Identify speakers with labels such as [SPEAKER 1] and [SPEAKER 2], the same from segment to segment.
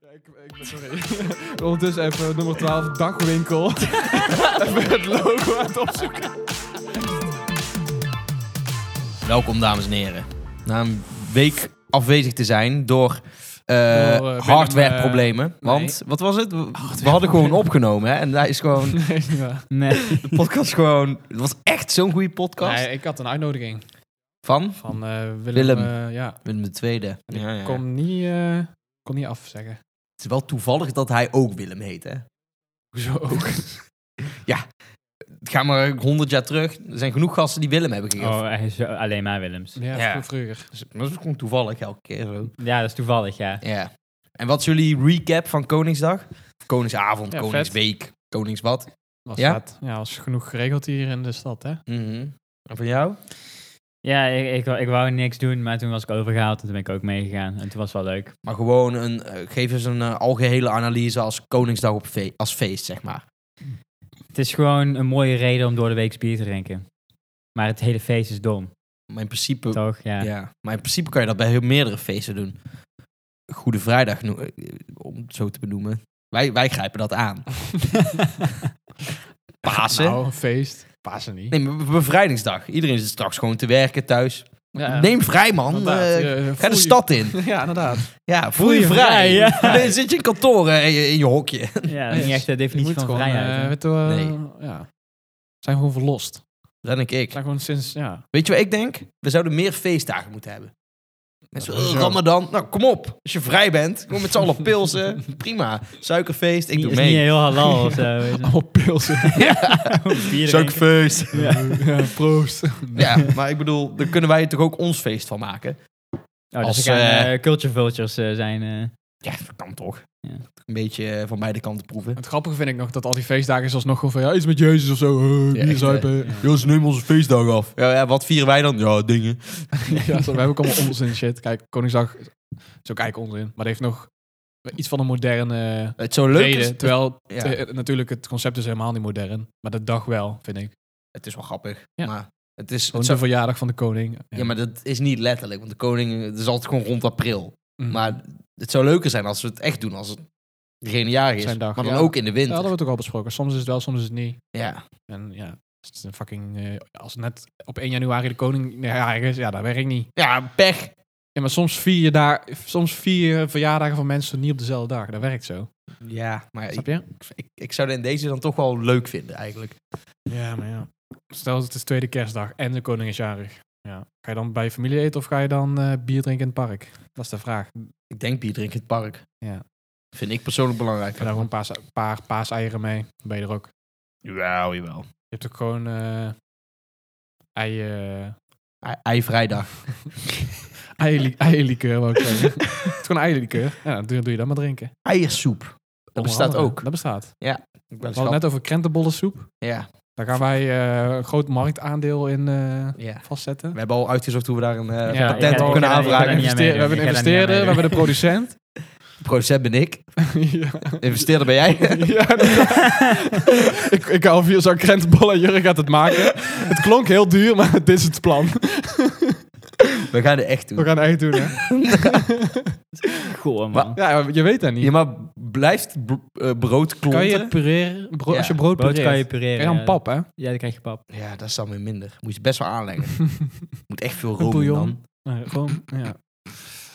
[SPEAKER 1] Ik, ik ben sorry. Ondertussen even nummer 12, dagwinkel. even het logo aan het opzoeken.
[SPEAKER 2] Welkom, dames en heren. Na een week afwezig te zijn door, eh,
[SPEAKER 1] Door, eh,
[SPEAKER 2] hardwareproblemen.
[SPEAKER 1] nee.
[SPEAKER 2] Want, wat was het? We hadden gewoon opgenomen, hè? En daar is gewoon,
[SPEAKER 1] Nee, is niet waar.
[SPEAKER 3] Nee.
[SPEAKER 2] de podcast gewoon... Het was echt zo'n goede podcast.
[SPEAKER 1] Nee, ik had een uitnodiging
[SPEAKER 2] Van?
[SPEAKER 1] van eh, Willem.
[SPEAKER 2] Willem.
[SPEAKER 1] eh, ja.
[SPEAKER 2] Willem de tweede.
[SPEAKER 1] En ik
[SPEAKER 2] Ja, ja.
[SPEAKER 1] kon niet, eh, kon niet afzeggen.
[SPEAKER 2] Het is wel toevallig dat hij ook Willem heet, hè?
[SPEAKER 1] Hoezo ook?
[SPEAKER 2] Ga maar honderd jaar terug. Er zijn genoeg gasten die Willem hebben gegeven.
[SPEAKER 3] Oh, hij is eh, alleen maar Willems.
[SPEAKER 1] Ja,
[SPEAKER 2] Ja.
[SPEAKER 1] vroeg- vroeger.
[SPEAKER 2] Dus- maar dat is gewoon toevallig elke keer zo.
[SPEAKER 3] Ja, dat is toevallig, ja.
[SPEAKER 2] Ja. En wat is jullie recap van Koningsdag? Of Koningsavond,
[SPEAKER 1] Ja, vet.
[SPEAKER 2] Koningsweek, Koningswat?
[SPEAKER 1] Was
[SPEAKER 2] Ja?
[SPEAKER 1] ja? Ja, was genoeg geregeld hier in de stad, hè?
[SPEAKER 2] Mhm. En van jou?
[SPEAKER 3] Ja, ik, ik, wou- ik wou niks doen, maar toen was ik overgehaald en toen ben ik ook meegegaan. En toen was het wel leuk.
[SPEAKER 2] Maar gewoon een, eh, geef eens een eh, algehele analyse als Koningsdag op fe- als feest, zeg maar.
[SPEAKER 3] Het is gewoon een mooie reden om door de week bier te drinken. Maar het hele feest is dom,
[SPEAKER 2] Maar in principe,
[SPEAKER 3] toch? Ja.
[SPEAKER 2] ja. maar in principe kan je dat bij heel meerdere feesten doen. Goede Vrijdag, no- eh, om het zo te benoemen. Wij, wij grijpen dat aan. Pasen.
[SPEAKER 1] Nou, een feest. Pasen niet.
[SPEAKER 2] Nee, maar bevrijdingsdag. Iedereen zit straks gewoon te werken thuis.
[SPEAKER 1] Ja,
[SPEAKER 2] Neem vrij, man.
[SPEAKER 1] inderdaad.
[SPEAKER 2] Eh,
[SPEAKER 1] Je-
[SPEAKER 2] ga
[SPEAKER 1] voel
[SPEAKER 2] de
[SPEAKER 1] je-
[SPEAKER 2] stad in.
[SPEAKER 1] Ja, inderdaad.
[SPEAKER 2] Ja, voel je, vrij.
[SPEAKER 3] ja.
[SPEAKER 2] Dan zit je in kantoor eh, in, je, in je hokje.
[SPEAKER 3] Ja, dat is niet echt de
[SPEAKER 1] Je
[SPEAKER 3] definitie
[SPEAKER 1] moet
[SPEAKER 3] van
[SPEAKER 1] gewoon, eh,
[SPEAKER 3] vrijheid.
[SPEAKER 1] weet je wel,
[SPEAKER 2] Nee.
[SPEAKER 1] ja. We zijn gewoon verlost. We
[SPEAKER 2] Dat denk ik.
[SPEAKER 1] zijn gewoon sinds, ja.
[SPEAKER 2] Weet je wat ik denk? We zouden meer feestdagen moeten hebben. Mensen,
[SPEAKER 1] Dat is
[SPEAKER 2] eh,
[SPEAKER 1] zo.
[SPEAKER 2] Ramadan. Nou, kom op. Als je vrij bent, kom met z'n allen pilsen. Prima. Suikerfeest, ik
[SPEAKER 3] Het
[SPEAKER 2] doe
[SPEAKER 3] is niet
[SPEAKER 2] mee.
[SPEAKER 3] heel halal of zo. weet je.
[SPEAKER 1] Allemaal pilsen.
[SPEAKER 3] Bier drinken.
[SPEAKER 2] Suikerfeest.
[SPEAKER 1] ja, proost.
[SPEAKER 2] Ja, maar ik bedoel, daar kunnen wij toch ook ons feest van maken?
[SPEAKER 3] Oh,
[SPEAKER 2] Als,
[SPEAKER 3] dus er gaan
[SPEAKER 2] eh,
[SPEAKER 3] eh, culture vultures eh, zijn. eh.
[SPEAKER 2] Ja, dat kan toch.
[SPEAKER 3] Ja.
[SPEAKER 2] Een beetje eh, van beide kanten proeven.
[SPEAKER 1] Het grappige vind ik nog dat al die feestdagen is alsnog gewoon van ja, iets met Jezus of zo. eh,
[SPEAKER 2] Ja,
[SPEAKER 1] bier
[SPEAKER 2] echt,
[SPEAKER 1] zuipen.
[SPEAKER 3] ja.
[SPEAKER 2] Jos, neem onze feestdag af. Ja, ja, wat vieren wij dan? Ja, dingen.
[SPEAKER 1] Ja, zo, we hebben ook allemaal onzin shit. Kijk, Koningsdag is is ook eigenlijk onzin. Maar het heeft nog iets van een moderne
[SPEAKER 2] Het is zo leuk.
[SPEAKER 1] reden.
[SPEAKER 2] is-
[SPEAKER 1] Terwijl
[SPEAKER 2] Ja.
[SPEAKER 1] eh, eh, natuurlijk het concept is helemaal niet modern. Maar de dag wel, vind ik.
[SPEAKER 2] Het is wel grappig.
[SPEAKER 1] Ja.
[SPEAKER 2] Maar het is, het
[SPEAKER 1] Gewoon
[SPEAKER 2] zou-
[SPEAKER 1] de verjaardag van de koning.
[SPEAKER 2] ja, maar dat is niet letterlijk. Want de koning, het is altijd gewoon rond april.
[SPEAKER 1] Mm.
[SPEAKER 2] Maar het zou leuker zijn als we het echt doen. Als het degene jaar is.
[SPEAKER 1] Zijn dag,
[SPEAKER 2] maar dan
[SPEAKER 1] ja.
[SPEAKER 2] ook in de
[SPEAKER 1] Daar
[SPEAKER 2] winter.
[SPEAKER 1] hadden we het ook al besproken. Soms is het wel, soms is het niet.
[SPEAKER 2] Ja.
[SPEAKER 1] En ja, het is een fucking... eh, als net op 1 januari de koning jarig is, ja, dat werkt niet.
[SPEAKER 2] ja, pech.
[SPEAKER 1] Ja, maar soms vier, je daar, soms vier je verjaardagen van mensen niet op dezelfde dag. Dat werkt zo.
[SPEAKER 2] Ja, maar ik,
[SPEAKER 1] Snap je?
[SPEAKER 2] ik, ik zou in deze dan toch wel leuk vinden eigenlijk.
[SPEAKER 1] Ja, maar ja. Stel dat het is tweede kerstdag en de koning is jarig. Ja. Ga je dan bij je familie eten of ga je dan eh, bier drinken in het park? Dat is de vraag.
[SPEAKER 2] Ik denk bier drinken in het park.
[SPEAKER 1] Ja.
[SPEAKER 2] Vind ik persoonlijk belangrijk.
[SPEAKER 1] Ga daar gewoon een paar, sa- paar paaseieren mee. Dan ben je er ook.
[SPEAKER 2] Jawel, jawel.
[SPEAKER 1] Je hebt ook gewoon eh ei, eh,
[SPEAKER 2] Ei- Ei vrijdag.
[SPEAKER 1] eierli- eierlikeur, wou ik zeggen. het is gewoon eierlikeur. Ja, dan doe, doe je dat maar drinken.
[SPEAKER 2] Eiersoep. Dat
[SPEAKER 1] Onder
[SPEAKER 2] bestaat
[SPEAKER 1] andere.
[SPEAKER 2] ook.
[SPEAKER 1] Dat bestaat.
[SPEAKER 2] Ik
[SPEAKER 1] We
[SPEAKER 2] ben
[SPEAKER 1] hadden het net over krentenbollensoep.
[SPEAKER 2] Ja,
[SPEAKER 1] Daar gaan wij eh, een groot marktaandeel in eh,
[SPEAKER 2] ja.
[SPEAKER 1] vastzetten.
[SPEAKER 2] We hebben al uitgezocht hoe we daar een eh,
[SPEAKER 3] Ja, ik
[SPEAKER 2] patent
[SPEAKER 3] ga-
[SPEAKER 2] op
[SPEAKER 3] ik
[SPEAKER 2] kunnen
[SPEAKER 3] ga-
[SPEAKER 1] We hebben
[SPEAKER 3] ik ga daar
[SPEAKER 2] aanvragen.
[SPEAKER 3] niet aan
[SPEAKER 1] investeer- we
[SPEAKER 3] meedoen.
[SPEAKER 1] hebben een
[SPEAKER 3] Ik ga daar niet aan
[SPEAKER 1] investeerder, we hebben de producent.
[SPEAKER 2] Producent ben ik.
[SPEAKER 1] ja.
[SPEAKER 2] Investeerder ben jij.
[SPEAKER 1] Ja, dat- ik, ik haal vier zo'n krentenbollen en Jurgen gaat het maken. Het klonk heel duur, maar dit is het plan.
[SPEAKER 2] We gaan het echt doen.
[SPEAKER 1] We gaan het echt doen, hè?
[SPEAKER 3] Goh, man.
[SPEAKER 1] Ja, je weet dat niet.
[SPEAKER 2] Ja, maar blijft b- eh, brood klonten?
[SPEAKER 1] kan je het pureren? Bro-
[SPEAKER 2] Ja,
[SPEAKER 1] Als je brood
[SPEAKER 3] Brood
[SPEAKER 1] pureert,
[SPEAKER 3] kan
[SPEAKER 1] kan
[SPEAKER 3] je
[SPEAKER 1] je
[SPEAKER 3] pureren.
[SPEAKER 1] dan
[SPEAKER 3] ja.
[SPEAKER 1] pap, hè?
[SPEAKER 3] Ja, dan krijg je pap.
[SPEAKER 2] Ja, dat is dan weer minder. Moet je best wel aanleggen. Moet echt veel
[SPEAKER 1] Een
[SPEAKER 2] room in
[SPEAKER 1] bouillon.
[SPEAKER 2] dan.
[SPEAKER 1] Nee, gewoon, ja.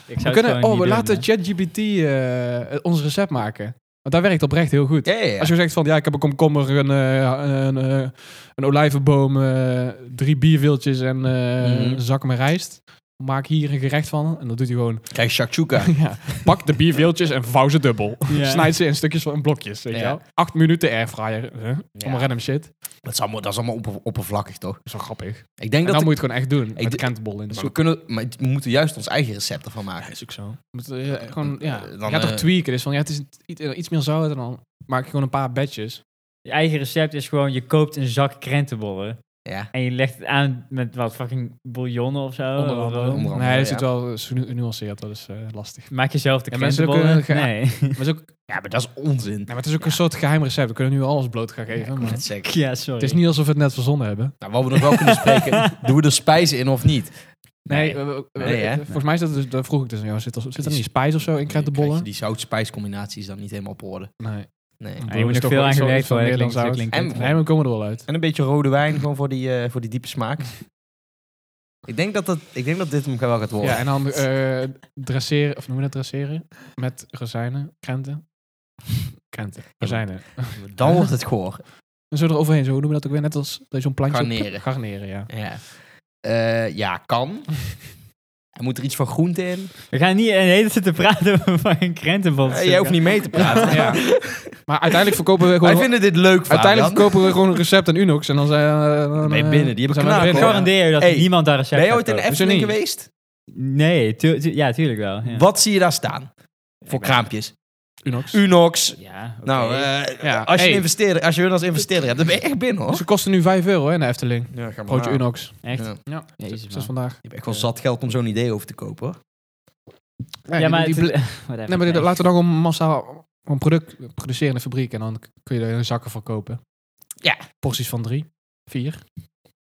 [SPEAKER 3] Ik
[SPEAKER 1] We
[SPEAKER 3] zou
[SPEAKER 1] kunnen, oh, we laten ChatGPT eh, ons recept maken. Want dat werkt oprecht heel goed.
[SPEAKER 2] Ja, ja, ja.
[SPEAKER 1] Als je zegt van, ja, ik heb een komkommer, een, eh, een, eh, een olijvenboom, eh, drie bierviltjes en eh,
[SPEAKER 2] Mhm.
[SPEAKER 1] een zak met rijst. Maak hier een gerecht van. En dat doet hij gewoon
[SPEAKER 2] Krijg je shakshuka.
[SPEAKER 1] Ja. Pak de bierveeltjes en vouw ze dubbel.
[SPEAKER 3] Ja.
[SPEAKER 1] Snijd ze in stukjes van in blokjes, weet je
[SPEAKER 2] Ja.
[SPEAKER 1] wel. Acht minuten airfryer. Huh? Allemaal random shit. Dat
[SPEAKER 2] Dat is allemaal, dat is allemaal opper- oppervlakkig, toch?
[SPEAKER 1] is wel grappig.
[SPEAKER 2] Ik denk
[SPEAKER 1] En dan
[SPEAKER 2] dat...
[SPEAKER 1] moet je het gewoon echt doen. Met
[SPEAKER 2] d-
[SPEAKER 1] krentenbol in de
[SPEAKER 2] de-
[SPEAKER 1] soep.
[SPEAKER 2] we, kunnen, maar we moeten juist ons eigen recept ervan maken.
[SPEAKER 1] is ook zo. Moet, eh, gewoon, ja.
[SPEAKER 2] Eh, dan,
[SPEAKER 1] je gaat toch
[SPEAKER 2] eh,
[SPEAKER 1] tweaken. Dus van, ja, het is iets, iets meer zout en dan maak je gewoon een paar batches.
[SPEAKER 3] Je eigen recept is gewoon, je koopt een zak krentenbollen.
[SPEAKER 2] Ja.
[SPEAKER 3] En je legt het aan met wat, fucking bouillon of zo?
[SPEAKER 1] onder andere.
[SPEAKER 2] Oh, onder andere,
[SPEAKER 1] nee,
[SPEAKER 2] ja.
[SPEAKER 1] dat zit wel eh, nu- genuanceerd. Dat is eh, lastig.
[SPEAKER 3] Maak jezelf de
[SPEAKER 1] Ja, mensen
[SPEAKER 3] krentenbollen?
[SPEAKER 1] kunnen ge-
[SPEAKER 3] nee.
[SPEAKER 1] Maar het is ook, nee,
[SPEAKER 2] ja, maar dat is onzin.
[SPEAKER 1] maar het is ook een soort geheim recept. We kunnen nu alles bloot gaan
[SPEAKER 2] Ja, ik
[SPEAKER 1] geven.
[SPEAKER 2] wou
[SPEAKER 1] maar
[SPEAKER 2] net zeggen.
[SPEAKER 3] ja, sorry.
[SPEAKER 1] het is niet alsof we het net verzonnen hebben.
[SPEAKER 2] Nou, wat we nog wel kunnen spreken, doen we er spijzen in of niet?
[SPEAKER 1] Nee,
[SPEAKER 3] Nee.
[SPEAKER 1] eh, eh, eh,
[SPEAKER 2] Nee, hè?
[SPEAKER 1] volgens mij is dat dus, daar vroeg ik dus, aan jou, zit er, zit er niet spijs of zo in
[SPEAKER 2] Dan krijg je
[SPEAKER 1] krentenbollen?
[SPEAKER 2] Die zout-spijs combinatie is dan niet helemaal op orde.
[SPEAKER 1] Nee.
[SPEAKER 2] Nee.
[SPEAKER 1] Dan
[SPEAKER 3] je moet
[SPEAKER 1] is
[SPEAKER 3] er
[SPEAKER 1] toch
[SPEAKER 3] veel
[SPEAKER 1] wel
[SPEAKER 3] aan
[SPEAKER 1] iets
[SPEAKER 3] gewerkt
[SPEAKER 1] van
[SPEAKER 3] worden,
[SPEAKER 1] Nederlands
[SPEAKER 3] klinkt-
[SPEAKER 1] hout.
[SPEAKER 2] klinkt-
[SPEAKER 1] Nee, maar we komen er wel uit.
[SPEAKER 2] En een beetje rode wijn gewoon voor die, eh, voor die diepe smaak. ik, denk dat dat, ik denk dat dit hem wel gaat worden.
[SPEAKER 1] Ja, en dan eh dresseren, of noem je dat dresseren? Met rozijnen, krenten. Krenten, rozijnen.
[SPEAKER 2] Dan wordt het goor.
[SPEAKER 1] En zo eroverheen, zo noemen we dat ook weer net als dat je zo'n plantje...
[SPEAKER 2] Garneren.
[SPEAKER 1] Garneren, ja.
[SPEAKER 2] Ja, Eh, ja kan. Er moet er iets van groente in.
[SPEAKER 3] We gaan niet een hele zitten praten van een krentenbol.
[SPEAKER 2] Eh, jij hoeft niet mee te praten.
[SPEAKER 1] Ja. Maar uiteindelijk verkopen we gewoon...
[SPEAKER 2] Wij vinden dit leuk, Fabian.
[SPEAKER 1] uiteindelijk verkopen we gewoon een recept en Unox. En dan zijn eh, dan,
[SPEAKER 2] Nee,
[SPEAKER 1] eh,
[SPEAKER 2] binnen. Die hebben
[SPEAKER 1] zijn
[SPEAKER 2] knaken,
[SPEAKER 1] we er
[SPEAKER 3] Ik
[SPEAKER 1] binnen.
[SPEAKER 2] hoor.
[SPEAKER 3] garandeer je dat
[SPEAKER 2] Hey,
[SPEAKER 3] niemand daar een chef
[SPEAKER 2] Ben je ooit in de
[SPEAKER 1] Hoezo
[SPEAKER 2] Efteling
[SPEAKER 1] niet?
[SPEAKER 2] geweest?
[SPEAKER 3] Nee, tu- tu- ja, tuurlijk wel. Ja.
[SPEAKER 2] Wat zie je daar staan? Voor kraampjes.
[SPEAKER 1] Unox.
[SPEAKER 2] Unox.
[SPEAKER 3] Ja, oké.
[SPEAKER 2] Nou, eh,
[SPEAKER 1] Ja,
[SPEAKER 2] als, je
[SPEAKER 1] hey.
[SPEAKER 2] een investeerder, als je hun als investeerder hebt, dan ben je echt binnen, hoor.
[SPEAKER 1] Ze kosten nu 5 euro hè, in de Efteling.
[SPEAKER 2] Ja, ga
[SPEAKER 1] Broodje Unox.
[SPEAKER 3] Echt?
[SPEAKER 2] Ja.
[SPEAKER 1] Ja,
[SPEAKER 3] Jezus,
[SPEAKER 1] dat
[SPEAKER 3] man.
[SPEAKER 1] is vandaag.
[SPEAKER 2] Je hebt echt wel zat geld om zo'n idee over te kopen, hoor.
[SPEAKER 3] Ja, maar...
[SPEAKER 1] die-
[SPEAKER 3] het-
[SPEAKER 1] die-
[SPEAKER 3] whatever,
[SPEAKER 1] Nee, maar dit-
[SPEAKER 3] nee.
[SPEAKER 1] laten we dan gewoon massaal een product produceren in de fabriek. En dan kun je er in zakken voor kopen.
[SPEAKER 2] Ja.
[SPEAKER 1] Porties van drie, vier.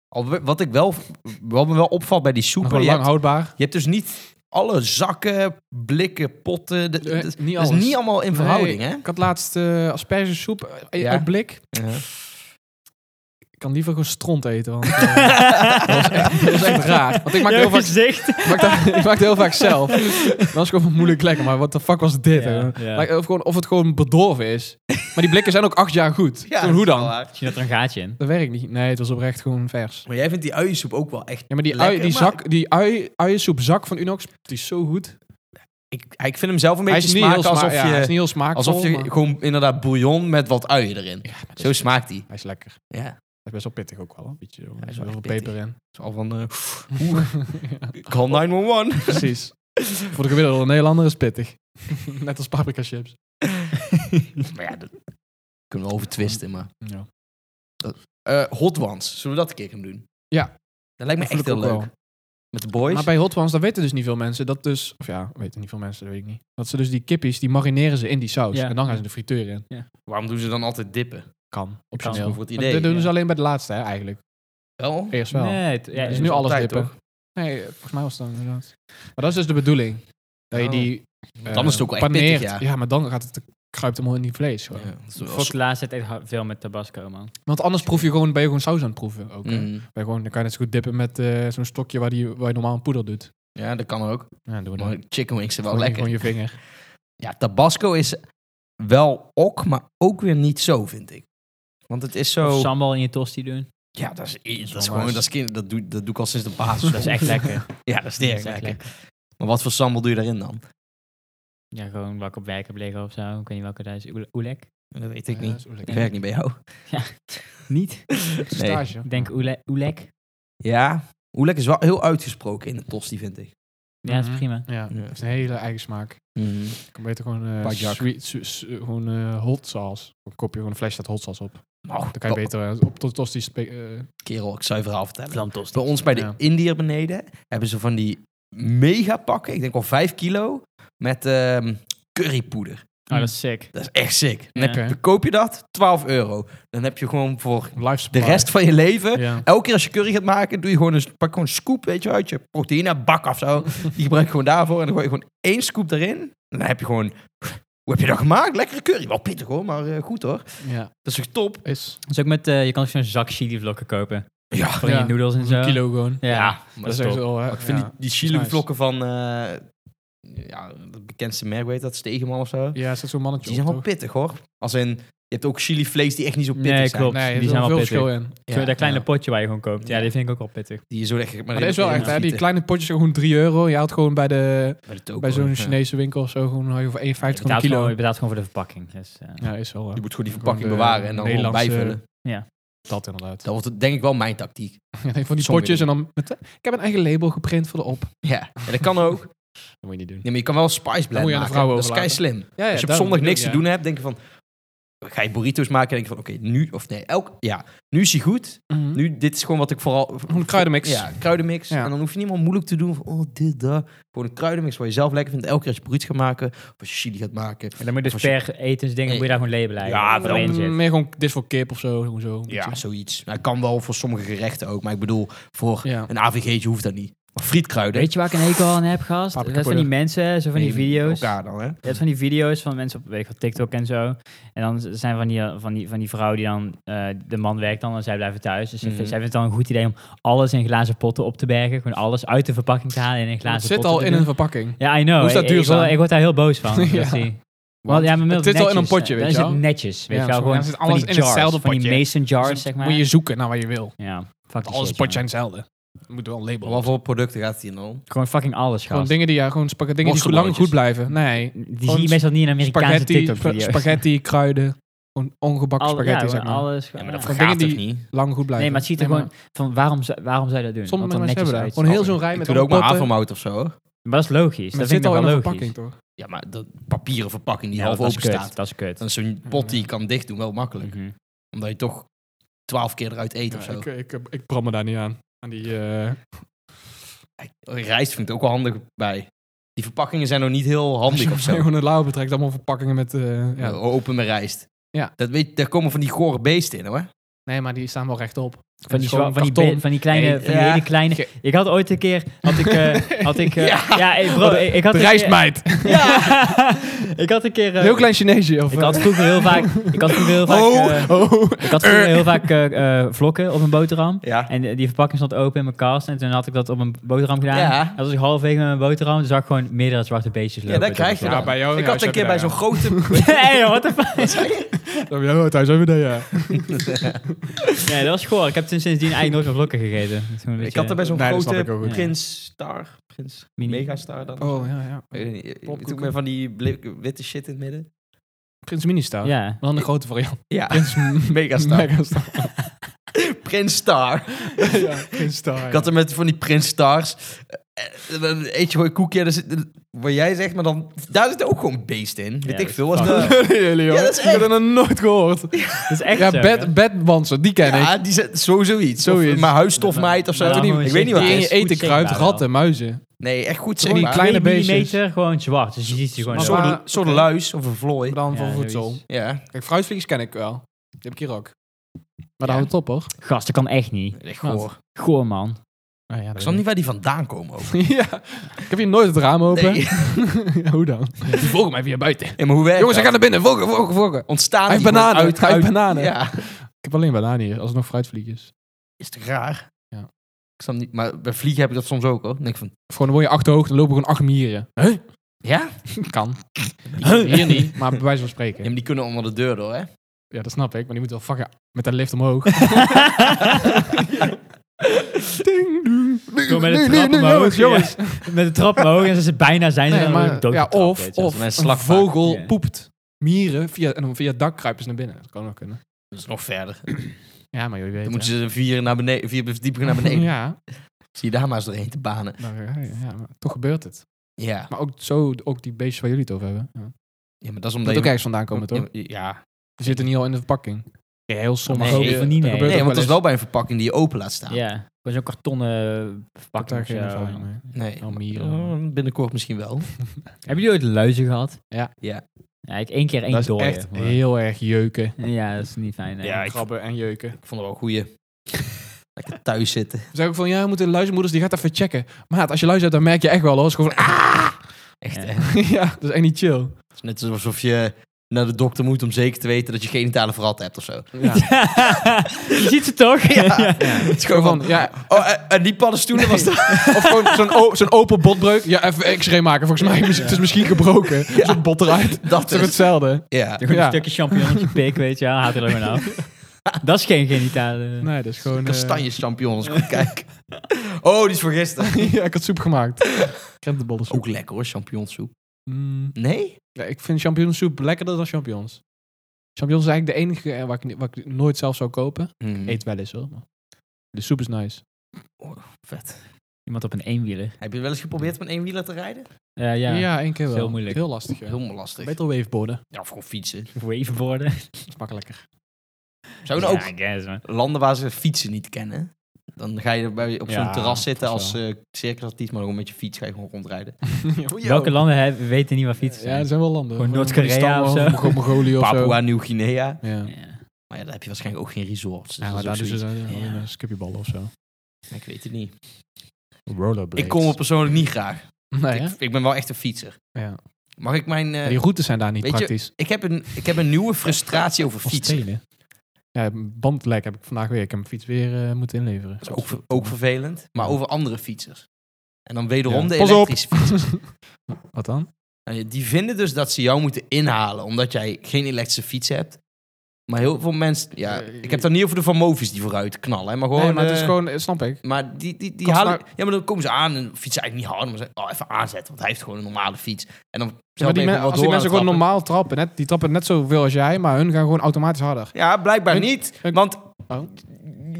[SPEAKER 2] Al we- Wat, ik wel, wat me wel opvalt bij die
[SPEAKER 1] Nog
[SPEAKER 2] soepen,
[SPEAKER 1] wel
[SPEAKER 2] je,
[SPEAKER 1] lang
[SPEAKER 2] hebt,
[SPEAKER 1] houdbaar.
[SPEAKER 2] je hebt dus niet alle zakken, blikken, potten. de-
[SPEAKER 1] Eh,
[SPEAKER 2] de-
[SPEAKER 1] niet
[SPEAKER 2] dat
[SPEAKER 1] alles.
[SPEAKER 2] is niet allemaal in
[SPEAKER 1] Nee,
[SPEAKER 2] verhouding, hè?
[SPEAKER 1] Ik had laatst eh aspergesoep eh,
[SPEAKER 2] Ja.
[SPEAKER 1] uit blik.
[SPEAKER 2] Ja.
[SPEAKER 1] Ik kan liever gewoon stront eten. Want, eh, dat, was echt, dat was echt raar. Want ik maak
[SPEAKER 3] Jouw
[SPEAKER 1] heel vaak
[SPEAKER 3] gezicht.
[SPEAKER 1] Ik maak dat- ik maak het heel vaak zelf. Dat was gewoon moeilijk lekker, maar wat de fuck was dit?
[SPEAKER 3] Ja,
[SPEAKER 1] hè?
[SPEAKER 3] ja.
[SPEAKER 1] Lijkt- Of, gewoon, of het gewoon bedorven is. Maar die blikken zijn ook acht jaar goed.
[SPEAKER 2] Ja,
[SPEAKER 1] Toen, hoe dan?
[SPEAKER 3] Misschien dat er een gaatje in.
[SPEAKER 1] Dat werkt niet. Nee, het was oprecht gewoon vers.
[SPEAKER 2] Maar jij vindt die uiensoep ook wel echt...
[SPEAKER 1] Ja, maar die,
[SPEAKER 2] Lekker,
[SPEAKER 1] ui, die,
[SPEAKER 2] maar-
[SPEAKER 1] zak, die ui, uiensoepzak van Unox, die is zo goed.
[SPEAKER 2] Ik, ik vind hem zelf een
[SPEAKER 1] Hij
[SPEAKER 2] beetje
[SPEAKER 1] is, niet heel
[SPEAKER 2] smaken
[SPEAKER 1] smaak,
[SPEAKER 2] alsof
[SPEAKER 1] ja, hij is
[SPEAKER 2] je...
[SPEAKER 1] niet heel smaakvol.
[SPEAKER 2] Alsof je
[SPEAKER 1] maar-
[SPEAKER 2] gewoon inderdaad bouillon met wat uien erin.
[SPEAKER 1] Ja, maar dat
[SPEAKER 2] Zo
[SPEAKER 1] is-
[SPEAKER 2] smaakt die.
[SPEAKER 1] Hij is lekker. Hij
[SPEAKER 2] Ja.
[SPEAKER 1] is best wel pittig ook wel. Een beetje, zo. er
[SPEAKER 2] is
[SPEAKER 1] is
[SPEAKER 2] wel
[SPEAKER 1] wel veel
[SPEAKER 2] echt pittig.
[SPEAKER 1] peper in.
[SPEAKER 2] Al van... eh,
[SPEAKER 1] Ja,
[SPEAKER 2] Call 911.
[SPEAKER 1] precies. Voor de gemiddelde Nederlander is het pittig. Net als paprika chips.
[SPEAKER 2] maar ja, daar kunnen we over twisten, maar...
[SPEAKER 1] Ja.
[SPEAKER 2] Eh, hot ones. Zullen we dat een keer gaan doen?
[SPEAKER 1] Ja.
[SPEAKER 2] Dat lijkt me
[SPEAKER 1] Dat
[SPEAKER 2] echt
[SPEAKER 1] voel
[SPEAKER 2] heel
[SPEAKER 1] ik
[SPEAKER 2] leuk.
[SPEAKER 1] ook wel.
[SPEAKER 2] Met de boys.
[SPEAKER 1] Maar bij Hot Ones, dat weten dus niet veel mensen. Dat dus, of ja, weten niet veel mensen, dat weet ik niet. Dat ze dus die kippies, die marineren ze in die saus.
[SPEAKER 3] Ja.
[SPEAKER 1] En dan gaan ze de frituur in.
[SPEAKER 2] Waarom doen ze dan altijd dippen?
[SPEAKER 1] Kan,
[SPEAKER 2] Dat is gewoon
[SPEAKER 1] optioneel. Maar
[SPEAKER 2] voor het
[SPEAKER 1] dat
[SPEAKER 2] idee.
[SPEAKER 1] doen ze
[SPEAKER 3] ja.
[SPEAKER 1] alleen bij de laatste, hè, eigenlijk.
[SPEAKER 2] Wel?
[SPEAKER 1] Eerst wel. Nee,
[SPEAKER 3] Nee, t- ja,
[SPEAKER 1] Dus
[SPEAKER 3] is
[SPEAKER 1] nu al- alles
[SPEAKER 2] Altijd,
[SPEAKER 1] dippen.
[SPEAKER 2] toch?
[SPEAKER 1] eh, volgens mij was het dan inderdaad. Maar dat is dus de bedoeling. Dat je
[SPEAKER 2] Oh.
[SPEAKER 1] die eh,
[SPEAKER 2] Dan is het ook wel echt
[SPEAKER 1] paneert.
[SPEAKER 2] pittig, ja.
[SPEAKER 1] maar dan gaat het, kruipt hem helemaal in die vlees. gewoon.
[SPEAKER 2] Ja, dat is wel
[SPEAKER 3] Voor
[SPEAKER 2] s-
[SPEAKER 3] het laatst tijd echt ha- veel met tabasco, man.
[SPEAKER 1] Want anders proef je gewoon, ben je gewoon saus aan het proeven. Ook, hè.
[SPEAKER 2] Mm.
[SPEAKER 1] Ben je gewoon, dan kan je net zo goed dippen met eh, zo'n stokje waar, die, waar je normaal een poeder doet.
[SPEAKER 2] Ja, dat kan ook.
[SPEAKER 1] Ja, doen we dan.
[SPEAKER 2] Maar chicken wings zijn wel
[SPEAKER 1] Gewoon-
[SPEAKER 2] lekker.
[SPEAKER 1] Gewoon je vinger.
[SPEAKER 2] Ja, tabasco is wel ok, maar ook weer niet zo, vind ik. Want het is
[SPEAKER 3] Of
[SPEAKER 2] zo...
[SPEAKER 3] sambal in je tosti doen.
[SPEAKER 2] Ja, dat is, i- dat
[SPEAKER 1] Sambal
[SPEAKER 2] is gewoon...
[SPEAKER 1] is-
[SPEAKER 2] Dat, is kind- dat, doe, dat doe ik al sinds de basis.
[SPEAKER 3] Dat is echt lekker.
[SPEAKER 2] Ja, dat is
[SPEAKER 3] Dat
[SPEAKER 2] direct
[SPEAKER 3] is echt
[SPEAKER 2] lekker. Maar wat voor sambal doe je daarin dan?
[SPEAKER 3] Ja, gewoon wat ik op werk heb liggen of zo. Ik weet niet welke dat is. Oele- Oelek?
[SPEAKER 2] Dat weet ik
[SPEAKER 1] Ja,
[SPEAKER 2] niet.
[SPEAKER 1] dat is ook
[SPEAKER 2] Ik
[SPEAKER 1] lekker.
[SPEAKER 2] werk niet bij jou.
[SPEAKER 3] Niet?
[SPEAKER 2] Nee.
[SPEAKER 1] Stage.
[SPEAKER 3] Ik denk oele- oelek.
[SPEAKER 2] Ja, Oelek is wel heel uitgesproken in de tosti, vind ik.
[SPEAKER 3] Ja, dat is
[SPEAKER 1] Mhm.
[SPEAKER 3] prima.
[SPEAKER 1] Ja, Mhm.
[SPEAKER 2] Ja.
[SPEAKER 1] het heeft een hele eigen smaak. Ik kan beter gewoon eh,
[SPEAKER 2] Pajak.
[SPEAKER 1] sweet, su- su- gewoon eh, hot sauce. Dan kop je gewoon een flesje dat hot sauce op.
[SPEAKER 2] Nou,
[SPEAKER 1] Dan kan je beter eh, op tot tosti spe- eh,
[SPEAKER 2] Kerel, ik zou je verhaal vertellen.
[SPEAKER 3] Vlamtosti.
[SPEAKER 2] Bij ons bij de
[SPEAKER 1] Ja.
[SPEAKER 2] Indiër beneden hebben ze van die mega pakken, ik denk wel 5 kilo, met ehm, currypoeder.
[SPEAKER 3] Oh, dat is sick.
[SPEAKER 2] Dat is echt sick. Dan, heb-
[SPEAKER 3] Ja.
[SPEAKER 2] dan koop je dat, 12 euro. Dan heb je gewoon voor
[SPEAKER 1] live
[SPEAKER 2] de
[SPEAKER 1] supply.
[SPEAKER 2] rest van je leven.
[SPEAKER 1] eh, Ja.
[SPEAKER 2] Elke keer als je curry gaat maken, doe je gewoon een, pak gewoon een scoop weet je, wel, uit je proteïnebak of zo. Die gebruik je gewoon daarvoor. En dan gooi je gewoon één scoop erin. En dan heb je gewoon... Hoe heb je dat gemaakt? Lekkere curry. Wel pittig hoor, maar eh, goed hoor.
[SPEAKER 1] ja.
[SPEAKER 2] Dat is toch top?
[SPEAKER 1] Is
[SPEAKER 3] Dus ook met, eh, je kan ook zo'n zak chili vlokken kopen.
[SPEAKER 2] Ja.
[SPEAKER 3] Van
[SPEAKER 1] Ja,
[SPEAKER 3] je noedels en zo.
[SPEAKER 1] een kilo gewoon.
[SPEAKER 3] Ja.
[SPEAKER 2] maar
[SPEAKER 1] Dat is echt wel, hè.
[SPEAKER 2] Maar Oh, ik vind
[SPEAKER 1] ja.
[SPEAKER 2] die, die
[SPEAKER 1] nice.
[SPEAKER 2] chili-vlokken van eh, ja, het bekendste merk, weet je dat, Stegeman of zo.
[SPEAKER 1] Ja, er zit zo'n mannetje
[SPEAKER 2] Die zijn
[SPEAKER 1] op,
[SPEAKER 2] wel
[SPEAKER 1] toch?
[SPEAKER 2] pittig hoor. Als in, je hebt ook chili-vlees die echt niet zo pittig
[SPEAKER 3] Nee,
[SPEAKER 2] zijn.
[SPEAKER 3] klopt.
[SPEAKER 1] Nee, er
[SPEAKER 3] die
[SPEAKER 1] zit
[SPEAKER 3] zijn
[SPEAKER 1] wel
[SPEAKER 3] wel
[SPEAKER 1] veel
[SPEAKER 3] pittig.
[SPEAKER 1] verschil in.
[SPEAKER 2] Ja,
[SPEAKER 3] Zo dat kleine
[SPEAKER 2] ja.
[SPEAKER 3] potje waar je gewoon koopt. Ja, die vind ik ook wel pittig.
[SPEAKER 2] Die je zo lekker...
[SPEAKER 1] Maar dat is wel echt, hè. Die kleine potjes zijn gewoon 3 euro. Je had gewoon bij, de, bij zozo'n Chinese winkel of zo gewoon had je voor 1,50
[SPEAKER 3] Je
[SPEAKER 1] gewoon een
[SPEAKER 3] betaalt, gewoon, je
[SPEAKER 1] kilo.
[SPEAKER 3] betaalt gewoon voor de verpakking. Dus, eh,
[SPEAKER 1] Ja, is wel. hè.
[SPEAKER 2] Je moet gewoon die
[SPEAKER 1] Gewoon
[SPEAKER 2] verpakking
[SPEAKER 1] de
[SPEAKER 2] bewaren en dan gewoon
[SPEAKER 1] Nederlandse-
[SPEAKER 2] bijvullen.
[SPEAKER 1] Dat inderdaad.
[SPEAKER 2] Dat wordt het- denk ik wel mijn tactiek.
[SPEAKER 1] Ja, nee, van die
[SPEAKER 2] Sommige
[SPEAKER 1] potjes en dan... Met, ik heb een eigen label geprint voor de op.
[SPEAKER 2] Ja, en dat kan ook. Nee,
[SPEAKER 1] Dat moet je niet doen.
[SPEAKER 2] maar je kan wel een spice blend
[SPEAKER 1] moet je aan de
[SPEAKER 2] maken.
[SPEAKER 1] vrouwen
[SPEAKER 2] Dat is kei slim.
[SPEAKER 1] Ja, ja,
[SPEAKER 2] Als je op
[SPEAKER 1] daarom
[SPEAKER 2] zondag
[SPEAKER 1] bedoel ik,
[SPEAKER 2] niks
[SPEAKER 1] ja.
[SPEAKER 2] te doen hebt, denk je van... Ga je burritos maken en denk je van, oké, nu... Of nee, elk... Ja, nu is hij goed.
[SPEAKER 1] Mhm.
[SPEAKER 2] Nu, dit is gewoon wat ik vooral...
[SPEAKER 1] Een kruidenmix.
[SPEAKER 2] Ja, kruidenmix.
[SPEAKER 1] Ja.
[SPEAKER 2] En dan hoef je niet meer moeilijk te doen van, oh, dit, dat. Gewoon een kruidenmix waar je zelf lekker vindt. Elke keer als je burrito gaat maken, of als je chili gaat maken.
[SPEAKER 3] en dan moet je
[SPEAKER 2] Of
[SPEAKER 3] dus
[SPEAKER 2] als
[SPEAKER 3] per etensding
[SPEAKER 2] Nee.
[SPEAKER 3] moet je daar gewoon labelen.
[SPEAKER 2] Ja,
[SPEAKER 3] eigenlijk, wat
[SPEAKER 2] wel.
[SPEAKER 3] erin
[SPEAKER 1] dan
[SPEAKER 3] zit.
[SPEAKER 1] meer gewoon dit voor kip of zo. gewoon zo.
[SPEAKER 2] Ja, zoiets. Nou, kan wel voor sommige gerechten ook, maar ik bedoel, voor
[SPEAKER 1] Ja.
[SPEAKER 2] een AVG'tje hoeft dat niet. Of frietkruiden.
[SPEAKER 3] Weet je waar ik een hekel aan heb, gast?
[SPEAKER 1] Paprika
[SPEAKER 3] Dat van die
[SPEAKER 1] poeder.
[SPEAKER 3] mensen, zo van die
[SPEAKER 2] Nee,
[SPEAKER 3] video's.
[SPEAKER 2] Elkaar dan, hè?
[SPEAKER 3] Je hebt van die video's van mensen op weet ik, veel, TikTok en zo. En dan z- zijn van die, eh, van die, van die vrouw die dan... eh, de man werkt dan en zij blijven thuis. Dus ze
[SPEAKER 2] Mhm.
[SPEAKER 3] vindt- zij vindt het dan een goed idee om alles in glazen potten op te bergen. Gewoon alles uit de verpakking te halen en in glazen
[SPEAKER 1] Het zit
[SPEAKER 3] potten
[SPEAKER 1] al
[SPEAKER 3] te
[SPEAKER 1] in
[SPEAKER 3] doen.
[SPEAKER 1] een verpakking.
[SPEAKER 3] Ja, I know.
[SPEAKER 1] Hoe is dat
[SPEAKER 3] Ik- ik word-
[SPEAKER 1] duurzaam?
[SPEAKER 3] Ik, word daar heel boos van.
[SPEAKER 1] Ja.
[SPEAKER 3] dat zie. Want, ja, maar
[SPEAKER 1] het zit al in een potje, weet je
[SPEAKER 3] Dan is
[SPEAKER 1] wel.
[SPEAKER 3] het netjes, weet
[SPEAKER 1] Ja,
[SPEAKER 3] je wel.
[SPEAKER 1] zo,
[SPEAKER 3] Gewoon
[SPEAKER 1] dan zit
[SPEAKER 3] van
[SPEAKER 1] alles
[SPEAKER 3] die
[SPEAKER 1] in hetzelfde
[SPEAKER 3] jars, Van
[SPEAKER 1] potje.
[SPEAKER 3] die mason jars, zeg maar.
[SPEAKER 1] Moet je zoeken naar wat je wil.
[SPEAKER 3] Ja, fuck die
[SPEAKER 1] Alles potjes
[SPEAKER 3] shit, man.
[SPEAKER 1] zijn hetzelfde. Het moet wel een label.
[SPEAKER 2] Wat voor producten gaat het hier nou?
[SPEAKER 3] Gewoon fucking alles,
[SPEAKER 1] Gewoon
[SPEAKER 3] gast.
[SPEAKER 1] dingen die, ja, gewoon spaghetti, dingen die goed- lang goed blijven. Nee.
[SPEAKER 3] Die
[SPEAKER 1] gewoon
[SPEAKER 3] zie je meestal niet in Amerikaanse
[SPEAKER 1] Spaghetti, spa-
[SPEAKER 3] TikTok-video's.
[SPEAKER 1] spaghetti, kruiden. Gewoon ongebakken
[SPEAKER 3] Al-
[SPEAKER 1] spaghetti,
[SPEAKER 3] ja,
[SPEAKER 1] zeg maar.
[SPEAKER 3] alles.
[SPEAKER 2] Ja, maar dat
[SPEAKER 1] Ja.
[SPEAKER 2] vergaat
[SPEAKER 1] Dingen
[SPEAKER 2] toch
[SPEAKER 1] die-
[SPEAKER 2] niet?
[SPEAKER 1] Lang goed blijven.
[SPEAKER 3] Nee, maar het ziet er gewoon van waarom, zou- waarom zou je dat doen?
[SPEAKER 1] Sommige
[SPEAKER 3] Want
[SPEAKER 1] mensen hebben
[SPEAKER 3] dan netjes
[SPEAKER 1] dat.
[SPEAKER 3] uit-
[SPEAKER 1] Gewoon heel zo'n rij
[SPEAKER 2] Ik
[SPEAKER 1] met
[SPEAKER 2] doe er ook maar
[SPEAKER 1] allemaal potten.
[SPEAKER 2] havermout of zo. hoor.
[SPEAKER 3] Maar dat is logisch.
[SPEAKER 1] Maar
[SPEAKER 3] Dat
[SPEAKER 1] het
[SPEAKER 3] vind
[SPEAKER 1] zit
[SPEAKER 3] ik
[SPEAKER 1] al
[SPEAKER 3] nog
[SPEAKER 1] in
[SPEAKER 3] wel
[SPEAKER 1] een
[SPEAKER 3] logisch.
[SPEAKER 1] verpakking, toch?
[SPEAKER 2] Ja, maar dat papieren verpakking die
[SPEAKER 3] Ja,
[SPEAKER 2] half
[SPEAKER 3] dat is
[SPEAKER 2] open
[SPEAKER 3] kut.
[SPEAKER 2] staat.
[SPEAKER 3] Dat is kut.
[SPEAKER 2] Dan is zo'n pot die je kan dichtdoen wel makkelijk.
[SPEAKER 3] Mhm.
[SPEAKER 2] Omdat je toch twaalf keer eruit eet
[SPEAKER 1] Ja,
[SPEAKER 2] of zo.
[SPEAKER 1] ik, ik, ik, bram me daar niet aan. Aan die... eh,
[SPEAKER 2] Oh, Rijst vind ik ook wel handig bij. Die verpakkingen zijn nog niet heel handig of
[SPEAKER 1] Als je
[SPEAKER 2] zo.
[SPEAKER 1] gewoon een lauw betrekt, allemaal verpakkingen met... eh, ja.
[SPEAKER 2] Ja, Open met rijst.
[SPEAKER 1] Ja.
[SPEAKER 2] Dat weet, daar komen van die gore beesten in hoor.
[SPEAKER 1] Nee, maar die staan wel rechtop.
[SPEAKER 3] Van die,
[SPEAKER 1] is gewoon
[SPEAKER 3] zwa- van, die
[SPEAKER 1] karton.
[SPEAKER 3] be- van die kleine,
[SPEAKER 2] Nee,
[SPEAKER 3] van die
[SPEAKER 2] ja.
[SPEAKER 3] hele kleine. Ik had ooit een keer, had ik, eh, had ik, eh,
[SPEAKER 2] Ja.
[SPEAKER 3] ja. eh, bro, ik, ik had
[SPEAKER 1] De
[SPEAKER 3] een keer-
[SPEAKER 1] rijstmeid.
[SPEAKER 3] Ja. ik had een keer, eh,
[SPEAKER 1] Heel klein Oh, Chineesje. Of, eh.
[SPEAKER 3] ik had vroeger heel vaak, ik had vroeger heel vaak, eh, ik had vroeger heel vaak eh, eh, vlokken op een boterham.
[SPEAKER 2] Ja.
[SPEAKER 3] En eh, die verpakking stond open in mijn kast. En toen had ik dat op een boterham gedaan.
[SPEAKER 2] Ja.
[SPEAKER 1] Oh,
[SPEAKER 3] En toen was ik halverwege met mijn boterham. Toen zag ik gewoon meerdere zwarte beestjes
[SPEAKER 2] Ja,
[SPEAKER 3] lopen.
[SPEAKER 2] dat krijg je
[SPEAKER 1] Ja,
[SPEAKER 2] dan.
[SPEAKER 1] bij jou in
[SPEAKER 2] ik
[SPEAKER 1] huis
[SPEAKER 2] had een
[SPEAKER 1] heb je
[SPEAKER 2] keer bij
[SPEAKER 1] daar,
[SPEAKER 2] zo'n grote...
[SPEAKER 3] Hé, joh, what the fuck?
[SPEAKER 1] Dat heb je ook thuis hebben, ja.
[SPEAKER 3] Ja, dat was goor. Ik heb toen sindsdien eigenlijk nooit meer vlokken gegeten. Dat is gewoon een
[SPEAKER 2] ik
[SPEAKER 3] beetje-
[SPEAKER 2] had er bij zo'n
[SPEAKER 1] Nee, dat snap ik ook
[SPEAKER 2] grote
[SPEAKER 1] goed.
[SPEAKER 2] Prins Star. Prins
[SPEAKER 3] Mini.
[SPEAKER 2] Megastar dan.
[SPEAKER 1] Oh, ja, ja.
[SPEAKER 2] Ik weet het niet.
[SPEAKER 1] Plopkoeken.
[SPEAKER 2] Toen met van die blik- witte shit in het midden.
[SPEAKER 1] Prins Ministar. Ja.
[SPEAKER 3] Ja.
[SPEAKER 1] Maar dan de grote variant.
[SPEAKER 2] Ja,
[SPEAKER 1] Prins
[SPEAKER 2] Megastar.
[SPEAKER 1] Megastar.
[SPEAKER 2] Prins Star.
[SPEAKER 1] ja, Prins Star.
[SPEAKER 2] Ik had er met van die Prins Stars. Eh, Dan eet je gewoon een koekje. en dan zit- Wat jij zegt, maar dan... Daar zit ook gewoon beest in. Weet
[SPEAKER 3] dat
[SPEAKER 2] ik
[SPEAKER 3] is
[SPEAKER 2] veel. Was
[SPEAKER 3] fucked
[SPEAKER 2] dat-
[SPEAKER 1] jullie, joh.
[SPEAKER 2] eh, Ja, dat is
[SPEAKER 1] Ik heb
[SPEAKER 2] echt.
[SPEAKER 1] dat nog nooit gehoord.
[SPEAKER 3] Dat is echt
[SPEAKER 1] Ja,
[SPEAKER 3] zo, hè?
[SPEAKER 1] bed, bedwansen, die ken ik.
[SPEAKER 2] Ja, die zet zo zoiets. Of
[SPEAKER 1] Zoiets.
[SPEAKER 2] Mijn huisstofmeid of zo.
[SPEAKER 3] Ja,
[SPEAKER 2] ik weet niet wat
[SPEAKER 1] Die
[SPEAKER 2] het
[SPEAKER 1] in
[SPEAKER 2] is.
[SPEAKER 1] je
[SPEAKER 3] Goed
[SPEAKER 1] eten kruidt,
[SPEAKER 3] zichtbaar wel.
[SPEAKER 1] ratten, muizen.
[SPEAKER 2] Nee, echt goed
[SPEAKER 1] Gewoon die
[SPEAKER 2] zichtbaar.
[SPEAKER 1] kleine
[SPEAKER 3] Twee
[SPEAKER 1] beestjes.
[SPEAKER 3] millimeter gewoon zwart. Dus je ziet ze gewoon
[SPEAKER 1] Maar
[SPEAKER 3] zo.
[SPEAKER 1] zo-
[SPEAKER 2] Zo'n
[SPEAKER 1] Maar-
[SPEAKER 2] soort luis of een vlooi.
[SPEAKER 1] Maar dan
[SPEAKER 3] Ja,
[SPEAKER 1] voor voedsel.
[SPEAKER 3] zoiets.
[SPEAKER 2] Ja,
[SPEAKER 1] Kijk, fruitvliegers ken ik wel. Die heb ik hier ook. Maar daar
[SPEAKER 2] Ja.
[SPEAKER 1] houdt het op, hoor.
[SPEAKER 3] Gast, dat kan echt niet.
[SPEAKER 2] echt
[SPEAKER 1] Nou,
[SPEAKER 2] goor.
[SPEAKER 3] Goor, man.
[SPEAKER 1] Ah, ja,
[SPEAKER 2] Ik snap niet waar die vandaan komen ook.
[SPEAKER 1] Ja, ik heb hier nooit het raam open.
[SPEAKER 2] Nee.
[SPEAKER 1] Ja, hoe dan? Die volgen mij via buiten.
[SPEAKER 2] Ja, maar hoe werkt
[SPEAKER 1] Jongens, ik
[SPEAKER 2] dat?
[SPEAKER 1] ga naar binnen. Volgen, volgen, volgen.
[SPEAKER 2] Ontstaan
[SPEAKER 1] Hij heeft
[SPEAKER 2] die gewoon
[SPEAKER 1] bananen.
[SPEAKER 2] uit-
[SPEAKER 1] Hij heeft
[SPEAKER 2] uit-
[SPEAKER 1] bananen.
[SPEAKER 2] Ja.
[SPEAKER 1] Ik heb alleen bananen hier, als er nog fruitvliegjes.
[SPEAKER 2] Is toch raar?
[SPEAKER 1] Ja.
[SPEAKER 2] Ik snap niet. Maar bij vliegen heb ik dat soms ook hoor. Dan denk ik van,
[SPEAKER 1] Of gewoon, dan word je achterhoog, dan lopen gewoon acht mieren. Huh?
[SPEAKER 2] ja?
[SPEAKER 1] Kan. Hier niet, maar bij wijze van
[SPEAKER 2] Ja,
[SPEAKER 1] spreken.
[SPEAKER 2] maar die kunnen onder de deur door hè.
[SPEAKER 1] Ja, dat snap ik, maar die moet wel fucking met een lift omhoog. Ding, ding.
[SPEAKER 3] Zo met
[SPEAKER 1] Nee,
[SPEAKER 3] de
[SPEAKER 1] nee,
[SPEAKER 3] trap
[SPEAKER 1] nee, jongens,
[SPEAKER 3] omhoog, ja.
[SPEAKER 1] jongens.
[SPEAKER 3] Met de trap omhoog en ze zijn bijna zijn ze
[SPEAKER 1] Nee,
[SPEAKER 3] dan
[SPEAKER 1] maar,
[SPEAKER 3] ook dood.
[SPEAKER 1] ja,
[SPEAKER 3] getrapt,
[SPEAKER 1] of,
[SPEAKER 3] weet je wel.
[SPEAKER 1] of
[SPEAKER 2] met een
[SPEAKER 1] een
[SPEAKER 2] slagvaart.
[SPEAKER 1] vogel
[SPEAKER 3] Ja.
[SPEAKER 1] poept mieren via, en dan via het dak kruipen ze naar binnen. Dat kan ook kunnen.
[SPEAKER 2] Dat is nog verder.
[SPEAKER 1] Ja, maar jullie weten.
[SPEAKER 2] Dan moeten ze vier, naar beneden, vier verdiepingen naar beneden.
[SPEAKER 1] Ja,
[SPEAKER 2] Zie je daar maar eens doorheen te banen.
[SPEAKER 1] daar ga je. ja, maar toch gebeurt het.
[SPEAKER 2] Ja.
[SPEAKER 1] Maar ook zo, ook die beestjes waar jullie het over hebben. Ja.
[SPEAKER 2] ja, maar dat is
[SPEAKER 1] Moet
[SPEAKER 2] omdat je...
[SPEAKER 1] ook ergens vandaan komen, toch?
[SPEAKER 2] Ja.
[SPEAKER 1] Die zitten niet al in de verpakking. Ja, heel sommige
[SPEAKER 2] Nee,
[SPEAKER 1] eh,
[SPEAKER 3] van
[SPEAKER 1] dat
[SPEAKER 3] die nee.
[SPEAKER 1] gebeurt
[SPEAKER 2] Nee,
[SPEAKER 1] ook
[SPEAKER 2] want het is
[SPEAKER 1] wel
[SPEAKER 2] wel bij een verpakking die je open laat staan.
[SPEAKER 3] Ja, gewoon zo'n kartonnen
[SPEAKER 1] eens. Daar
[SPEAKER 3] verpakking. of
[SPEAKER 1] geen
[SPEAKER 3] zo.
[SPEAKER 1] ervaring mee.
[SPEAKER 2] Nee.
[SPEAKER 1] Oh, mieren.
[SPEAKER 2] Oh, binnenkort misschien wel.
[SPEAKER 3] Hebben jullie ooit luizen gehad?
[SPEAKER 1] Ja.
[SPEAKER 2] Ja.
[SPEAKER 3] Ja, ik één keer één
[SPEAKER 1] Dat is
[SPEAKER 3] dooie,
[SPEAKER 1] echt
[SPEAKER 3] maar-
[SPEAKER 1] heel erg jeuken.
[SPEAKER 3] Ja, dat is niet fijn. hè.
[SPEAKER 2] Ja, ik-
[SPEAKER 1] Krabben en jeuken.
[SPEAKER 2] Ik vond het wel een goeie. Lekker thuis zitten.
[SPEAKER 1] Ze zei ook van, ja, we moeten luizenmoeders, die gaat even checken. Maar als je luistert, dan merk je echt wel, hoor. Het is gewoon van, ah!
[SPEAKER 2] Echt,
[SPEAKER 3] Ja.
[SPEAKER 2] hè?
[SPEAKER 1] ja, dat is echt niet chill.
[SPEAKER 2] Het is net alsof je naar de dokter moet om zeker te weten dat je genitale verrat hebt of zo.
[SPEAKER 1] Ja.
[SPEAKER 3] je ziet ze toch?
[SPEAKER 2] Ja. Het is gewoon van...
[SPEAKER 1] ja,
[SPEAKER 2] Oh, en- en die paddenstoelen was dat?
[SPEAKER 1] of gewoon zo'n o- zo'n open botbreuk. Ja, even x-ray maken. Volgens mij is het is misschien gebroken. Zo'n bot eruit.
[SPEAKER 2] Dat
[SPEAKER 1] Dat is toch
[SPEAKER 2] is...
[SPEAKER 1] hetzelfde?
[SPEAKER 2] Ja.
[SPEAKER 3] Gewoon
[SPEAKER 1] Ja.
[SPEAKER 3] een stukje champignonnetje pik, weet je wel. Haat er gewoon af. Dat is geen genitale.
[SPEAKER 1] Nee, dat is gewoon... eh,
[SPEAKER 2] Kastanje champignons, goed kijken. Oh, die is voor gisteren.
[SPEAKER 1] ja, ik had soep gemaakt. Krentenbollensoep.
[SPEAKER 2] Ook lekker hoor, champignonsoep.
[SPEAKER 1] Mm.
[SPEAKER 2] Nee?
[SPEAKER 1] Ja, ik vind champignonsoep lekkerder dan champignons. Champignons is eigenlijk de enige eh, waar ik, ni- waar ik nooit zelf zou kopen.
[SPEAKER 2] Hmm.
[SPEAKER 1] Eet wel eens hoor. maar De soep is nice.
[SPEAKER 2] Vet.
[SPEAKER 3] Iemand op een eenwieler.
[SPEAKER 2] Heb je wel eens geprobeerd met een wieler te rijden?
[SPEAKER 3] Eh, ja,
[SPEAKER 1] Ja,
[SPEAKER 3] ja.
[SPEAKER 1] één keer
[SPEAKER 3] is
[SPEAKER 1] wel.
[SPEAKER 3] heel moeilijk.
[SPEAKER 1] Heel lastig. Ja.
[SPEAKER 2] Helemaal lastig.
[SPEAKER 1] Beter waveboarden.
[SPEAKER 2] Ja, of gewoon fietsen.
[SPEAKER 3] Waveboarden.
[SPEAKER 1] Dat is makkelijker.
[SPEAKER 2] Zou je
[SPEAKER 3] ja,
[SPEAKER 2] nou
[SPEAKER 3] I guess, man.
[SPEAKER 2] ook landen waar ze fietsen niet kennen? Dan ga je bij, op zo'n
[SPEAKER 1] Ja,
[SPEAKER 2] terras zitten
[SPEAKER 1] vast
[SPEAKER 2] als
[SPEAKER 1] wel.
[SPEAKER 2] eh circusartiest, maar gewoon met je fiets ga je gewoon rondrijden.
[SPEAKER 3] Welke landen hebben, weten niet wat fietsen
[SPEAKER 1] Ja,
[SPEAKER 3] zijn?
[SPEAKER 1] er zijn wel landen.
[SPEAKER 3] Gewoon
[SPEAKER 1] van die
[SPEAKER 3] Noord-Korea
[SPEAKER 1] stammen
[SPEAKER 3] of zo.
[SPEAKER 1] Mongo- Mongolië of zo.
[SPEAKER 2] Papua, Nieuw-Guinea.
[SPEAKER 1] Ja. Dus
[SPEAKER 3] Ja.
[SPEAKER 2] Maar ja, daar heb je waarschijnlijk ook geen resorts. Dus
[SPEAKER 1] Ja, maar
[SPEAKER 2] dat
[SPEAKER 1] daar
[SPEAKER 2] is ook
[SPEAKER 1] doen ze
[SPEAKER 2] zoiets.
[SPEAKER 1] dan alleen
[SPEAKER 3] Ja.
[SPEAKER 1] een skipjeballen of zo.
[SPEAKER 2] Ik weet het niet.
[SPEAKER 1] Rollerblades.
[SPEAKER 2] Ik kom er persoonlijk niet graag.
[SPEAKER 1] Nee, hè?
[SPEAKER 2] ik, ik ben wel echt een fietser.
[SPEAKER 1] ja.
[SPEAKER 2] Mag ik mijn... eh,
[SPEAKER 1] Die routes zijn daar niet
[SPEAKER 2] weet je,
[SPEAKER 1] praktisch.
[SPEAKER 2] ik, heb een, ik heb een nieuwe frustratie over
[SPEAKER 1] Of
[SPEAKER 2] fietsen.
[SPEAKER 1] stenen. Ja, bandlek heb ik vandaag weer. Ik heb mijn fiets weer eh, moeten inleveren.
[SPEAKER 2] Dat is ook, ver- ook vervelend. Maar over andere fietsers. En dan wederom
[SPEAKER 1] Ja.
[SPEAKER 2] de
[SPEAKER 1] Pas op.
[SPEAKER 2] elektrische fietsers.
[SPEAKER 1] Wat dan?
[SPEAKER 2] En Die vinden dus dat ze jou moeten inhalen. Omdat jij geen elektrische fiets hebt. Maar heel veel mensen... Ja,
[SPEAKER 1] Eh,
[SPEAKER 2] ik heb dan niet over de Van Movies die vooruit knallen. hè, Maar gewoon...
[SPEAKER 1] nee, maar het is
[SPEAKER 2] eh,
[SPEAKER 1] gewoon, eh, snap ik.
[SPEAKER 2] Maar die, die, die
[SPEAKER 1] Komt
[SPEAKER 2] halen...
[SPEAKER 1] nou-
[SPEAKER 2] Ja, maar dan komen ze aan en fietsen eigenlijk niet hard. Maar ze oh, even aanzetten, want hij heeft gewoon een normale fiets. En dan zelf
[SPEAKER 1] Maar die
[SPEAKER 2] ben je
[SPEAKER 1] men-
[SPEAKER 2] wel
[SPEAKER 1] als die
[SPEAKER 2] door aan
[SPEAKER 1] mensen gewoon
[SPEAKER 2] het trappen.
[SPEAKER 1] normaal trappen, net, die trappen net zoveel als jij, maar hun gaan gewoon automatisch harder.
[SPEAKER 2] Ja, blijkbaar
[SPEAKER 1] Ik-
[SPEAKER 2] niet.
[SPEAKER 1] ik-
[SPEAKER 2] Want
[SPEAKER 1] Oh.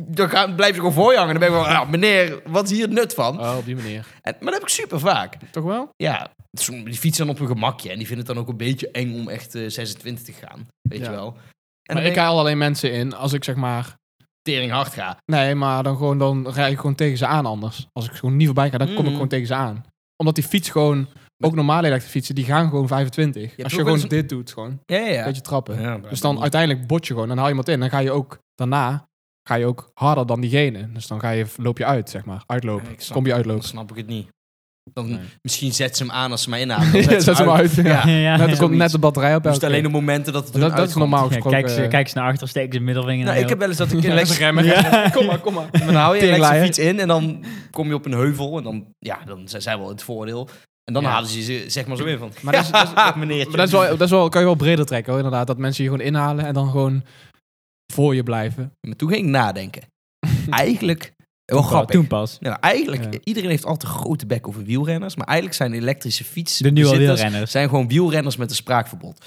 [SPEAKER 2] dan gaan, blijven ze gewoon voor je hangen. Dan ben ik van, ah, meneer, wat is hier het nut van?
[SPEAKER 1] oh, op die manier.
[SPEAKER 2] En, maar dat heb ik super vaak.
[SPEAKER 1] Toch wel?
[SPEAKER 2] Ja, zo- die fietsen dan op hun gemakje. En die vinden het dan ook een beetje eng om echt eh, 26 te gaan. Weet
[SPEAKER 1] Ja.
[SPEAKER 2] je wel. En
[SPEAKER 1] Maar
[SPEAKER 2] dan
[SPEAKER 1] ik
[SPEAKER 2] ik ik
[SPEAKER 1] haal alleen mensen in als ik zeg maar...
[SPEAKER 2] tering hard ga.
[SPEAKER 1] Nee, maar dan, gewoon, dan rij ik gewoon tegen ze aan anders. Als ik gewoon niet voorbij ga, dan kom ik
[SPEAKER 2] Mhm.
[SPEAKER 1] gewoon tegen ze aan. Omdat die fiets gewoon... Ook normale elektrische fietsen, die gaan gewoon 25.
[SPEAKER 2] hebt
[SPEAKER 1] als je
[SPEAKER 2] ook wel
[SPEAKER 1] gewoon
[SPEAKER 2] eens
[SPEAKER 1] dit doet, gewoon
[SPEAKER 2] Ja, ja,
[SPEAKER 1] een
[SPEAKER 2] ja.
[SPEAKER 1] beetje trappen.
[SPEAKER 2] Ja,
[SPEAKER 1] Dus dan uiteindelijk bot je gewoon. Dan haal je iemand in. Dan ga je ook daarna ga je ook harder dan diegene. Dus dan ga je, loop je uit, zeg maar. Uitlopen.
[SPEAKER 2] Ja, ik snap
[SPEAKER 1] Kom je
[SPEAKER 2] Dan
[SPEAKER 1] uitlopen.
[SPEAKER 2] snap ik het niet. Dan,
[SPEAKER 1] Nee.
[SPEAKER 2] Misschien zet ze hem aan als ze mij inhalen. Dan
[SPEAKER 1] Ja, Zet ze maar uit. Ja.
[SPEAKER 2] Ja.
[SPEAKER 3] ja,
[SPEAKER 1] Net,
[SPEAKER 3] ja.
[SPEAKER 1] er komt net de batterij op.
[SPEAKER 2] Dus
[SPEAKER 1] elke
[SPEAKER 2] alleen
[SPEAKER 1] keer.
[SPEAKER 2] op momenten dat het
[SPEAKER 1] dat,
[SPEAKER 2] hun
[SPEAKER 1] dat is
[SPEAKER 2] uitkomt.
[SPEAKER 1] normaal
[SPEAKER 3] Ja,
[SPEAKER 1] gesproken.
[SPEAKER 3] kijk, ze, kijk ze naar achter, steken ze middelvinger
[SPEAKER 2] eh, Nou,
[SPEAKER 3] naar
[SPEAKER 2] ik heb wel eens dat ik
[SPEAKER 1] eh,
[SPEAKER 2] een
[SPEAKER 1] ja, ze
[SPEAKER 2] elektrische
[SPEAKER 1] remmen.
[SPEAKER 3] Ja.
[SPEAKER 1] Kom maar, kom maar.
[SPEAKER 2] Dan hou je een elektrische
[SPEAKER 1] Teringlaaier.
[SPEAKER 2] fiets in en dan kom je op een heuvel. En dan, ja, dan zijn zij wel in het voordeel. En dan
[SPEAKER 1] Ja.
[SPEAKER 2] halen ze je zeg maar zo in van...
[SPEAKER 1] Maar dat is- dat is-
[SPEAKER 2] meneertje.
[SPEAKER 1] Maar dat, is wel, dat is wel, kan je wel breder trekken, hoor, inderdaad. Dat mensen je gewoon inhalen en dan gewoon voor je blijven.
[SPEAKER 2] Maar toen ging ik nadenken. Eigenlijk, wel grappig.
[SPEAKER 3] Oh, Toen pas.
[SPEAKER 2] Nou, eigenlijk,
[SPEAKER 1] Ja.
[SPEAKER 2] iedereen heeft altijd een grote bek over wielrenners. Maar eigenlijk zijn elektrische fietsen...
[SPEAKER 3] De nieuwe wielrenners.
[SPEAKER 2] Zijn gewoon wielrenners met een spraakverbod.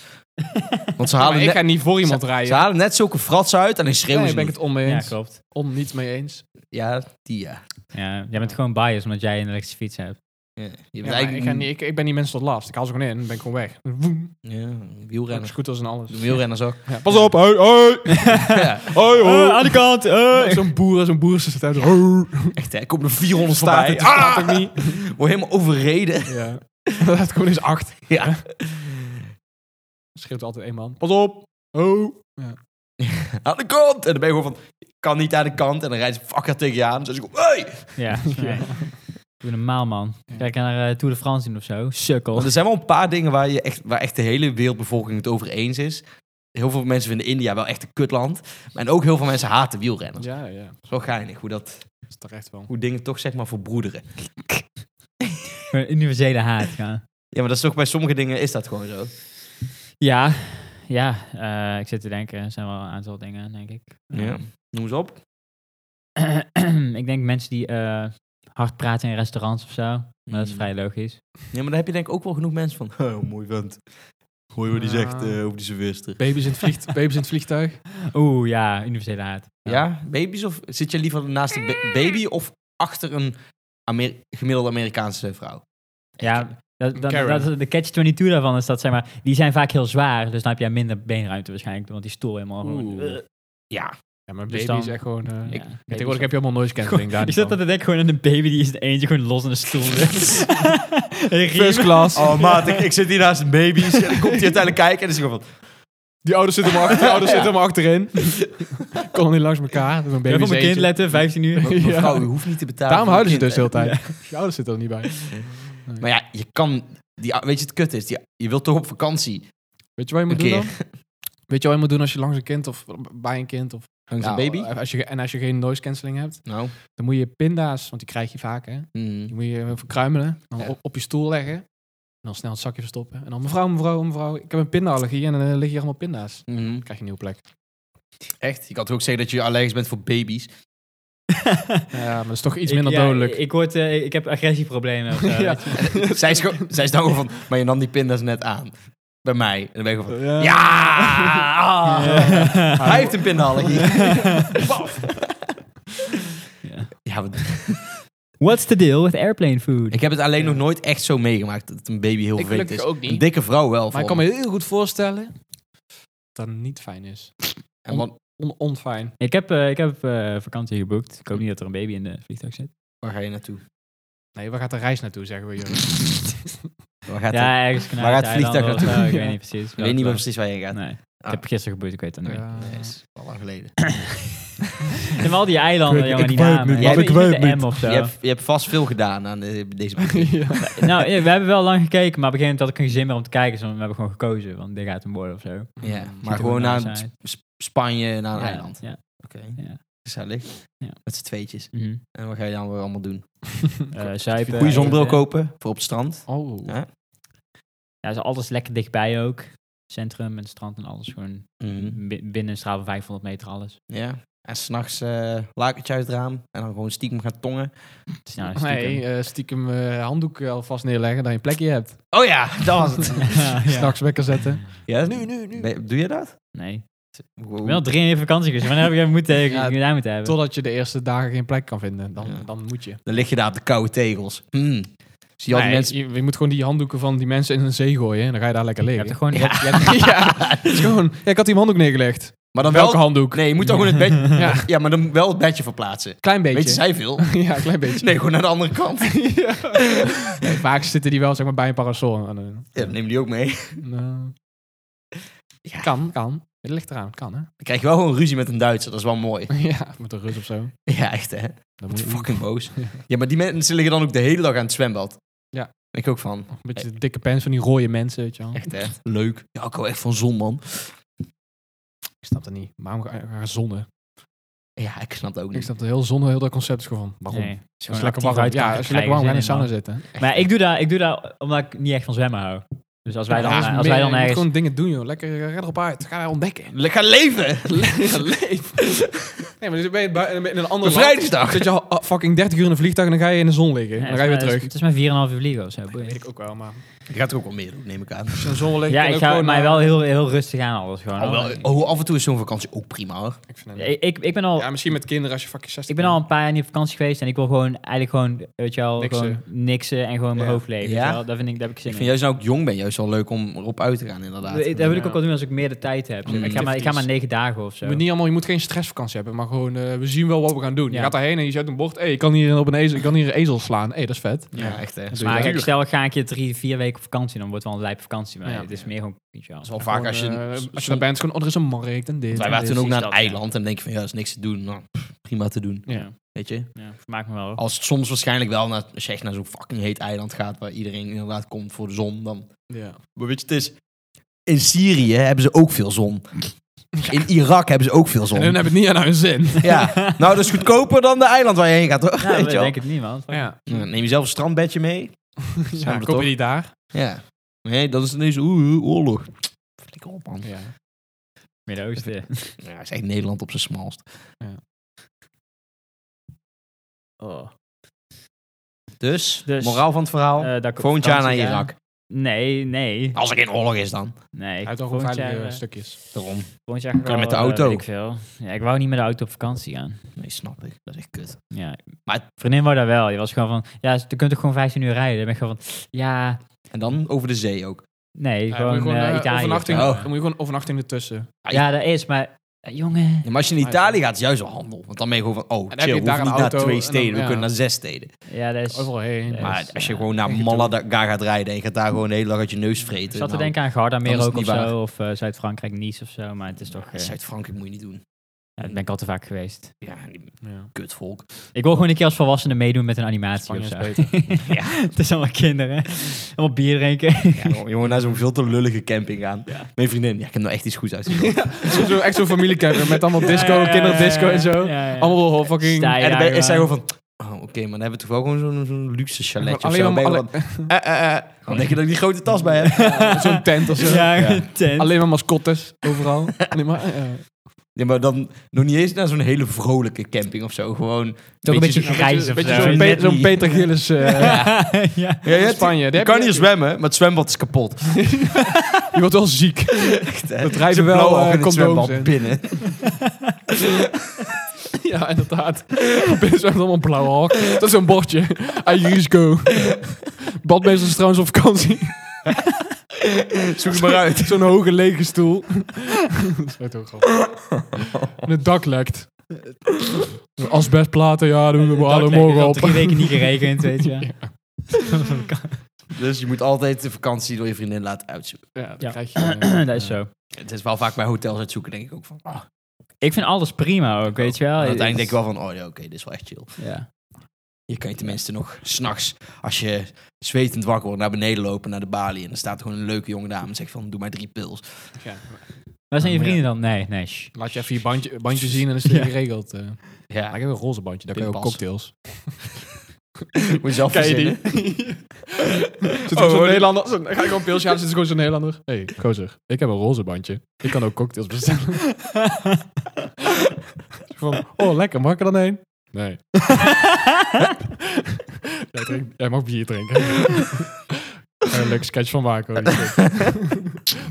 [SPEAKER 2] Want ze halen,
[SPEAKER 1] maar ik
[SPEAKER 2] net,
[SPEAKER 1] ga niet voor iemand
[SPEAKER 2] ze
[SPEAKER 1] rijden.
[SPEAKER 2] halen net zulke fratsen uit en dan
[SPEAKER 1] Nee,
[SPEAKER 2] schreeuwen
[SPEAKER 1] Daar
[SPEAKER 2] ze
[SPEAKER 1] ben ik
[SPEAKER 2] niet.
[SPEAKER 1] het onmee
[SPEAKER 3] Ja,
[SPEAKER 1] eens.
[SPEAKER 3] klopt.
[SPEAKER 1] On niet mee eens.
[SPEAKER 2] Ja, die ja.
[SPEAKER 3] Ja, jij bent gewoon biased omdat jij een elektrische fiets hebt.
[SPEAKER 2] Ja, je bent
[SPEAKER 1] Ja, maar
[SPEAKER 2] eigenlijk-
[SPEAKER 1] ik, ga niet, ik, ik ben die mensen tot last. Ik haal ze gewoon in en ben ik gewoon weg. Woem.
[SPEAKER 2] Ja,
[SPEAKER 1] Renners,
[SPEAKER 2] wielrenners.
[SPEAKER 1] scooters en alles.
[SPEAKER 2] De wielrenners ook.
[SPEAKER 1] Ja, pas op, hoi, hoi.
[SPEAKER 2] Ja,
[SPEAKER 1] Hoi,
[SPEAKER 3] Eh, aan de kant! eh.
[SPEAKER 1] Zo'n boer, zo'n boer zit uit. Hoi.
[SPEAKER 2] echt hè. Komt er 400
[SPEAKER 1] Staat
[SPEAKER 2] voorbij. Ah!
[SPEAKER 1] het, staat het niet.
[SPEAKER 2] Word helemaal overreden.
[SPEAKER 1] Ja. Dat gewoon eens acht.
[SPEAKER 2] Ja.
[SPEAKER 1] Schreeuwt altijd één man. Pas op. Oh.
[SPEAKER 2] Aan de kant. En dan ben je gewoon van... Ik kan niet aan de kant. En dan rijdt ze fucker tegen je aan. Dus ik hey!
[SPEAKER 3] Ja, nee. doe normaal man. Kijk naar eh, Tour de France doen of zo. Sukkel.
[SPEAKER 2] Want er zijn wel een paar dingen waar, je echt, waar echt de hele wereldbevolking het over eens is. Heel veel mensen vinden India wel echt een kutland. En ook heel veel mensen haten wielrenners.
[SPEAKER 1] Ja, ja. Dat
[SPEAKER 2] Dat is wel geinig hoe, dat,
[SPEAKER 1] is terecht wel.
[SPEAKER 2] hoe dingen toch zeg maar verbroederen.
[SPEAKER 3] Een universele haat. Ja,
[SPEAKER 2] Ja, maar dat is toch bij sommige dingen is dat gewoon zo.
[SPEAKER 3] ja, ja eh, ik zit te denken. Er zijn wel een aantal dingen, denk ik.
[SPEAKER 2] Ja. Noem eens op.
[SPEAKER 3] ik denk mensen die eh, hard praten in restaurants of zo. Maar dat is
[SPEAKER 2] Mm.
[SPEAKER 3] vrij logisch.
[SPEAKER 2] Ja, maar dan heb je denk ik ook wel genoeg mensen van... Oh, mooi vent. Hoor je wat die
[SPEAKER 1] Ja.
[SPEAKER 2] zegt eh, over die serveerster.
[SPEAKER 1] Baby's in het, vliegt, baby's in het vliegtuig.
[SPEAKER 3] Oeh, ja, universele haat.
[SPEAKER 2] Ja, baby's of... Zit je liever naast een ba- baby of achter een Amer- gemiddelde Amerikaanse vrouw?
[SPEAKER 3] Ja, dat, dat,
[SPEAKER 1] Karen.
[SPEAKER 3] dat- de catch-22 daarvan is dat, zeg maar, die zijn vaak heel zwaar. Dus dan heb jij minder beenruimte waarschijnlijk, want die stoel helemaal... gewoon-
[SPEAKER 2] Oh,
[SPEAKER 1] Oeh.
[SPEAKER 2] Ja.
[SPEAKER 1] Ja, maar
[SPEAKER 3] Dus
[SPEAKER 1] baby
[SPEAKER 3] dan-
[SPEAKER 1] is echt gewoon... eh,
[SPEAKER 3] Ja.
[SPEAKER 1] ik, tegenwoordig heb je allemaal noise cancelling daar.
[SPEAKER 3] Ik zat dat
[SPEAKER 1] niet
[SPEAKER 3] te denken gewoon aan een baby die is in eentje gewoon los in een stoel. zit. Een
[SPEAKER 1] van.
[SPEAKER 3] riem.
[SPEAKER 1] First class.
[SPEAKER 2] Oh maat, ik, ik zit hier naast een baby. En dan komt hij uiteindelijk kijken en dan is hij gewoon van...
[SPEAKER 1] Die ouders zitten maar achter, die ouders zitten maar achterin. Kon niet langs elkaar. Zo'n baby
[SPEAKER 3] Even op
[SPEAKER 1] is
[SPEAKER 3] mijn kind
[SPEAKER 1] eentje.
[SPEAKER 3] letten, 15 uur.
[SPEAKER 1] Ja.
[SPEAKER 2] Mevrouw, u hoeft niet te betalen.
[SPEAKER 1] Daarom
[SPEAKER 2] voor uw
[SPEAKER 1] houden ze
[SPEAKER 2] kind,
[SPEAKER 1] dus de hele
[SPEAKER 2] hè."
[SPEAKER 1] tijd. Je ouders zitten er niet bij.
[SPEAKER 2] Maar ja, je kan... Die, weet je het kut is? Die, je wilt toch op vakantie
[SPEAKER 1] Weet je wat je
[SPEAKER 2] een
[SPEAKER 1] moet doen dan?
[SPEAKER 2] keer?
[SPEAKER 1] Weet je wat je moet doen als je langs een kind of bij een kind of
[SPEAKER 2] Langs
[SPEAKER 1] Nou,
[SPEAKER 2] een baby?
[SPEAKER 1] Als je, en als je geen noise cancelling hebt,
[SPEAKER 2] Nou. mm-hmm.
[SPEAKER 1] dan moet je pinda's, want die krijg je vaak hè, die moet je even kruimelen, dan
[SPEAKER 2] Ja.
[SPEAKER 1] op, op je stoel leggen en dan snel het zakje verstoppen. En dan mevrouw, mevrouw, mevrouw, ik heb een pindaallergie en dan eh, liggen hier allemaal pinda's. Dan
[SPEAKER 2] Mhm.
[SPEAKER 1] krijg je een nieuwe plek.
[SPEAKER 2] Echt? Je kan toch ook zeggen dat je allergisch bent voor baby's?
[SPEAKER 1] Ja, maar dat is toch iets
[SPEAKER 3] Ik-
[SPEAKER 1] minder
[SPEAKER 3] ja,
[SPEAKER 1] dodelijk.
[SPEAKER 3] Ik, word, eh, ik heb agressieproblemen. of zo,
[SPEAKER 1] Ja.
[SPEAKER 3] weet je.
[SPEAKER 2] zij, is gewoon- zij is nou gewoon van... Maar je nam die pinda's net aan. Bij mij. En dan ben ik gewoon van...
[SPEAKER 1] Ja.
[SPEAKER 3] Eh.
[SPEAKER 2] Ja! Ah! Hij heeft een pindaallergie. Paf.
[SPEAKER 3] Ja.
[SPEAKER 2] ja, wat-
[SPEAKER 3] What's the deal with airplane food?
[SPEAKER 2] ik heb het alleen nog nooit echt zo meegemaakt dat een baby heel
[SPEAKER 1] Ik
[SPEAKER 2] vervelend
[SPEAKER 1] gelukkig
[SPEAKER 2] is.
[SPEAKER 1] ook
[SPEAKER 2] Een
[SPEAKER 1] niet.
[SPEAKER 2] dikke vrouw wel.
[SPEAKER 1] Maar ik kan me heel goed voorstellen dat het niet fijn is.
[SPEAKER 2] En wat,
[SPEAKER 1] On, onfijn.
[SPEAKER 3] Ik heb, eh, ik heb eh, vakantie geboekt. Ik hoop niet dat er een baby in de vliegtuig zit.
[SPEAKER 2] waar ga je naartoe?
[SPEAKER 1] Nee, waar gaat de reis naartoe, zeggen we joh.
[SPEAKER 2] Waar gaat het?
[SPEAKER 3] Ja, ergens
[SPEAKER 2] Waar gaat het vliegtuig
[SPEAKER 3] Thailand of
[SPEAKER 2] naartoe?
[SPEAKER 3] zo, Ik
[SPEAKER 1] Ja.
[SPEAKER 3] weet niet precies.
[SPEAKER 2] Ik weet niet meer precies waar je heen gaat.
[SPEAKER 3] Nee.
[SPEAKER 2] Ah.
[SPEAKER 3] heb gisteren gebeurd, ik weet het niet meer.
[SPEAKER 1] Ja.
[SPEAKER 2] Nee, dat is al lang geleden.
[SPEAKER 3] En al die eilanden,
[SPEAKER 1] Ik weet-
[SPEAKER 3] jongen,
[SPEAKER 1] ik
[SPEAKER 3] die
[SPEAKER 1] weet het
[SPEAKER 3] namen.
[SPEAKER 1] niet,
[SPEAKER 3] Jij
[SPEAKER 1] man,
[SPEAKER 3] bent-
[SPEAKER 1] ik
[SPEAKER 3] je
[SPEAKER 1] weet
[SPEAKER 3] bent
[SPEAKER 1] het
[SPEAKER 3] de M of
[SPEAKER 2] Je,
[SPEAKER 3] zo.
[SPEAKER 2] hebt, je hebt vast veel gedaan aan eh, deze brief.
[SPEAKER 3] Nou, ja, we hebben wel lang gekeken, maar op een gegeven moment had ik geen zin meer om te kijken. Dus we hebben gewoon gekozen, want dit gaat hem worden of zo.
[SPEAKER 2] Ja,
[SPEAKER 3] Ziet
[SPEAKER 2] maar
[SPEAKER 3] er
[SPEAKER 2] gewoon
[SPEAKER 3] wel
[SPEAKER 2] naar
[SPEAKER 3] nice
[SPEAKER 2] Sp-
[SPEAKER 3] uit.
[SPEAKER 2] Sp- Spanje, naar een
[SPEAKER 3] Ja,
[SPEAKER 2] eiland.
[SPEAKER 3] Ja.
[SPEAKER 2] Oké,
[SPEAKER 3] Ja.
[SPEAKER 2] gezellig.
[SPEAKER 3] Ja.
[SPEAKER 2] Met z'n tweetjes.
[SPEAKER 3] Mhm.
[SPEAKER 2] En wat ga je dan weer allemaal doen?
[SPEAKER 3] Eh, zuipen.
[SPEAKER 2] Goede zonbril
[SPEAKER 3] eten.
[SPEAKER 2] kopen voor op het strand.
[SPEAKER 1] Oh.
[SPEAKER 2] Ja.
[SPEAKER 3] Ja, ze is alles lekker dichtbij ook. Centrum en strand en alles. Gewoon
[SPEAKER 2] Mhm.
[SPEAKER 3] bi- binnen een straal van 500 meter alles.
[SPEAKER 2] Ja. En s'nachts eh lakertje uit het raam. En dan gewoon stiekem gaan tongen.
[SPEAKER 3] Het is nou een stiekem.
[SPEAKER 1] Nee, eh, stiekem eh, handdoek alvast neerleggen dat je een plekje hebt.
[SPEAKER 2] Oh ja, dat was het.
[SPEAKER 3] Ja, ja.
[SPEAKER 1] S'nachts wekker zetten.
[SPEAKER 2] ja, nu, nu, nu. doe je dat?
[SPEAKER 3] Nee.
[SPEAKER 2] Wow.
[SPEAKER 3] Ik ben al drie jaar in vakantie geweest. Wanneer heb jij moeten,
[SPEAKER 1] Ja,
[SPEAKER 3] gedaan moeten hebben?
[SPEAKER 1] Totdat je de eerste dagen geen plek kan vinden. Dan,
[SPEAKER 2] eh, Ja.
[SPEAKER 1] dan moet je.
[SPEAKER 2] Dan lig je daar op de koude tegels. Hmm. Zie je al die
[SPEAKER 1] Nee,
[SPEAKER 2] mensen...
[SPEAKER 1] je, je moet gewoon die handdoeken van die mensen in een zee gooien. En dan ga je daar lekker
[SPEAKER 3] Je
[SPEAKER 1] liggen.
[SPEAKER 3] hebt er gewoon...
[SPEAKER 2] Ja.
[SPEAKER 3] je hebt-
[SPEAKER 1] ja, het is gewoon, ja, ik had die handdoek neergelegd.
[SPEAKER 2] Maar dan
[SPEAKER 1] Welke
[SPEAKER 2] wel...
[SPEAKER 1] handdoek?
[SPEAKER 2] Nee, je moet dan gewoon het bedje...
[SPEAKER 1] Ja.
[SPEAKER 2] ja. maar dan wel het bedje verplaatsen.
[SPEAKER 1] Klein beetje.
[SPEAKER 2] Weet je, zij veel.
[SPEAKER 1] ja, een klein beetje.
[SPEAKER 2] Nee, gewoon naar de andere kant.
[SPEAKER 1] Nee, vaak zitten die wel zeg maar, bij een parasol. En, eh,
[SPEAKER 2] Ja, dan neem die ook mee.
[SPEAKER 1] nou,
[SPEAKER 2] Ja.
[SPEAKER 1] Kan, kan. Het ligt eraan, kan hè.
[SPEAKER 2] Dan krijg je wel gewoon ruzie met een Duitser. Dat is wel mooi.
[SPEAKER 1] ja, met een rus of zo.
[SPEAKER 2] Ja, echt hè.
[SPEAKER 1] Dan
[SPEAKER 2] Wat
[SPEAKER 1] moet je
[SPEAKER 2] fucking boos. Ja, maar die mensen liggen dan ook de hele dag aan het zwembad.
[SPEAKER 1] Ja.
[SPEAKER 2] Ben ik ook van.
[SPEAKER 1] een beetje de dikke pens van die rode mensen, weet je wel.
[SPEAKER 2] Echt hè. Leuk. Ja, ik hou echt van zon, man.
[SPEAKER 1] Ik snap dat niet. Waarom ga ga zonnen?
[SPEAKER 2] Ja, ik snap dat ook
[SPEAKER 1] Ik
[SPEAKER 2] niet.
[SPEAKER 1] snap dat heel zonne, heel dat concept is gewoon. Waarom?
[SPEAKER 3] Nee.
[SPEAKER 1] Als je
[SPEAKER 3] Gewoon
[SPEAKER 1] lekker
[SPEAKER 3] actief
[SPEAKER 1] warm,
[SPEAKER 3] uit kan
[SPEAKER 1] ja, als je lekker
[SPEAKER 3] krijgen,
[SPEAKER 1] warm gaat in de sauna
[SPEAKER 3] zin in, man.
[SPEAKER 1] zitten. Als
[SPEAKER 3] Maar ik doe, dat, ik doe dat omdat ik niet echt van zwemmen hou. Dus als wij dan, als wij dan
[SPEAKER 1] je moet
[SPEAKER 3] ergens...
[SPEAKER 1] gewoon dingen doen, joh. Lekker, eh, red erop uit. Ga ontdekken.
[SPEAKER 2] Le- Ga leven! Ga leven!
[SPEAKER 1] Nee, maar dus ben je bui- in een ander land.
[SPEAKER 2] Bevrijdingsdag!
[SPEAKER 1] Zit je al ah, fucking 30 uur in een vliegtuig en dan ga je in de zon liggen.
[SPEAKER 3] Ja,
[SPEAKER 1] dan ga
[SPEAKER 3] het is
[SPEAKER 1] je weer
[SPEAKER 3] maar-
[SPEAKER 1] terug.
[SPEAKER 3] Het is maar 4,5 uur vliegen of zo. boeien.
[SPEAKER 1] Dat weet ik ook wel, maar...
[SPEAKER 2] Je gaat er ook wel meer doen, neem ik aan.
[SPEAKER 1] Als je in de zon ligt...
[SPEAKER 3] Ja,
[SPEAKER 1] kun je ook
[SPEAKER 3] ik ga
[SPEAKER 1] gewoon,
[SPEAKER 3] mij
[SPEAKER 1] eh,
[SPEAKER 3] wel heel, heel rustig aan alles gewoon.
[SPEAKER 2] Oh, wel, oh, af en toe is zo'n vakantie ook prima hoor.
[SPEAKER 1] Ik vind het niet.
[SPEAKER 3] Ik, ik, ik ben al,
[SPEAKER 1] eh, Ja, misschien met kinderen als je fucking 60
[SPEAKER 3] ik ben al een paar jaar niet op vakantie geweest en ik wil gewoon eigenlijk gewoon, weet je wel,
[SPEAKER 1] Niksen.
[SPEAKER 3] gewoon niksen en gewoon mijn
[SPEAKER 1] Ja.
[SPEAKER 3] hoofd leven.
[SPEAKER 2] Ja?
[SPEAKER 3] weet je wel. Dat vind ik, daar heb ik zin
[SPEAKER 2] Ik vind
[SPEAKER 3] in.
[SPEAKER 2] juist nou ik jong ben, juist wel leuk om erop uit te gaan inderdaad.
[SPEAKER 3] dat wil ik
[SPEAKER 1] Ja.
[SPEAKER 3] ook wel doen als ik meer de tijd heb. zeg maar. Ik, ga maar, ik ga
[SPEAKER 1] Activities.
[SPEAKER 3] maar negen dagen of zo.
[SPEAKER 1] Je moet, niet allemaal, je moet geen stressvakantie hebben, maar gewoon, eh, we zien wel wat we gaan doen. Je
[SPEAKER 3] Ja.
[SPEAKER 1] gaat daarheen en je zet een bord, hey, ik kan hier op een ezel, ik kan hier een ezel slaan. hey, dat is vet.
[SPEAKER 2] Ja, echt hè.
[SPEAKER 1] Dat
[SPEAKER 2] Dat
[SPEAKER 1] doe
[SPEAKER 3] maar
[SPEAKER 1] je
[SPEAKER 3] kijk,
[SPEAKER 1] wel.
[SPEAKER 3] stel ik ga een keer drie, vier weken op vakantie, dan wordt het wel een lijp vakantie. Maar
[SPEAKER 1] Ja.
[SPEAKER 3] het is meer gewoon, weet je wel.
[SPEAKER 2] is wel vaak als je...
[SPEAKER 1] Gewoon, eh, als je daar bent, is gewoon, oh, er is een markt en dit.
[SPEAKER 2] wij
[SPEAKER 1] en
[SPEAKER 2] waren
[SPEAKER 1] dit.
[SPEAKER 2] toen ook naar een
[SPEAKER 3] precies dat,
[SPEAKER 2] eiland en dan denk je van ja, er is niks te doen. Nou, pff, prima te doen,
[SPEAKER 1] Ja.
[SPEAKER 2] weet je.
[SPEAKER 3] Ja, vermaak me wel.
[SPEAKER 2] Als het soms waarschijnlijk wel, naar, als je echt naar zo'n fucking heet eiland gaat waar iedereen inderdaad komt voor de zon, dan...
[SPEAKER 1] Ja.
[SPEAKER 2] Maar weet je, het is... In Syrië hebben ze ook veel zon. In Irak hebben ze ook veel
[SPEAKER 1] En dan
[SPEAKER 2] zon.
[SPEAKER 1] heb ik het niet aan hun zin.
[SPEAKER 2] Ja, nou dat is goedkoper dan de eiland waar je heen gaat hoor.
[SPEAKER 3] Ja,
[SPEAKER 2] weet je
[SPEAKER 3] ik
[SPEAKER 2] wel.
[SPEAKER 3] denk het niet, man.
[SPEAKER 1] Ja,
[SPEAKER 2] Ja, Neem jezelf een strandbedje mee. we
[SPEAKER 1] ja, koop
[SPEAKER 2] toch?
[SPEAKER 1] je die daar?
[SPEAKER 2] Ja. Nee, dat is ineens oeh, oeh, oorlog. Flikker op, man.
[SPEAKER 1] Ja.
[SPEAKER 3] Midden-Oosten.
[SPEAKER 2] Ja, is echt Nederland op zijn smalst.
[SPEAKER 3] Oh.
[SPEAKER 2] Dus,
[SPEAKER 3] Dus,
[SPEAKER 2] moraal van het verhaal.
[SPEAKER 3] Eh, dat ik op
[SPEAKER 2] volgend jaar naar
[SPEAKER 3] vakantie ga.
[SPEAKER 2] Irak.
[SPEAKER 3] Nee, nee.
[SPEAKER 2] Als er geen oorlog is dan.
[SPEAKER 3] Nee.
[SPEAKER 1] Ah. Hij heeft toch
[SPEAKER 3] volgend
[SPEAKER 1] veilige
[SPEAKER 3] jaar, eh,
[SPEAKER 1] stukjes.
[SPEAKER 2] Daarom.
[SPEAKER 3] Volgend jaar ga
[SPEAKER 2] Kan
[SPEAKER 3] ik
[SPEAKER 2] je
[SPEAKER 3] wel,
[SPEAKER 2] met de
[SPEAKER 3] eh,
[SPEAKER 2] auto?
[SPEAKER 3] weet ik veel. Ja, ik wou niet met de auto op vakantie gaan.
[SPEAKER 2] Nee, snap ik. Dat is echt kut.
[SPEAKER 3] Ja.
[SPEAKER 2] Maar-
[SPEAKER 3] vriendin wou dat wel. Je was gewoon van, ja, je kunt toch gewoon 15 uur rijden. Dan ben ik gewoon van, ja,
[SPEAKER 2] En dan over de zee ook.
[SPEAKER 3] nee,
[SPEAKER 1] Ja,
[SPEAKER 3] gewoon,
[SPEAKER 1] moet je gewoon,
[SPEAKER 3] eh,
[SPEAKER 1] eh,
[SPEAKER 3] Italië.
[SPEAKER 1] overnachting,
[SPEAKER 2] Oh.
[SPEAKER 1] Dan moet je gewoon overnachting ertussen. En
[SPEAKER 3] Ja, dat is, maar eh, jongen.
[SPEAKER 2] Ja, maar als je naar
[SPEAKER 1] Ah,
[SPEAKER 2] Italië gaat, is het juist wel handel. Want dan ben je gewoon van, oh,
[SPEAKER 1] heb
[SPEAKER 2] chill.
[SPEAKER 1] je
[SPEAKER 2] We
[SPEAKER 1] daar
[SPEAKER 2] hoeven
[SPEAKER 1] een
[SPEAKER 2] niet naar
[SPEAKER 1] auto
[SPEAKER 2] twee
[SPEAKER 1] en dan-
[SPEAKER 2] steden. we
[SPEAKER 1] ja.
[SPEAKER 2] kunnen naar zes steden.
[SPEAKER 3] Ja, dat is.
[SPEAKER 1] Overal heen.
[SPEAKER 3] Ja.
[SPEAKER 2] Maar
[SPEAKER 3] Dus,
[SPEAKER 2] als je
[SPEAKER 3] ja.
[SPEAKER 2] gewoon naar
[SPEAKER 1] Echt
[SPEAKER 2] Malaga gaat rijden... en je gaat daar gewoon de hele dag uit je neus vreten.
[SPEAKER 3] Ik zat te
[SPEAKER 2] nou,
[SPEAKER 3] denken aan Gardameer
[SPEAKER 2] dan is
[SPEAKER 3] ook
[SPEAKER 2] het
[SPEAKER 3] of
[SPEAKER 2] niet waar.
[SPEAKER 3] zo, of eh, Zuid-Frankrijk, Nice of zo, maar het is toch, eh,
[SPEAKER 2] Zuid-Frankrijk moet je niet doen.
[SPEAKER 3] ja, dat ben ik al te vaak geweest.
[SPEAKER 2] Ja, die
[SPEAKER 1] Ja.
[SPEAKER 2] kutvolk.
[SPEAKER 3] Ik wil gewoon een keer als volwassene meedoen met een animatie
[SPEAKER 1] Spanje is
[SPEAKER 3] of zo.
[SPEAKER 1] beter.
[SPEAKER 3] ja, het is allemaal kinderen. Allemaal bier drinken.
[SPEAKER 2] Ja, jongen, jongen, naar zo'n veel te lullige camping gaan. Mijn vriendin, ja, ik heb nou echt iets goeds uitgezocht.
[SPEAKER 1] Zo- zo- echt zo'n familiecamping met allemaal disco,
[SPEAKER 3] Ja, ja, ja,
[SPEAKER 1] kinderdisco en zo.
[SPEAKER 3] ja, ja.
[SPEAKER 1] Allemaal fucking...
[SPEAKER 3] Stijl.
[SPEAKER 2] en dan
[SPEAKER 3] ja,
[SPEAKER 2] ben, is zij
[SPEAKER 3] ja.
[SPEAKER 2] gewoon van... Oh, oké, maar dan hebben we toch wel gewoon zo'n zo'n luxe chaletje of
[SPEAKER 1] Alleen
[SPEAKER 2] zo.
[SPEAKER 1] maar...
[SPEAKER 2] Ben je
[SPEAKER 1] alle-
[SPEAKER 2] wel van, eh, eh, eh. Dan denk je dat ik die grote tas bij heb.
[SPEAKER 1] Zo'n tent of zo.
[SPEAKER 3] Ja,
[SPEAKER 2] Ja.
[SPEAKER 3] tent.
[SPEAKER 1] Alleen maar mascottes overal. Alleen maar, eh,
[SPEAKER 2] Ja, maar dan nog niet eens naar zo'n hele vrolijke camping of zo. Gewoon
[SPEAKER 3] Toch een beetje
[SPEAKER 2] zo-
[SPEAKER 3] grijs of
[SPEAKER 1] beetje
[SPEAKER 3] zo.
[SPEAKER 1] zo'n,
[SPEAKER 2] net
[SPEAKER 1] Pe- zo'n
[SPEAKER 2] niet.
[SPEAKER 1] Peter Gillis eh,
[SPEAKER 3] ja.
[SPEAKER 2] Ja, je hebt-
[SPEAKER 1] Spanje. Die
[SPEAKER 2] Je
[SPEAKER 1] heb
[SPEAKER 2] kan
[SPEAKER 1] je-
[SPEAKER 2] hier zwemmen, maar het zwembad is kapot.
[SPEAKER 1] Je wordt wel ziek.
[SPEAKER 2] Dat
[SPEAKER 1] drijven wel, eh,
[SPEAKER 2] het
[SPEAKER 1] condooms
[SPEAKER 2] zwembad
[SPEAKER 1] in.
[SPEAKER 2] binnen.
[SPEAKER 1] ja, inderdaad. Binnen zwemt allemaal blauw hak. Dat is zo'n bordje. I use go. Badmeester is trouwens op vakantie.
[SPEAKER 2] Zoek het maar uit.
[SPEAKER 1] Zo'n hoge lege stoel. dat is ook grappig. En het dak lekt. Asbestplaten, ja, doen we
[SPEAKER 3] Dat
[SPEAKER 1] alle
[SPEAKER 3] lijkt me
[SPEAKER 1] morgen
[SPEAKER 3] al
[SPEAKER 1] op.
[SPEAKER 3] Drie weken niet geregend, weet je.
[SPEAKER 2] Dus je moet altijd de vakantie door je vriendin laten uitzoeken.
[SPEAKER 1] Ja, dat
[SPEAKER 3] Ja.
[SPEAKER 1] krijg je. eh,
[SPEAKER 3] dat is
[SPEAKER 1] eh,
[SPEAKER 3] zo.
[SPEAKER 2] Het is wel vaak bij hotels uitzoeken, denk ik ook van. ah.
[SPEAKER 3] Ik vind alles prima ook, weet je wel.
[SPEAKER 1] Ah,
[SPEAKER 2] En
[SPEAKER 3] Het
[SPEAKER 2] uiteindelijk denk
[SPEAKER 3] is-
[SPEAKER 2] ik wel van, oh ja, oké, dit is wel echt chill.
[SPEAKER 3] Ja.
[SPEAKER 2] Je kan je tenminste nog s'nachts, als je zwetend wakker wordt, naar beneden lopen, naar de balie. En dan staat er gewoon een leuke jonge dame en zegt van, doe maar drie pils.
[SPEAKER 1] ja.
[SPEAKER 3] Waar zijn je
[SPEAKER 1] Maar ja.
[SPEAKER 3] vrienden dan? Nee, nee. shh.
[SPEAKER 1] Laat je even je bandje, bandje zien en dan is het weer
[SPEAKER 3] Ja.
[SPEAKER 1] geregeld. eh. Ja, ik
[SPEAKER 2] Ja,
[SPEAKER 1] heb een roze bandje, daar kun je ook
[SPEAKER 2] Pinpas.
[SPEAKER 1] cocktails.
[SPEAKER 2] moet je zelf
[SPEAKER 1] Ken je die?
[SPEAKER 2] verzinnen.
[SPEAKER 1] Zit
[SPEAKER 2] Oh,
[SPEAKER 1] zo'n
[SPEAKER 2] hoor.
[SPEAKER 1] Nederlander, zo'n- ga ik gewoon een pilsje halen, zit er gewoon zo'n Nederlander. Hé, hey, gozer, ik heb een roze bandje. Ik kan ook cocktails bestellen. Van, oh, lekker, mag ik er dan heen? Nee. jij, drinkt- jij mag bier drinken. Daar een leuke sketch van maken. hoor.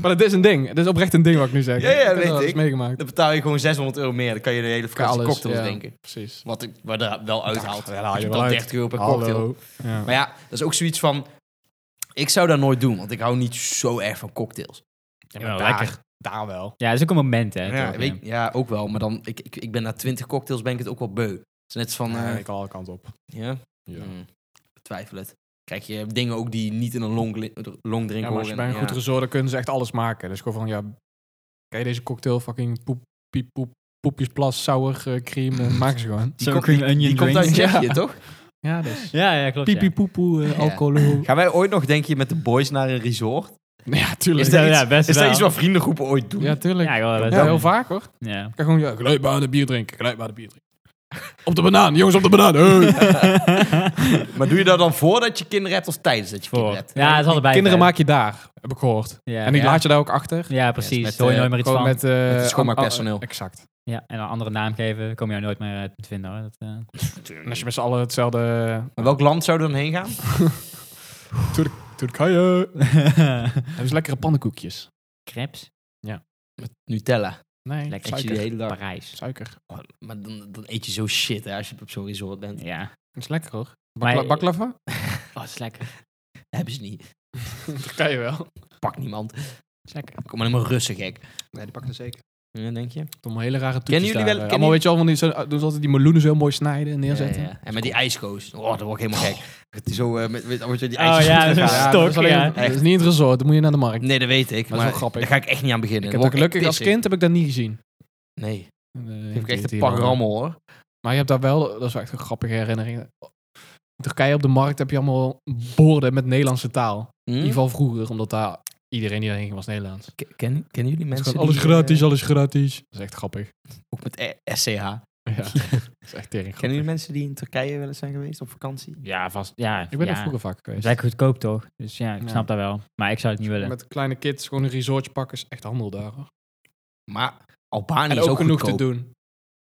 [SPEAKER 1] maar dat is een ding. Dat is oprecht een ding wat ik nu zeg.
[SPEAKER 2] Ja, ja,
[SPEAKER 1] heb
[SPEAKER 2] weet
[SPEAKER 1] dat wel eens
[SPEAKER 2] ik.
[SPEAKER 1] meegemaakt.
[SPEAKER 2] Dan betaal je gewoon 600 euro meer. Dan kan je de hele vakantie
[SPEAKER 1] Alles,
[SPEAKER 2] cocktails
[SPEAKER 1] ja.
[SPEAKER 2] drinken.
[SPEAKER 1] Precies.
[SPEAKER 2] Wat ik wat er wel uithaalt.
[SPEAKER 1] Ja, daar haal
[SPEAKER 2] Want
[SPEAKER 1] je
[SPEAKER 2] je
[SPEAKER 1] wel
[SPEAKER 2] betaalt
[SPEAKER 1] uit.
[SPEAKER 2] 30 euro per cocktail.
[SPEAKER 1] Hallo. Ja.
[SPEAKER 2] Maar ja, dat is ook zoiets van... Ik zou dat nooit doen, want ik hou niet zo erg van cocktails.
[SPEAKER 3] Ja, maar daar- lekker.
[SPEAKER 1] Daar wel.
[SPEAKER 3] Ja, dat is ook een moment, hè.
[SPEAKER 2] Ja,
[SPEAKER 3] toch?
[SPEAKER 2] weet ik- ja, ook wel. Maar dan, ik, ik, ik ben na 20 cocktails ben ik het ook wel beu. Het is net als van... eh,
[SPEAKER 1] ik alle kanten op.
[SPEAKER 2] ja?
[SPEAKER 1] Ja.
[SPEAKER 2] Hmm, ik twijfel het. Krijg je dingen ook die niet in een long, long drink
[SPEAKER 1] Ja, maar als je
[SPEAKER 2] horen.
[SPEAKER 1] bij een
[SPEAKER 2] Ja.
[SPEAKER 1] goed resort, dan kunnen ze echt alles maken. Dus gewoon van, ja, kan je deze cocktail fucking poep, piep, poep, poepjes, plas, sour, eh, cream, eh, maken ze gewoon.
[SPEAKER 3] Zo'n
[SPEAKER 2] komt-
[SPEAKER 3] cream onion
[SPEAKER 2] Die komt uit
[SPEAKER 3] drink.
[SPEAKER 2] Tsjechië, toch?
[SPEAKER 1] Ja, dus.
[SPEAKER 3] Ja, ja, klopt.
[SPEAKER 1] Piep,
[SPEAKER 3] ja.
[SPEAKER 1] piep, poep, poe, eh,
[SPEAKER 2] Ja.
[SPEAKER 1] alcohol.
[SPEAKER 2] Gaan wij ooit nog, denk je, met de boys naar een resort?
[SPEAKER 1] Ja, tuurlijk.
[SPEAKER 2] Is dat
[SPEAKER 3] Is dat-
[SPEAKER 2] iets,
[SPEAKER 3] ja, best
[SPEAKER 2] is dat
[SPEAKER 3] wel.
[SPEAKER 2] iets wat vriendengroepen ooit doen?
[SPEAKER 1] Ja, tuurlijk.
[SPEAKER 3] Ja,
[SPEAKER 1] Ja,
[SPEAKER 3] ik wil dat
[SPEAKER 1] ja,
[SPEAKER 3] wel.
[SPEAKER 1] heel vaak hoor. Ik
[SPEAKER 3] Ja.
[SPEAKER 1] kan gewoon, ja, glijbanen, bier drinken, glijbanen, bier drinken. Op de banaan, jongens, op de banaan. hey.
[SPEAKER 2] Maar doe je dat dan voordat je kinderen hebt of tijdens dat je
[SPEAKER 3] Voor.
[SPEAKER 2] kinderen hebt?
[SPEAKER 3] Ja, het is allebei.
[SPEAKER 1] Kinderen maak je daar, heb ik gehoord.
[SPEAKER 3] Ja,
[SPEAKER 1] en die
[SPEAKER 3] ja.
[SPEAKER 1] laat je daar ook achter.
[SPEAKER 3] Ja, precies.
[SPEAKER 2] met,
[SPEAKER 3] hoor je
[SPEAKER 2] eh,
[SPEAKER 3] nooit meer iets
[SPEAKER 1] Gewoon
[SPEAKER 3] van.
[SPEAKER 1] met, eh
[SPEAKER 2] Met het schoonmaakpersoneel.
[SPEAKER 1] an- an- Exact.
[SPEAKER 3] Ja, en een andere naam geven, kom je jou nooit meer eh, te vinden hoor. Dat, eh,
[SPEAKER 1] En als je met z'n allen hetzelfde... eh,
[SPEAKER 2] Maar welk land zou er dan heen gaan?
[SPEAKER 1] Turkije. Hebben ze lekkere pannenkoekjes?
[SPEAKER 3] Crepes,
[SPEAKER 2] Nutella.
[SPEAKER 1] Nee,
[SPEAKER 3] Lekker.
[SPEAKER 2] Eet je
[SPEAKER 1] suiker.
[SPEAKER 2] de hele dag.
[SPEAKER 3] Parijs.
[SPEAKER 1] Suiker.
[SPEAKER 2] Oh, maar dan, dan eet je zo shit hè, als je op zo'n resort bent.
[SPEAKER 3] Ja,
[SPEAKER 1] Dat is lekker hoor.
[SPEAKER 3] Maar-
[SPEAKER 1] Bakla baklava?
[SPEAKER 3] oh, is lekker.
[SPEAKER 2] Hebben ze niet.
[SPEAKER 1] Dat kan je wel.
[SPEAKER 2] Pak niemand.
[SPEAKER 3] Is lekker.
[SPEAKER 2] Kom maar helemaal Russen gek.
[SPEAKER 1] Nee, die pakken ze zeker.
[SPEAKER 2] Ja, denk je?
[SPEAKER 1] Om hele rare toetjes
[SPEAKER 2] Kennen jullie wel-
[SPEAKER 1] daar, eh,
[SPEAKER 2] kennen
[SPEAKER 1] Allemaal
[SPEAKER 2] jullie-
[SPEAKER 1] weet je al, van die, zo, eh, doen ze altijd die meloenen zo heel mooi snijden en
[SPEAKER 2] Ja,
[SPEAKER 1] neerzetten.
[SPEAKER 2] ja, ja. En met die ijskoos. Oh, dat word ik helemaal gek. Dat die zo, eh, met, met, met die
[SPEAKER 3] Oh,
[SPEAKER 2] ijskoos.
[SPEAKER 3] ja,
[SPEAKER 2] terug
[SPEAKER 3] dat is
[SPEAKER 2] gaat.
[SPEAKER 3] een
[SPEAKER 1] maar dat
[SPEAKER 3] stok,
[SPEAKER 1] alleen-
[SPEAKER 3] ja.
[SPEAKER 1] Dat is niet in het resort, dan moet je naar de markt.
[SPEAKER 2] Nee, dat weet ik.
[SPEAKER 1] Maar dat is wel
[SPEAKER 2] maar
[SPEAKER 1] grappig.
[SPEAKER 2] Daar ga ik echt niet aan beginnen.
[SPEAKER 1] ik
[SPEAKER 2] Dan
[SPEAKER 1] heb dat
[SPEAKER 2] word
[SPEAKER 1] gelukkig als
[SPEAKER 2] echt pissig.
[SPEAKER 1] kind heb ik dat niet gezien.
[SPEAKER 2] Nee,
[SPEAKER 1] Eh,
[SPEAKER 2] dat heb ik echt een
[SPEAKER 1] hier
[SPEAKER 2] pak
[SPEAKER 1] wel.
[SPEAKER 2] rammel hoor.
[SPEAKER 1] Maar je hebt daar wel, dat is wel echt een grappige herinnering. In Turkije op de markt heb je allemaal borden met Nederlandse taal. In
[SPEAKER 2] Hm?
[SPEAKER 1] ieder geval vroeger, omdat daar iedereen die daarheen ging was Nederlands. Het
[SPEAKER 2] Ken- Ken, kennen jullie
[SPEAKER 1] is
[SPEAKER 2] mensen
[SPEAKER 1] gewoon alles
[SPEAKER 2] die, eh,
[SPEAKER 1] gratis, alles gratis. Dat is echt grappig.
[SPEAKER 2] ook met E- SCH.
[SPEAKER 1] Ja, dat is echt tering grappig.
[SPEAKER 2] Kennen jullie mensen die in Turkije wel eens zijn geweest op vakantie?
[SPEAKER 3] Ja, vast. Ja,
[SPEAKER 1] Ik ben
[SPEAKER 3] ja.
[SPEAKER 1] er vroeger vaak
[SPEAKER 3] Het is
[SPEAKER 1] geweest.
[SPEAKER 3] lekker goedkoop toch? Dus ja, ik
[SPEAKER 1] Ja.
[SPEAKER 3] snap dat wel. Maar ik zou het niet willen.
[SPEAKER 1] Met kleine kids gewoon een resortje pakken is echt handel daar. hoor.
[SPEAKER 2] Maar Albanië
[SPEAKER 1] En
[SPEAKER 2] is
[SPEAKER 1] ook,
[SPEAKER 2] ook
[SPEAKER 1] genoeg
[SPEAKER 2] goedkoop.
[SPEAKER 1] te doen.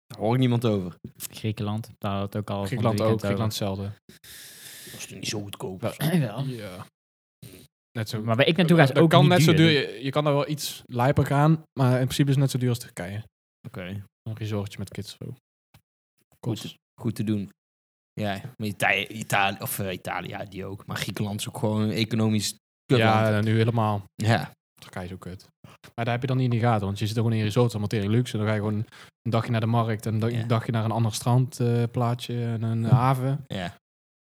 [SPEAKER 2] Daar hoor ik niemand over.
[SPEAKER 3] Griekenland, daar had het ook al. van
[SPEAKER 1] Griekenland
[SPEAKER 3] het
[SPEAKER 1] ook,
[SPEAKER 3] weekend
[SPEAKER 1] Griekenland hetzelfde.
[SPEAKER 2] Dat is toch niet zo goedkoop.
[SPEAKER 3] over. Wel.
[SPEAKER 1] Ja. Net zo.
[SPEAKER 3] Maar waar ik naartoe ga is
[SPEAKER 1] Dat
[SPEAKER 3] ook
[SPEAKER 1] kan
[SPEAKER 3] niet
[SPEAKER 1] net zo duur. Je, je kan daar wel iets lijper gaan, maar in principe is het net zo duur als Turkije. Een resortje met kids. Zo. Kost.
[SPEAKER 2] Goed te doen. Ja, maar Italië, Italië, of eh, Italië, ja, die ook. Maar Griekenland is ook gewoon een economisch kutland.
[SPEAKER 1] Ja, nou, nu helemaal.
[SPEAKER 2] ja.
[SPEAKER 1] Turkije is ook kut. Maar daar heb je dan niet in de gaten, want je zit gewoon in een resort, allemaal tering luxe. En dan ga je gewoon een dagje naar de markt, en een da-
[SPEAKER 2] Ja.
[SPEAKER 1] dagje naar een ander strandplaatje, en een haven.
[SPEAKER 2] ja.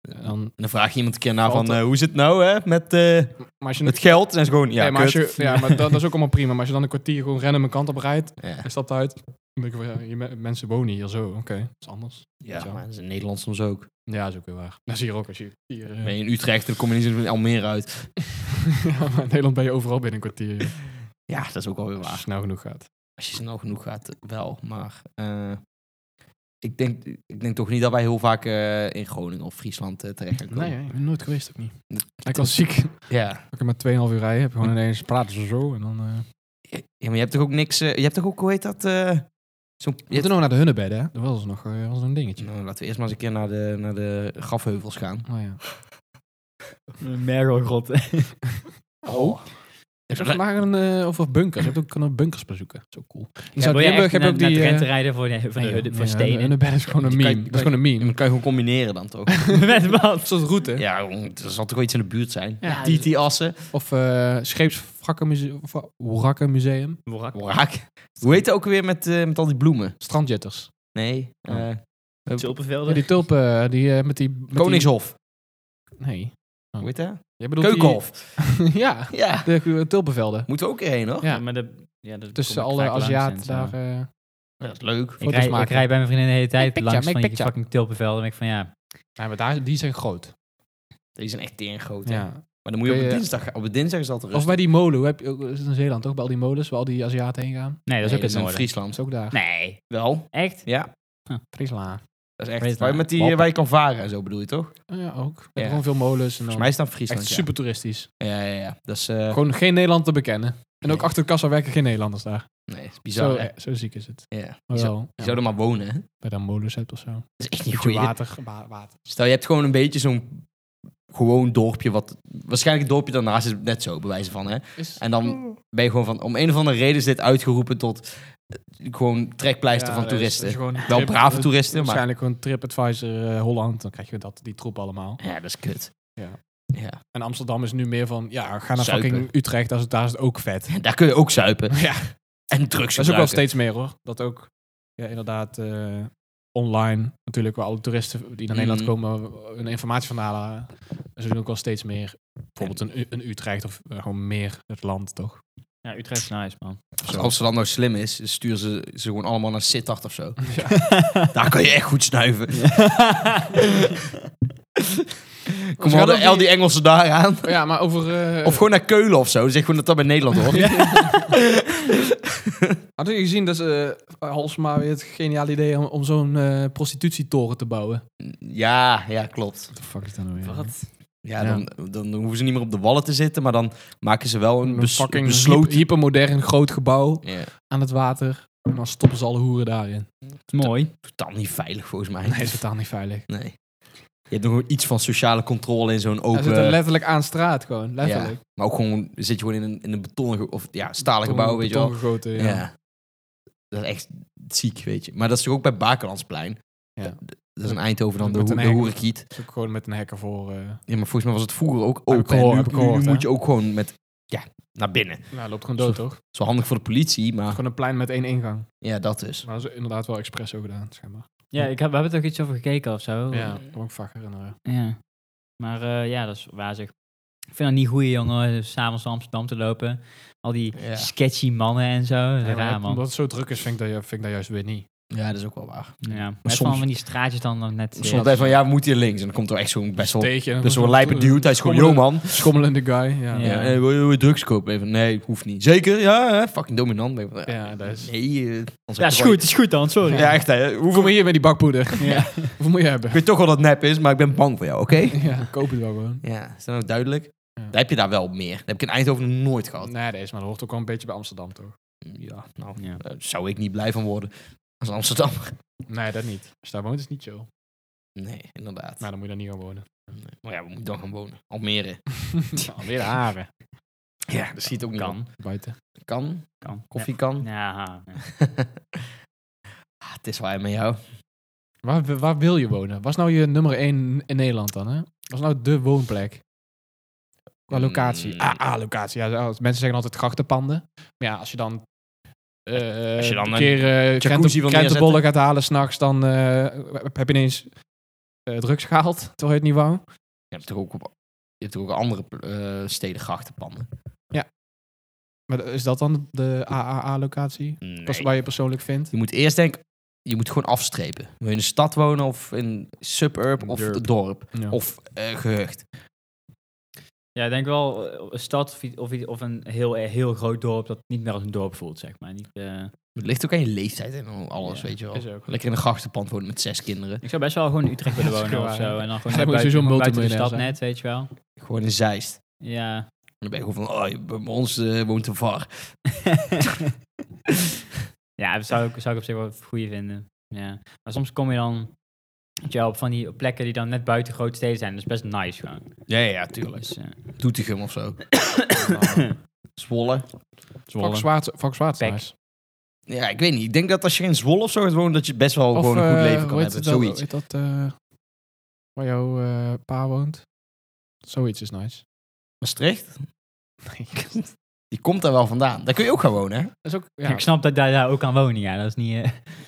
[SPEAKER 1] En dan,
[SPEAKER 2] En dan vraag je iemand een keer na van,
[SPEAKER 1] Valt er-
[SPEAKER 2] eh, hoe zit het nou hè, met eh,
[SPEAKER 1] maar als je
[SPEAKER 2] het geld? En ze gewoon, ja,
[SPEAKER 1] nee, maar als
[SPEAKER 2] kut.
[SPEAKER 1] je, ja, maar dat, dat is ook allemaal prima. Maar als je dan een kwartier gewoon random een kant op rijdt
[SPEAKER 2] Ja,
[SPEAKER 1] en stapt uit, dan denk ik van, ja, je me- mensen wonen hier zo. Oké, dat is anders.
[SPEAKER 2] ja, maar dat is in Nederland soms ook.
[SPEAKER 1] Ja, dat is ook weer waar. Dat is hier ook als je hier... eh,
[SPEAKER 2] Ben je in Utrecht, dan kom je niet zo in Almere uit.
[SPEAKER 1] ja, maar in Nederland ben je overal binnen een kwartier. joh.
[SPEAKER 2] Ja, dat is ook alweer
[SPEAKER 1] Als het
[SPEAKER 2] waar.
[SPEAKER 1] snel genoeg gaat.
[SPEAKER 2] Als je snel genoeg gaat, wel. Maar eh, ik, denk, ik denk toch niet dat wij heel vaak eh, in Groningen of Friesland eh, terecht gaan komen.
[SPEAKER 1] Nee, ik ben nooit geweest ook niet.
[SPEAKER 2] Dat-
[SPEAKER 1] Ik was ziek.
[SPEAKER 2] Ja.
[SPEAKER 1] Ik heb maar 2,5 uur rijden. Heb gewoon ineens praten ze zo. En dan... eh
[SPEAKER 2] Ja, maar je hebt toch ook niks... eh, je hebt toch ook, hoe heet dat? eh, Zo'n...
[SPEAKER 1] Je hebt nog naar de hunnebedden, hè? Dat was nog eh, was een dingetje.
[SPEAKER 2] Nou, laten we eerst maar eens een keer naar de, naar de grafheuvels gaan.
[SPEAKER 1] Oh, ja.
[SPEAKER 3] Mergelgrot.
[SPEAKER 2] Oh.
[SPEAKER 1] Ik zag vandaag een... eh, over bunkers. Je hebt ook een bunkers bezoeken. Zo cool. In
[SPEAKER 3] Wil je echt
[SPEAKER 1] Zuid-Limburg heb je
[SPEAKER 3] naar,
[SPEAKER 1] ook
[SPEAKER 3] naar
[SPEAKER 1] die... eh,
[SPEAKER 3] Drenthe rijden voor, de, voor, die
[SPEAKER 1] nee,
[SPEAKER 3] hudden- voor
[SPEAKER 1] nee,
[SPEAKER 3] stenen?
[SPEAKER 1] Hunnebedden is gewoon een
[SPEAKER 2] Die kan je-
[SPEAKER 1] meme. Dat is gewoon een meme.
[SPEAKER 2] Dan kan je gewoon combineren dan toch?
[SPEAKER 3] Met wat?
[SPEAKER 1] Zo'n route.
[SPEAKER 2] ja, er zal toch wel iets in de buurt zijn?
[SPEAKER 3] Ja.
[SPEAKER 2] TT-assen.
[SPEAKER 1] Of eh scheepswrakkenmuseum.
[SPEAKER 2] Wraak. Hoe heet het ook weer met, eh, met al die bloemen?
[SPEAKER 1] Strandjetters.
[SPEAKER 2] Nee. eh,
[SPEAKER 1] Oh.
[SPEAKER 3] Tulpenvelden.
[SPEAKER 1] Ja, die tulpen, eh, die eh, met die... Met
[SPEAKER 2] Koningshof.
[SPEAKER 1] die- nee.
[SPEAKER 2] Hoe heet dat?
[SPEAKER 1] Je bedoelt die-
[SPEAKER 2] Keukenhof.
[SPEAKER 1] ja,
[SPEAKER 2] Ja.
[SPEAKER 1] de eh, tulpenvelden.
[SPEAKER 2] Moeten we ook erheen, hoor.
[SPEAKER 1] Ja,
[SPEAKER 3] maar de, ja, daar
[SPEAKER 1] tussen
[SPEAKER 3] kom ik
[SPEAKER 1] alle
[SPEAKER 3] vaak langs
[SPEAKER 1] Aziaten
[SPEAKER 3] en zo.
[SPEAKER 1] daar. eh,
[SPEAKER 2] Ja, dat is leuk.
[SPEAKER 3] Ik
[SPEAKER 1] foto's
[SPEAKER 3] rij,
[SPEAKER 1] maken.
[SPEAKER 3] ik rij bij mijn vriendin de hele tijd
[SPEAKER 1] picture,
[SPEAKER 3] langs
[SPEAKER 1] make
[SPEAKER 3] van die
[SPEAKER 1] picture.
[SPEAKER 3] fucking tulpenvelden. En ik van ja,
[SPEAKER 1] ja, maar daar, die zijn groot.
[SPEAKER 2] Die zijn echt tering groot. hè.
[SPEAKER 1] Ja.
[SPEAKER 2] Maar dan moet je op
[SPEAKER 1] Kun
[SPEAKER 2] een
[SPEAKER 1] je-
[SPEAKER 2] dinsdag gaan. Op een dinsdag is dat
[SPEAKER 1] Of
[SPEAKER 2] rustig.
[SPEAKER 1] bij die molen. Hoe Heb je, is het in Zeeland toch? Bij al die molens waar al die Aziaten heen gaan.
[SPEAKER 3] nee, dat
[SPEAKER 2] Nee,
[SPEAKER 3] is ook het
[SPEAKER 2] in
[SPEAKER 3] noorden.
[SPEAKER 1] Dat
[SPEAKER 2] Friesland.
[SPEAKER 1] is ook daar.
[SPEAKER 3] Nee,
[SPEAKER 2] Wel.
[SPEAKER 3] echt?
[SPEAKER 2] Ja.
[SPEAKER 1] Friesland.
[SPEAKER 2] Dat is echt.
[SPEAKER 3] Friesland.
[SPEAKER 2] Waar
[SPEAKER 1] nou.
[SPEAKER 2] je met die eh, waar je kan varen en zo bedoel je toch? Volgens
[SPEAKER 1] Ja, ook. Je hebt
[SPEAKER 2] Ja.
[SPEAKER 1] Gewoon veel molens. En dan
[SPEAKER 2] mij is dat
[SPEAKER 1] echt
[SPEAKER 2] Friesland. ja.
[SPEAKER 1] super toeristisch.
[SPEAKER 2] Ja, ja, ja. Dat is. eh,
[SPEAKER 1] Gewoon geen Nederland te bekennen. En ook
[SPEAKER 2] Nee.
[SPEAKER 1] achter de kassa werken geen Nederlanders daar.
[SPEAKER 2] nee, dat is bizar.
[SPEAKER 1] zo,
[SPEAKER 2] hè?
[SPEAKER 1] eh, zo ziek is het.
[SPEAKER 2] Ja.
[SPEAKER 1] Maar
[SPEAKER 2] Je zou-
[SPEAKER 1] wel,
[SPEAKER 2] Je
[SPEAKER 1] ja,
[SPEAKER 2] zou er maar wonen, hè?
[SPEAKER 1] bij dan molens hebt of zo.
[SPEAKER 2] Dat is echt niet
[SPEAKER 1] Beetje
[SPEAKER 2] goed.
[SPEAKER 1] water, wa- water.
[SPEAKER 2] Stel, je hebt gewoon een beetje zo'n gewoon dorpje, wat waarschijnlijk het dorpje daarnaast is net zo, bewijzen van, hè?
[SPEAKER 1] Is,
[SPEAKER 2] En dan ben je gewoon van, om een of andere reden is dit uitgeroepen tot eh, gewoon trekpleister
[SPEAKER 1] Ja,
[SPEAKER 2] van
[SPEAKER 1] dat is-
[SPEAKER 2] toeristen.
[SPEAKER 1] dat is gewoon
[SPEAKER 2] Wel
[SPEAKER 1] trip-
[SPEAKER 2] brave
[SPEAKER 1] dat-
[SPEAKER 2] toeristen, maar...
[SPEAKER 1] Waarschijnlijk gewoon TripAdvisor eh, Holland. Dan krijg je dat, die troep allemaal.
[SPEAKER 2] Ja, dat is kut.
[SPEAKER 1] Ja.
[SPEAKER 2] ja.
[SPEAKER 1] En Amsterdam is nu meer van, ja, ga naar
[SPEAKER 2] Zuipen.
[SPEAKER 1] fucking Utrecht. Als het, daar is het ook vet.
[SPEAKER 2] En daar kun je ook zuipen.
[SPEAKER 1] Ja.
[SPEAKER 2] En drugs
[SPEAKER 1] Dat is ook
[SPEAKER 2] gebruiken.
[SPEAKER 1] wel steeds meer hoor. Dat ook, ja, inderdaad, eh, online natuurlijk, waar alle toeristen die naar
[SPEAKER 2] Mhm.
[SPEAKER 1] Nederland komen eh, hun informatie van halen. Ze doen ook wel steeds meer, bijvoorbeeld een, U- een Utrecht of eh, gewoon meer het land toch?
[SPEAKER 3] Ja, Utrecht is nice, man.
[SPEAKER 2] Als Amsterdam nou slim is, sturen ze ze gewoon allemaal naar Sittard of zo.
[SPEAKER 1] Ja.
[SPEAKER 2] Daar kan je echt goed snuiven. Kom
[SPEAKER 1] gaan
[SPEAKER 2] maar
[SPEAKER 1] ook
[SPEAKER 2] de- al
[SPEAKER 1] die-
[SPEAKER 2] die Engelsen daar aan.
[SPEAKER 1] ja, maar over... eh,
[SPEAKER 2] Of gewoon naar Keulen of zo. Zeg gewoon dat dat bij Nederland hoort.
[SPEAKER 1] Had je gezien dat ze eh, Halsema weer het geniale idee om, om zo'n eh, prostitutietoren te bouwen?
[SPEAKER 2] Ja, ja, klopt.
[SPEAKER 1] What the fuck is dat nou weer?
[SPEAKER 3] Wat?
[SPEAKER 2] Ja,
[SPEAKER 1] Ja.
[SPEAKER 2] Dan, dan hoeven ze niet meer op de wallen te zitten, maar dan maken ze wel een
[SPEAKER 1] Een
[SPEAKER 2] bes-
[SPEAKER 1] fucking
[SPEAKER 2] besloten...
[SPEAKER 1] hyper- hypermodern groot gebouw
[SPEAKER 2] Ja,
[SPEAKER 1] aan het water. En dan stoppen ze alle hoeren daarin.
[SPEAKER 3] Mooi.
[SPEAKER 2] totaal niet veilig volgens mij.
[SPEAKER 1] Nee, dat is totaal niet veilig.
[SPEAKER 2] Nee. Je hebt nog wel iets van sociale controle in zo'n
[SPEAKER 1] Ze zitten
[SPEAKER 2] open...
[SPEAKER 1] letterlijk aan straat gewoon, letterlijk.
[SPEAKER 2] eh, Ja, maar ook gewoon zit je gewoon in een, in een betonnen ge- of ja, stalen
[SPEAKER 1] Beton-
[SPEAKER 2] gebouw, weet je wel.
[SPEAKER 1] betongegoten,
[SPEAKER 2] Ja.
[SPEAKER 1] ja.
[SPEAKER 2] Dat is echt ziek, weet je. Maar dat is toch ook bij Bakelandsplein.
[SPEAKER 1] Ja.
[SPEAKER 2] Dat, dat is in Eindhoven dan de,
[SPEAKER 1] Met
[SPEAKER 2] ho
[SPEAKER 1] een
[SPEAKER 2] de
[SPEAKER 1] hek.
[SPEAKER 2] hoerenkiet.
[SPEAKER 1] Dat is ook gewoon met een hek ervoor. eh
[SPEAKER 2] Ja, maar volgens mij was het vroeger ook
[SPEAKER 1] ik
[SPEAKER 2] open. En
[SPEAKER 1] gehoord,
[SPEAKER 2] nu,
[SPEAKER 1] heb ik
[SPEAKER 2] nu- nu
[SPEAKER 1] gehoord, hè?
[SPEAKER 2] moet je ook gewoon met ja, naar binnen. Dat
[SPEAKER 1] nou, loopt gewoon dood, toch?
[SPEAKER 2] is wel handig voor de politie, maar
[SPEAKER 1] Gewoon een plein met één ingang.
[SPEAKER 2] ja, dat dus.
[SPEAKER 1] Maar dat is inderdaad wel expres zo gedaan, schijnbaar.
[SPEAKER 3] Ja, ik heb, we hebben toch iets over gekeken of
[SPEAKER 2] Oh.
[SPEAKER 3] zo.
[SPEAKER 1] Ja, ik kan me ook vaak herinneren.
[SPEAKER 3] Ja. Maar eh, ja, dat is wazig. Ik vind dat niet goed, jongen, s'avonds door Amsterdam te lopen. Al die
[SPEAKER 2] Ja.
[SPEAKER 3] sketchy mannen en zo. Dat is
[SPEAKER 1] Ja, maar
[SPEAKER 3] raar, man.
[SPEAKER 1] Omdat het zo druk is, vind ik dat, ju- vind ik dat juist weer niet.
[SPEAKER 2] Ja, dat is ook wel waar.
[SPEAKER 3] Ja. Maar
[SPEAKER 2] soms-
[SPEAKER 3] soms van die straatjes dan nog net... eh,
[SPEAKER 2] Soms blijft van, ja, we moeten hier links. En dan komt er echt zo'n best wel...
[SPEAKER 1] Steekje. en
[SPEAKER 2] Dus
[SPEAKER 1] dan
[SPEAKER 2] zo'n lijpe duwt. Hij is gewoon, yo
[SPEAKER 1] schommelende-
[SPEAKER 2] man.
[SPEAKER 1] Schommelende guy, ja.
[SPEAKER 3] Ja.
[SPEAKER 1] Ja,
[SPEAKER 2] Ja, eh, wil je- wil je drugs kopen? Even, nee, hoeft niet. Zeker? Ja, hè? fucking dominant. Ben je van,
[SPEAKER 1] dat is...
[SPEAKER 2] Nee, eh, anders
[SPEAKER 3] Ja,
[SPEAKER 2] heb
[SPEAKER 3] is
[SPEAKER 2] je
[SPEAKER 3] goed, is goed dan,
[SPEAKER 2] gewoon-
[SPEAKER 3] sorry.
[SPEAKER 2] Ja, echt hè. Hoeveel...
[SPEAKER 1] Hoeveel moet je met die bakpoeder?
[SPEAKER 3] Ja.
[SPEAKER 1] Hoeveel moet je hebben?
[SPEAKER 2] Ik weet toch wel dat het nep is, maar ik ben bang voor jou, oké?
[SPEAKER 1] Ja, koop het wel gewoon.
[SPEAKER 2] Ja, is dat ook duidelijk?
[SPEAKER 1] Ja.
[SPEAKER 2] Daar heb je daar wel meer. Dat heb ik in Eindhoven nog nooit gehad.
[SPEAKER 1] Nee, dat is, maar dat hoort ook wel een beetje bij Amsterdam, toch?
[SPEAKER 2] Ja, nou,
[SPEAKER 3] Ja.
[SPEAKER 2] daar zou ik niet blij van worden. Als Amsterdam.
[SPEAKER 1] Nee, dat niet. Als je daar woont is het niet chill.
[SPEAKER 2] Nee, inderdaad.
[SPEAKER 1] Maar dan moet je daar niet gaan wonen.
[SPEAKER 2] Nee. Maar ja, we moeten dan gaan wonen. Almere.
[SPEAKER 1] Alweer de haren.
[SPEAKER 2] Ja, dat ziet ook niet op.
[SPEAKER 3] Kan.
[SPEAKER 1] Buiten.
[SPEAKER 2] Kan.
[SPEAKER 3] kan.
[SPEAKER 2] Koffie kan.
[SPEAKER 3] Ja. ja.
[SPEAKER 2] Ah, het is waar met jou.
[SPEAKER 1] Waar, waar wil je wonen? Was nou je nummer 1 in Nederland dan? Hè? Was nou de woonplek? Qua locatie.
[SPEAKER 2] Mm.
[SPEAKER 1] Ah, ah, locatie. Ja, als- mensen zeggen altijd grachtenpanden. Maar ja, als je dan. eh
[SPEAKER 2] Als je dan
[SPEAKER 1] een
[SPEAKER 2] een
[SPEAKER 1] keer eh krenten,
[SPEAKER 2] wil
[SPEAKER 1] krentenbollen gaat halen s'nachts, dan eh, heb je ineens eh, drugs gehaald, terwijl je het niet wou.
[SPEAKER 2] Je hebt toch ook, op, je hebt toch ook andere eh, steden grachtenpanden?
[SPEAKER 1] Maar is dat dan de AAA-locatie?
[SPEAKER 2] Nee.
[SPEAKER 1] Dat is waar je persoonlijk vindt?
[SPEAKER 2] Je moet eerst denken, je moet gewoon afstrepen. Wil je in een stad wonen of in een suburb of
[SPEAKER 1] Dorp.
[SPEAKER 2] een dorp
[SPEAKER 1] Ja.
[SPEAKER 2] of eh, gehucht?
[SPEAKER 3] Ja, ik denk wel eh, een stad of, iets- of, iets- of een heel, eh, heel groot dorp dat niet meer als een dorp voelt, zeg maar. Niet, eh,
[SPEAKER 2] Het ligt ook aan je leeftijd en alles,
[SPEAKER 3] Ja,
[SPEAKER 2] weet je wel.
[SPEAKER 1] is ook.
[SPEAKER 2] Lekker in een grachtenpand wonen met zes kinderen.
[SPEAKER 3] Ik zou best wel gewoon in Utrecht willen
[SPEAKER 1] Ja, dat is
[SPEAKER 3] wonen of
[SPEAKER 1] waar,
[SPEAKER 3] zo.
[SPEAKER 1] ja.
[SPEAKER 3] En dan
[SPEAKER 1] moet
[SPEAKER 3] gewoon
[SPEAKER 1] je
[SPEAKER 3] net buiten,
[SPEAKER 1] sowieso een
[SPEAKER 3] gewoon buiten de
[SPEAKER 1] multimiljonair
[SPEAKER 3] stad
[SPEAKER 1] zijn.
[SPEAKER 3] net, weet je wel.
[SPEAKER 2] Gewoon in Zeist.
[SPEAKER 3] Ja.
[SPEAKER 2] En dan ben je gewoon van, oh, je- bij ons eh, woont een var.
[SPEAKER 3] ja, dat zou ik, zou ik op zich wel goed vinden. Ja. Maar soms kom je dan weet je wel, op van die plekken die dan net buiten grote steden zijn. Dat is best nice gewoon.
[SPEAKER 2] Ja, ja, tuurlijk.
[SPEAKER 3] Dus, eh,
[SPEAKER 2] Doetinchem of zo. Zwolle.
[SPEAKER 1] Vak Zwaard, Vak Zwaard is
[SPEAKER 3] Pek.
[SPEAKER 1] nice.
[SPEAKER 2] Ja, ik weet niet. Ik denk dat als je in Zwolle of zo gaat wonen, dat je best wel gewoon een
[SPEAKER 1] eh,
[SPEAKER 2] goed leven
[SPEAKER 1] hoe
[SPEAKER 2] kan
[SPEAKER 1] heet
[SPEAKER 2] hebben.
[SPEAKER 1] het dan?
[SPEAKER 2] Zoiets.
[SPEAKER 1] Heet dat, eh, waar jouw eh, pa woont? Zoiets is nice.
[SPEAKER 2] Maastricht? Die komt daar wel vandaan. Daar kun je ook gewoon wonen, hè?
[SPEAKER 1] Dat is ook,
[SPEAKER 3] Ja,
[SPEAKER 1] ja.
[SPEAKER 3] Ik snap dat daar, daar ook aan wonen, ja. Dat is niet...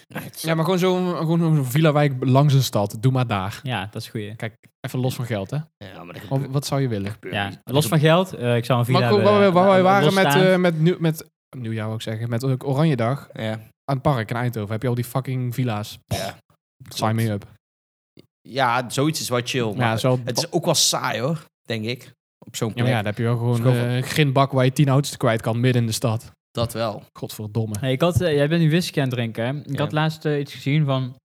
[SPEAKER 3] eh,
[SPEAKER 1] ja, maar gewoon zo'n gewoon zo'n villa-wijk langs een stad. Doe maar daar.
[SPEAKER 3] ja, dat is goed.
[SPEAKER 1] Kijk, even los van geld, hè?
[SPEAKER 2] Ja, maar dat
[SPEAKER 1] Wat, wat zou je willen?
[SPEAKER 2] gebeurt
[SPEAKER 3] Ja,
[SPEAKER 2] niet.
[SPEAKER 3] los van geld. eh, ik zou een villa
[SPEAKER 1] Maar waar, we-
[SPEAKER 3] hebben,
[SPEAKER 1] waar wij
[SPEAKER 3] eh,
[SPEAKER 1] waren met,
[SPEAKER 3] losstaan.
[SPEAKER 1] eh met, nieuw, met nieuwjaar ook zeggen, met ook Oranjedag
[SPEAKER 2] Ja.
[SPEAKER 1] aan het park in Eindhoven heb je al die fucking villa's.
[SPEAKER 2] Ja.
[SPEAKER 1] Sign me up.
[SPEAKER 2] ja, zoiets is wel chill. Maar
[SPEAKER 1] Ja, zo,
[SPEAKER 2] Het is ook wel saai, hoor. Denk ik. Op zo'n
[SPEAKER 1] ja,
[SPEAKER 2] plek.
[SPEAKER 1] maar ja, dan heb je wel gewoon
[SPEAKER 2] Schoffel.
[SPEAKER 1] eh, een grindbak waar je tien auto's kwijt kan midden in de stad.
[SPEAKER 2] Dat wel.
[SPEAKER 1] Godverdomme.
[SPEAKER 3] Hey, ik had, eh, jij bent nu whisky aan het drinken, hè? Ik
[SPEAKER 2] Ja.
[SPEAKER 3] had laatst eh, iets gezien van...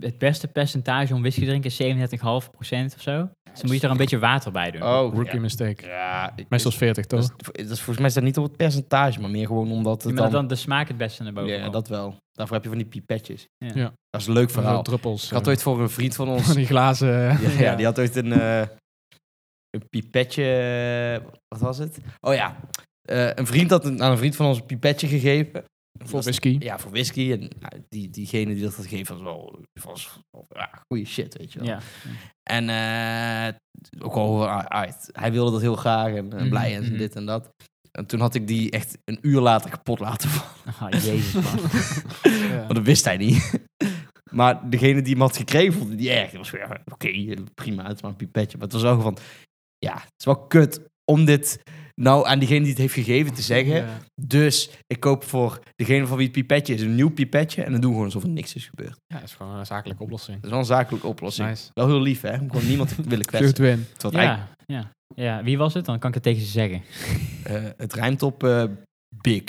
[SPEAKER 3] Het beste percentage om whisky te drinken is 37,5% of zo. Dus dan moet je er een beetje water bij doen.
[SPEAKER 2] Oh,
[SPEAKER 1] Rookie mistake.
[SPEAKER 2] Ja, ik-
[SPEAKER 1] Meestal is 40,
[SPEAKER 2] dat
[SPEAKER 1] toch?
[SPEAKER 2] is, dat is volgens mij is dat niet op het percentage, maar meer gewoon omdat het
[SPEAKER 3] Ja, maar dat
[SPEAKER 2] dan...
[SPEAKER 3] dan de smaak het beste naar boven
[SPEAKER 2] Ja,
[SPEAKER 3] komt.
[SPEAKER 2] dat wel. Daarvoor heb je van die pipetjes.
[SPEAKER 3] Ja.
[SPEAKER 1] Ja.
[SPEAKER 2] Dat is een leuk
[SPEAKER 1] Van
[SPEAKER 2] verhaal.
[SPEAKER 1] druppels.
[SPEAKER 2] Ik had ooit voor een vriend van ons...
[SPEAKER 1] van die glazen. eh,
[SPEAKER 2] Ja, ja, die had ooit een, eh, een pipetje. eh, Wat was het? Oh ja, eh, een vriend had een, aan een vriend van ons een pipetje gegeven.
[SPEAKER 1] Voor
[SPEAKER 2] Dat is-
[SPEAKER 1] whisky.
[SPEAKER 2] Ja, voor whisky. En nou, die, diegene die dat had gegeven was wel, was, wel- ja, goede shit, weet je wel.
[SPEAKER 3] Ja.
[SPEAKER 2] En eh, ook al ah, uit. Hij wilde dat heel graag en, en blij en
[SPEAKER 3] Mhm, mhm.
[SPEAKER 2] dit en dat. En toen had ik die echt een uur later kapot laten vallen.
[SPEAKER 3] Ah, jezus man.
[SPEAKER 1] Ja.
[SPEAKER 2] Maar dat wist hij niet. maar degene die hem had gekregen, vond het niet erg. Het was gewoon, ja, oké, prima, het is maar een pipetje. Maar het was ook van, ja, het is wel kut om dit nou aan diegene die het heeft gegeven te zeggen.
[SPEAKER 1] Ja.
[SPEAKER 2] Dus ik koop voor degene van wie het pipetje is een nieuw pipetje. En dan doen we gewoon alsof er niks is gebeurd.
[SPEAKER 1] Ja, dat is gewoon een zakelijke oplossing.
[SPEAKER 2] Dat is wel een zakelijke oplossing.
[SPEAKER 1] Nice.
[SPEAKER 2] Wel heel lief, hè? Om gewoon niemand te willen
[SPEAKER 1] Vlucht
[SPEAKER 2] kwetsen.
[SPEAKER 1] win.
[SPEAKER 2] Het, wordt eigenlijk-
[SPEAKER 3] ja, ja, ja. Wie was het? Dan kan ik het tegen ze zeggen.
[SPEAKER 2] eh, het rijmt op eh, big.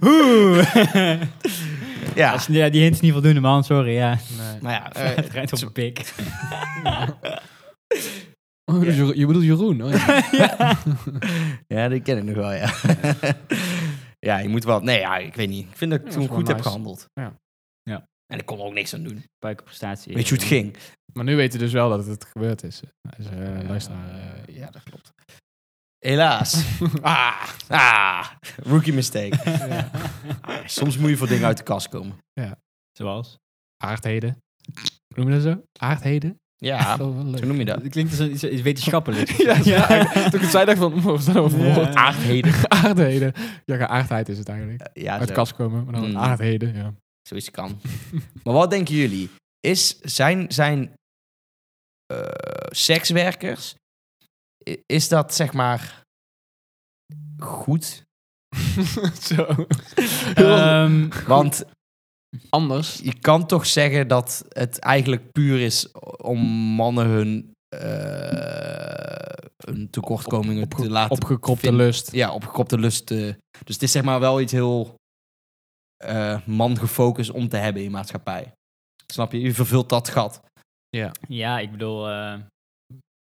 [SPEAKER 3] Oeh.
[SPEAKER 2] Ja,
[SPEAKER 3] Dat is- ja, die hint is niet voldoende man, sorry. Ja.
[SPEAKER 1] Nee.
[SPEAKER 2] maar ja. eh,
[SPEAKER 3] Het rijdt op een pik.
[SPEAKER 1] Oh, dus Jeroen- je bedoelt Jeroen. Oh, ja.
[SPEAKER 2] Ja, die ken ik nog wel, ja. ja, je moet wel... Nee, ja, ik weet niet. Ik vind dat ik
[SPEAKER 1] Ja, dat
[SPEAKER 2] toen
[SPEAKER 1] is
[SPEAKER 2] goed
[SPEAKER 1] wel
[SPEAKER 2] heb
[SPEAKER 1] nice.
[SPEAKER 2] gehandeld.
[SPEAKER 1] Ja.
[SPEAKER 3] Ja.
[SPEAKER 2] En ik kon er ook niks aan doen.
[SPEAKER 3] Buikenprestatie.
[SPEAKER 2] Weet je hoe het ging?
[SPEAKER 1] Maar nu weten we dus wel dat het gebeurd is. Dus, eh, luisteraar, eh,
[SPEAKER 2] Eh, ja, dat klopt. Helaas. ah, ah, rookie mistake.
[SPEAKER 1] ja.
[SPEAKER 2] Ah, Soms moet je voor dingen uit de kast komen.
[SPEAKER 3] Zoals?
[SPEAKER 1] Aardheden. Hoe Noem je dat zo? Aardheden?
[SPEAKER 2] Ja,
[SPEAKER 1] Zo wel leuk.
[SPEAKER 2] zo noem je dat.
[SPEAKER 3] Het klinkt als iets, iets wetenschappelijk. Eh,
[SPEAKER 1] Ja, ja. Toen ik het zei, dacht ik van, wat is dat nou voor
[SPEAKER 3] Ja.
[SPEAKER 1] woord?
[SPEAKER 2] Aardheden.
[SPEAKER 1] Aardheden. Ja, geaardheid is het eigenlijk.
[SPEAKER 2] Ja,
[SPEAKER 1] Uit de
[SPEAKER 2] zo,
[SPEAKER 1] kast komen, maar dan
[SPEAKER 2] Mm.
[SPEAKER 1] aardheden. Ja.
[SPEAKER 2] zoiets kan. maar wat denken jullie? Is, zijn zijn eh, sekswerkers, i- is dat zeg maar goed? Eh,
[SPEAKER 1] zo.
[SPEAKER 3] Ehm,
[SPEAKER 2] Want
[SPEAKER 1] Anders.
[SPEAKER 2] je kan toch zeggen dat het eigenlijk puur is om mannen hun, eh, hun tekortkomingen
[SPEAKER 1] Opge-
[SPEAKER 2] te laten...
[SPEAKER 1] Opgekropte
[SPEAKER 2] vind-
[SPEAKER 1] lust.
[SPEAKER 2] ja, opgekropte lust. eh, dus het is zeg maar wel iets heel eh man gefocust om te hebben in maatschappij. Snap je? Je vervult dat gat.
[SPEAKER 3] ja, ik bedoel, eh,